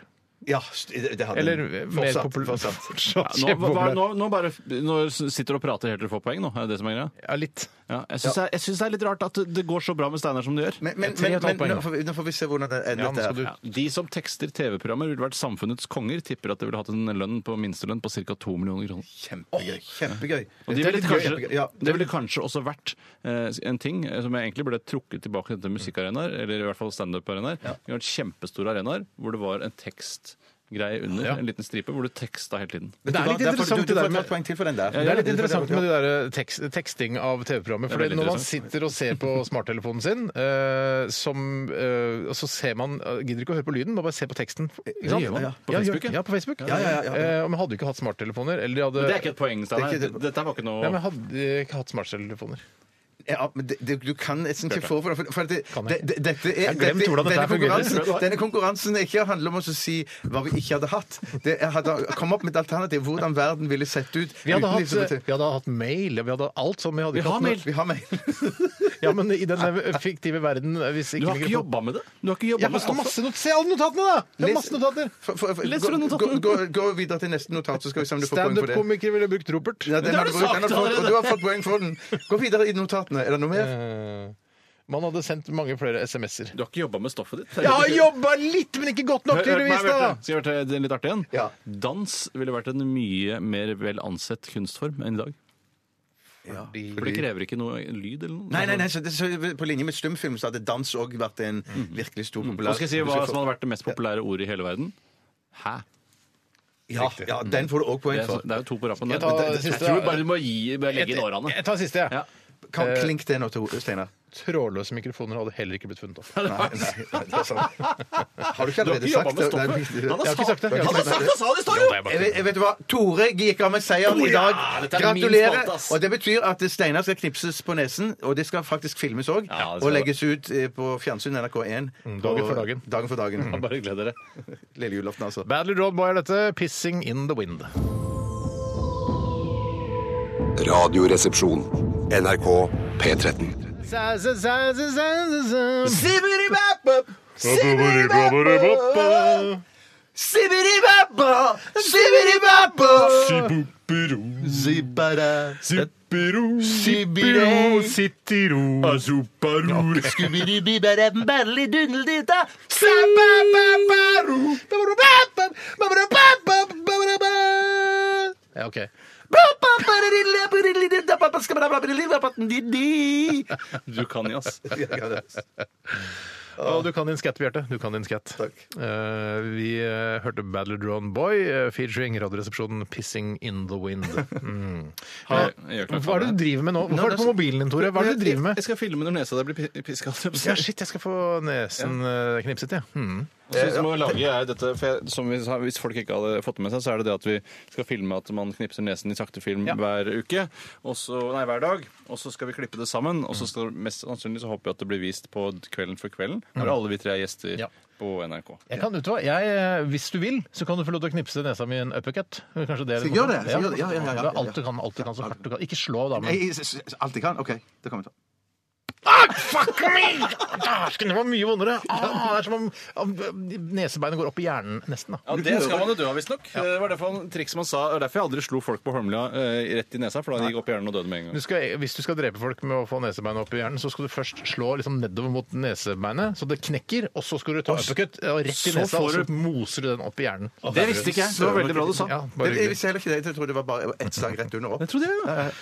Ja, det det hadde Eller den. eh, mer fortsatt, populær. fortsatt. Nå, Fortsatt hva- hva- kjempepopulær. nå, nå, bare, nå sitter du og prater helt til du får poeng, nå. Er det det som er greia? Ja, litt. Ja, jeg syns det, det er litt rart at det går så bra med Steinar som det gjør. Men, men, Tre og men, et halvt men poeng, nå, får vi, nå får vi se hvordan det ender. Ja, nå dette her. skal du Ja, de som tekster TV-programmer, ville vært samfunnets konger. Tipper at de ville hatt en lønn på minstelønn på ca. 2 millioner kroner. Kjempegøy. Kjempegøy. Og det Dette er ville, litt gøy, kanskje, kjempegøy. Ja. det ville kanskje også vært eh, en ting eh, som jeg egentlig burde trukket tilbake til musikkarenaer, eller i hvert fall standup-arenaer. Det var Kjempestore arenaer hvor det var en tekstgreie under, Ja. en liten stripe, hvor du teksta hele tiden. Vet du Det er hva, litt der får interessant du- du det der får med- et poeng til for den der. Det er litt Ja, interessant ja. med det der eh, tekst, teksting av TV-programmet. Det er For veldig når man interessant. sitter og ser på smarttelefonen sin, eh, som, eh, og så ser man eh, Gidder ikke å høre på lyden, man bare ser på teksten. Ikke sant? gjør man, Ja, på ja, Facebook, ja. gjør- Ja, på Facebook. Ja, ja, ja, ja. Eh, og man hadde jo ikke hatt smarttelefoner. Eller de hadde Men det er ikke et poeng, Steinar. Det er ikke- Dette var ikke noe Nei, men hadde ikke hatt smarttelefoner. Ja, men det, det, du kan nesten ikke få for det. For, for det, Kan det, jeg? det dette Jeg er, har glemt dette- hvordan dette her denne, fungerer. konkurransen, denne konkurransen er ikke handler om å si hva vi ikke hadde hatt. Det jeg hadde Kom opp med et alternativ. Hvordan verden ville sett ut. Vi hadde, uten hatt, disse eh, vi hadde hatt mail, vi hadde alt sånn. Vi, hadde Vi ikke har hatt noe- mail. Vi har mail. Ja, men i den fiktive verden eh, hvis Du har ikke vi- jobba med det. Du har ikke Jeg jobbet med har stoffet. masse not se alle notatene, da! Jeg har Les- masse notater. For- for- for- Les gå- fra notatene. Gå, gå, gå videre til neste notat, så skal vi se om du får poeng for det. Standup-komiker ville brukt Robert. Ja, den har har du du brukt, sagt den har du fått, og allerede. du har fått poeng for den. Gå videre i notatene. Er det noe mer? Eh, Man hadde sendt mange flere SMS-er. Du har ikke jobba med stoffet ditt. Jeg har jobba litt, men ikke godt nok, Hør- hør på meg, tydeligvis! da Bjarte. Skal jeg gjøre det litt artig igjen? Ja. Dans ville vært en mye mer vel ansett kunstform enn i dag. For det krever ikke noe lyd eller noe. Nei, nei, nei, så, det, så på linje med stumfilm så hadde dans òg vært en virkelig stor populær Hva Mm. skal jeg si hva som hadde vært det mest populære ordet i hele verden? Hæ? ja, ja, den får du òg poeng Det er, sånn, for. det er jo to på rappen. Jeg der. tar Men det- det Jeg siste, tror da. bare du må gi, bare legge inn årene. Jeg tar siste, jeg. Ja. Kan eh, klink det nå til hodet, Steinar. Trådløse mikrofoner hadde heller ikke blitt funnet opp. Nei, nei, nei, det er sant. Har du ikke Du har allerede ikke jobba sagt med det? Nei, stoffet. Han Jeg det- har har ikke sagt det. Jeg har ikke sagt det. Hva sa de, står jo? Jeg vet, jeg vet du hva? Tore gikk av med seieren i dag. dette er min Gratulerer. spalte, ass. Og det betyr at Steinar skal knipses på nesen, og det skal faktisk filmes òg. Ja, det Mm, skal og legges ut eh, på fjernsyn NRK1. dagen på- for dagen. Dagen for dagen. Bare gled dere. Lille julaften, altså. Badly Road Boy er dette. 'Pissing in the Wind'. Radioresepsjon. NRK P13. Sa, sa, sa, sa, sa, sa, sa. Sibbidi-babba, sibbidi-babba, sibbidi-babba, sibbidi-babba. Zibbada, Sibiro, sitiro. skubbidi-bibba-dabba-badli-dundel-ditta, sabba-babba-ro, babba-babba, babba-babba-babba-babba. Ja, OK. Babba-babba-didla-babba-didla-babba-skabba-dabba-didla-babba-didla-di. Du kan jo, ass. Og du kan din skatt, Bjarte. Du kan din skatt. Eh, vi eh, hørte Badly Drone Boy eh, featuring Radioresepsjonen 'Pissing in the Wind'. Mm. Har- jeg gjør klart Hva er det du driver med nå? Hvorfor er det på mobilen din, Tore? Hva er det du driver med? Jeg skal filme når nesa di blir piska. Ja, shit, jeg skal få nesen eh, knipset, jeg. Ja. Mm. Så vi må lage er dette, for jeg, som vi sa, Hvis folk ikke hadde fått det med seg, så er det det at vi skal filme at man knipser nesen i sakte film hver uke. Og så, nei, hver dag. Og så skal vi klippe det sammen. Og så skal mest sannsynlig så håper jeg at det blir vist på Kvelden for kvelden, når alle vi tre er gjester Mm. Ja. på NRK. Jeg kan, vet du hva? Jeg, eh, hvis du vil, så kan du få lov til å knipse nesa mi i en uppercut. Kanskje det er Skal jeg litt gjøre det? Skal jeg morsomt. gjøre det? Ja, ja, ja, ja. Det er alt du kan, alt du kan, så hardt du kan. Ikke slå, da. Men... Jeg- jeg- Alt jeg kan? OK, det kommer jeg til. Fuck me! Dæsken, det var mye vondere. Ah, det er som om om nesebeinet går opp i hjernen, nesten. da. Ja, Det skal man jo dø av, visstnok. Eh, Det var derfor han, trikset man sa. Det er derfor jeg aldri slo folk på Holmlia eh, rett i nesa, for da gikk opp i hjernen og døde med en gang. Du skal, hvis du skal drepe folk med å få nesebeinet opp i hjernen, så skal du først slå liksom nedover mot nesebeinet, så det knekker, og så skal du ta uppercut eh, og rett i så nesa, og får så moser du den opp i hjernen. Det visste ikke jeg. Det var veldig bra du sa. Ja, bare Det, jeg hyggelig. visste heller ikke det. Jeg trodde det var bare ett slag rett under opp. Jeg trodde jeg, ja.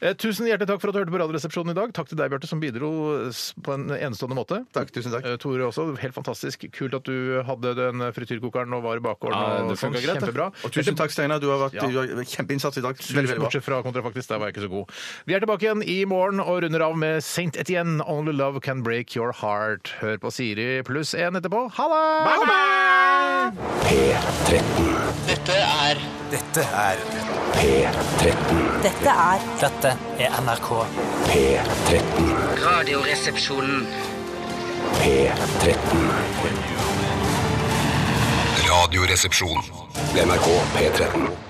Eh, Tusen hjertelig takk for at du hørte på Radioresepsjonen i dag. Takk til deg, Bjarte, som bidro s- på en enestående måte. Takk, tusen takk. Eh, Tore også, helt fantastisk. Kult at du hadde den frityrkokeren og var i bakgården. Ja, og det sånn. funket greit, det. Kjempebra. Og tusen takk, Steinar. Du har vært Ja. du har kjempeinnsats i dag. Veldig, veldig bra. Bortsett fra kontrafaktisk, der var jeg ikke så god. Vi er tilbake igjen i morgen og runder av med Saint Etienne, Only Love Can Break Your Heart. Hør på Siri pluss én etterpå. Ha det! Bye bye! P13. Dette er P13. Dette er Dette er NRK. P13. Radioresepsjonen. P13. Radioresepsjon. NRK P13.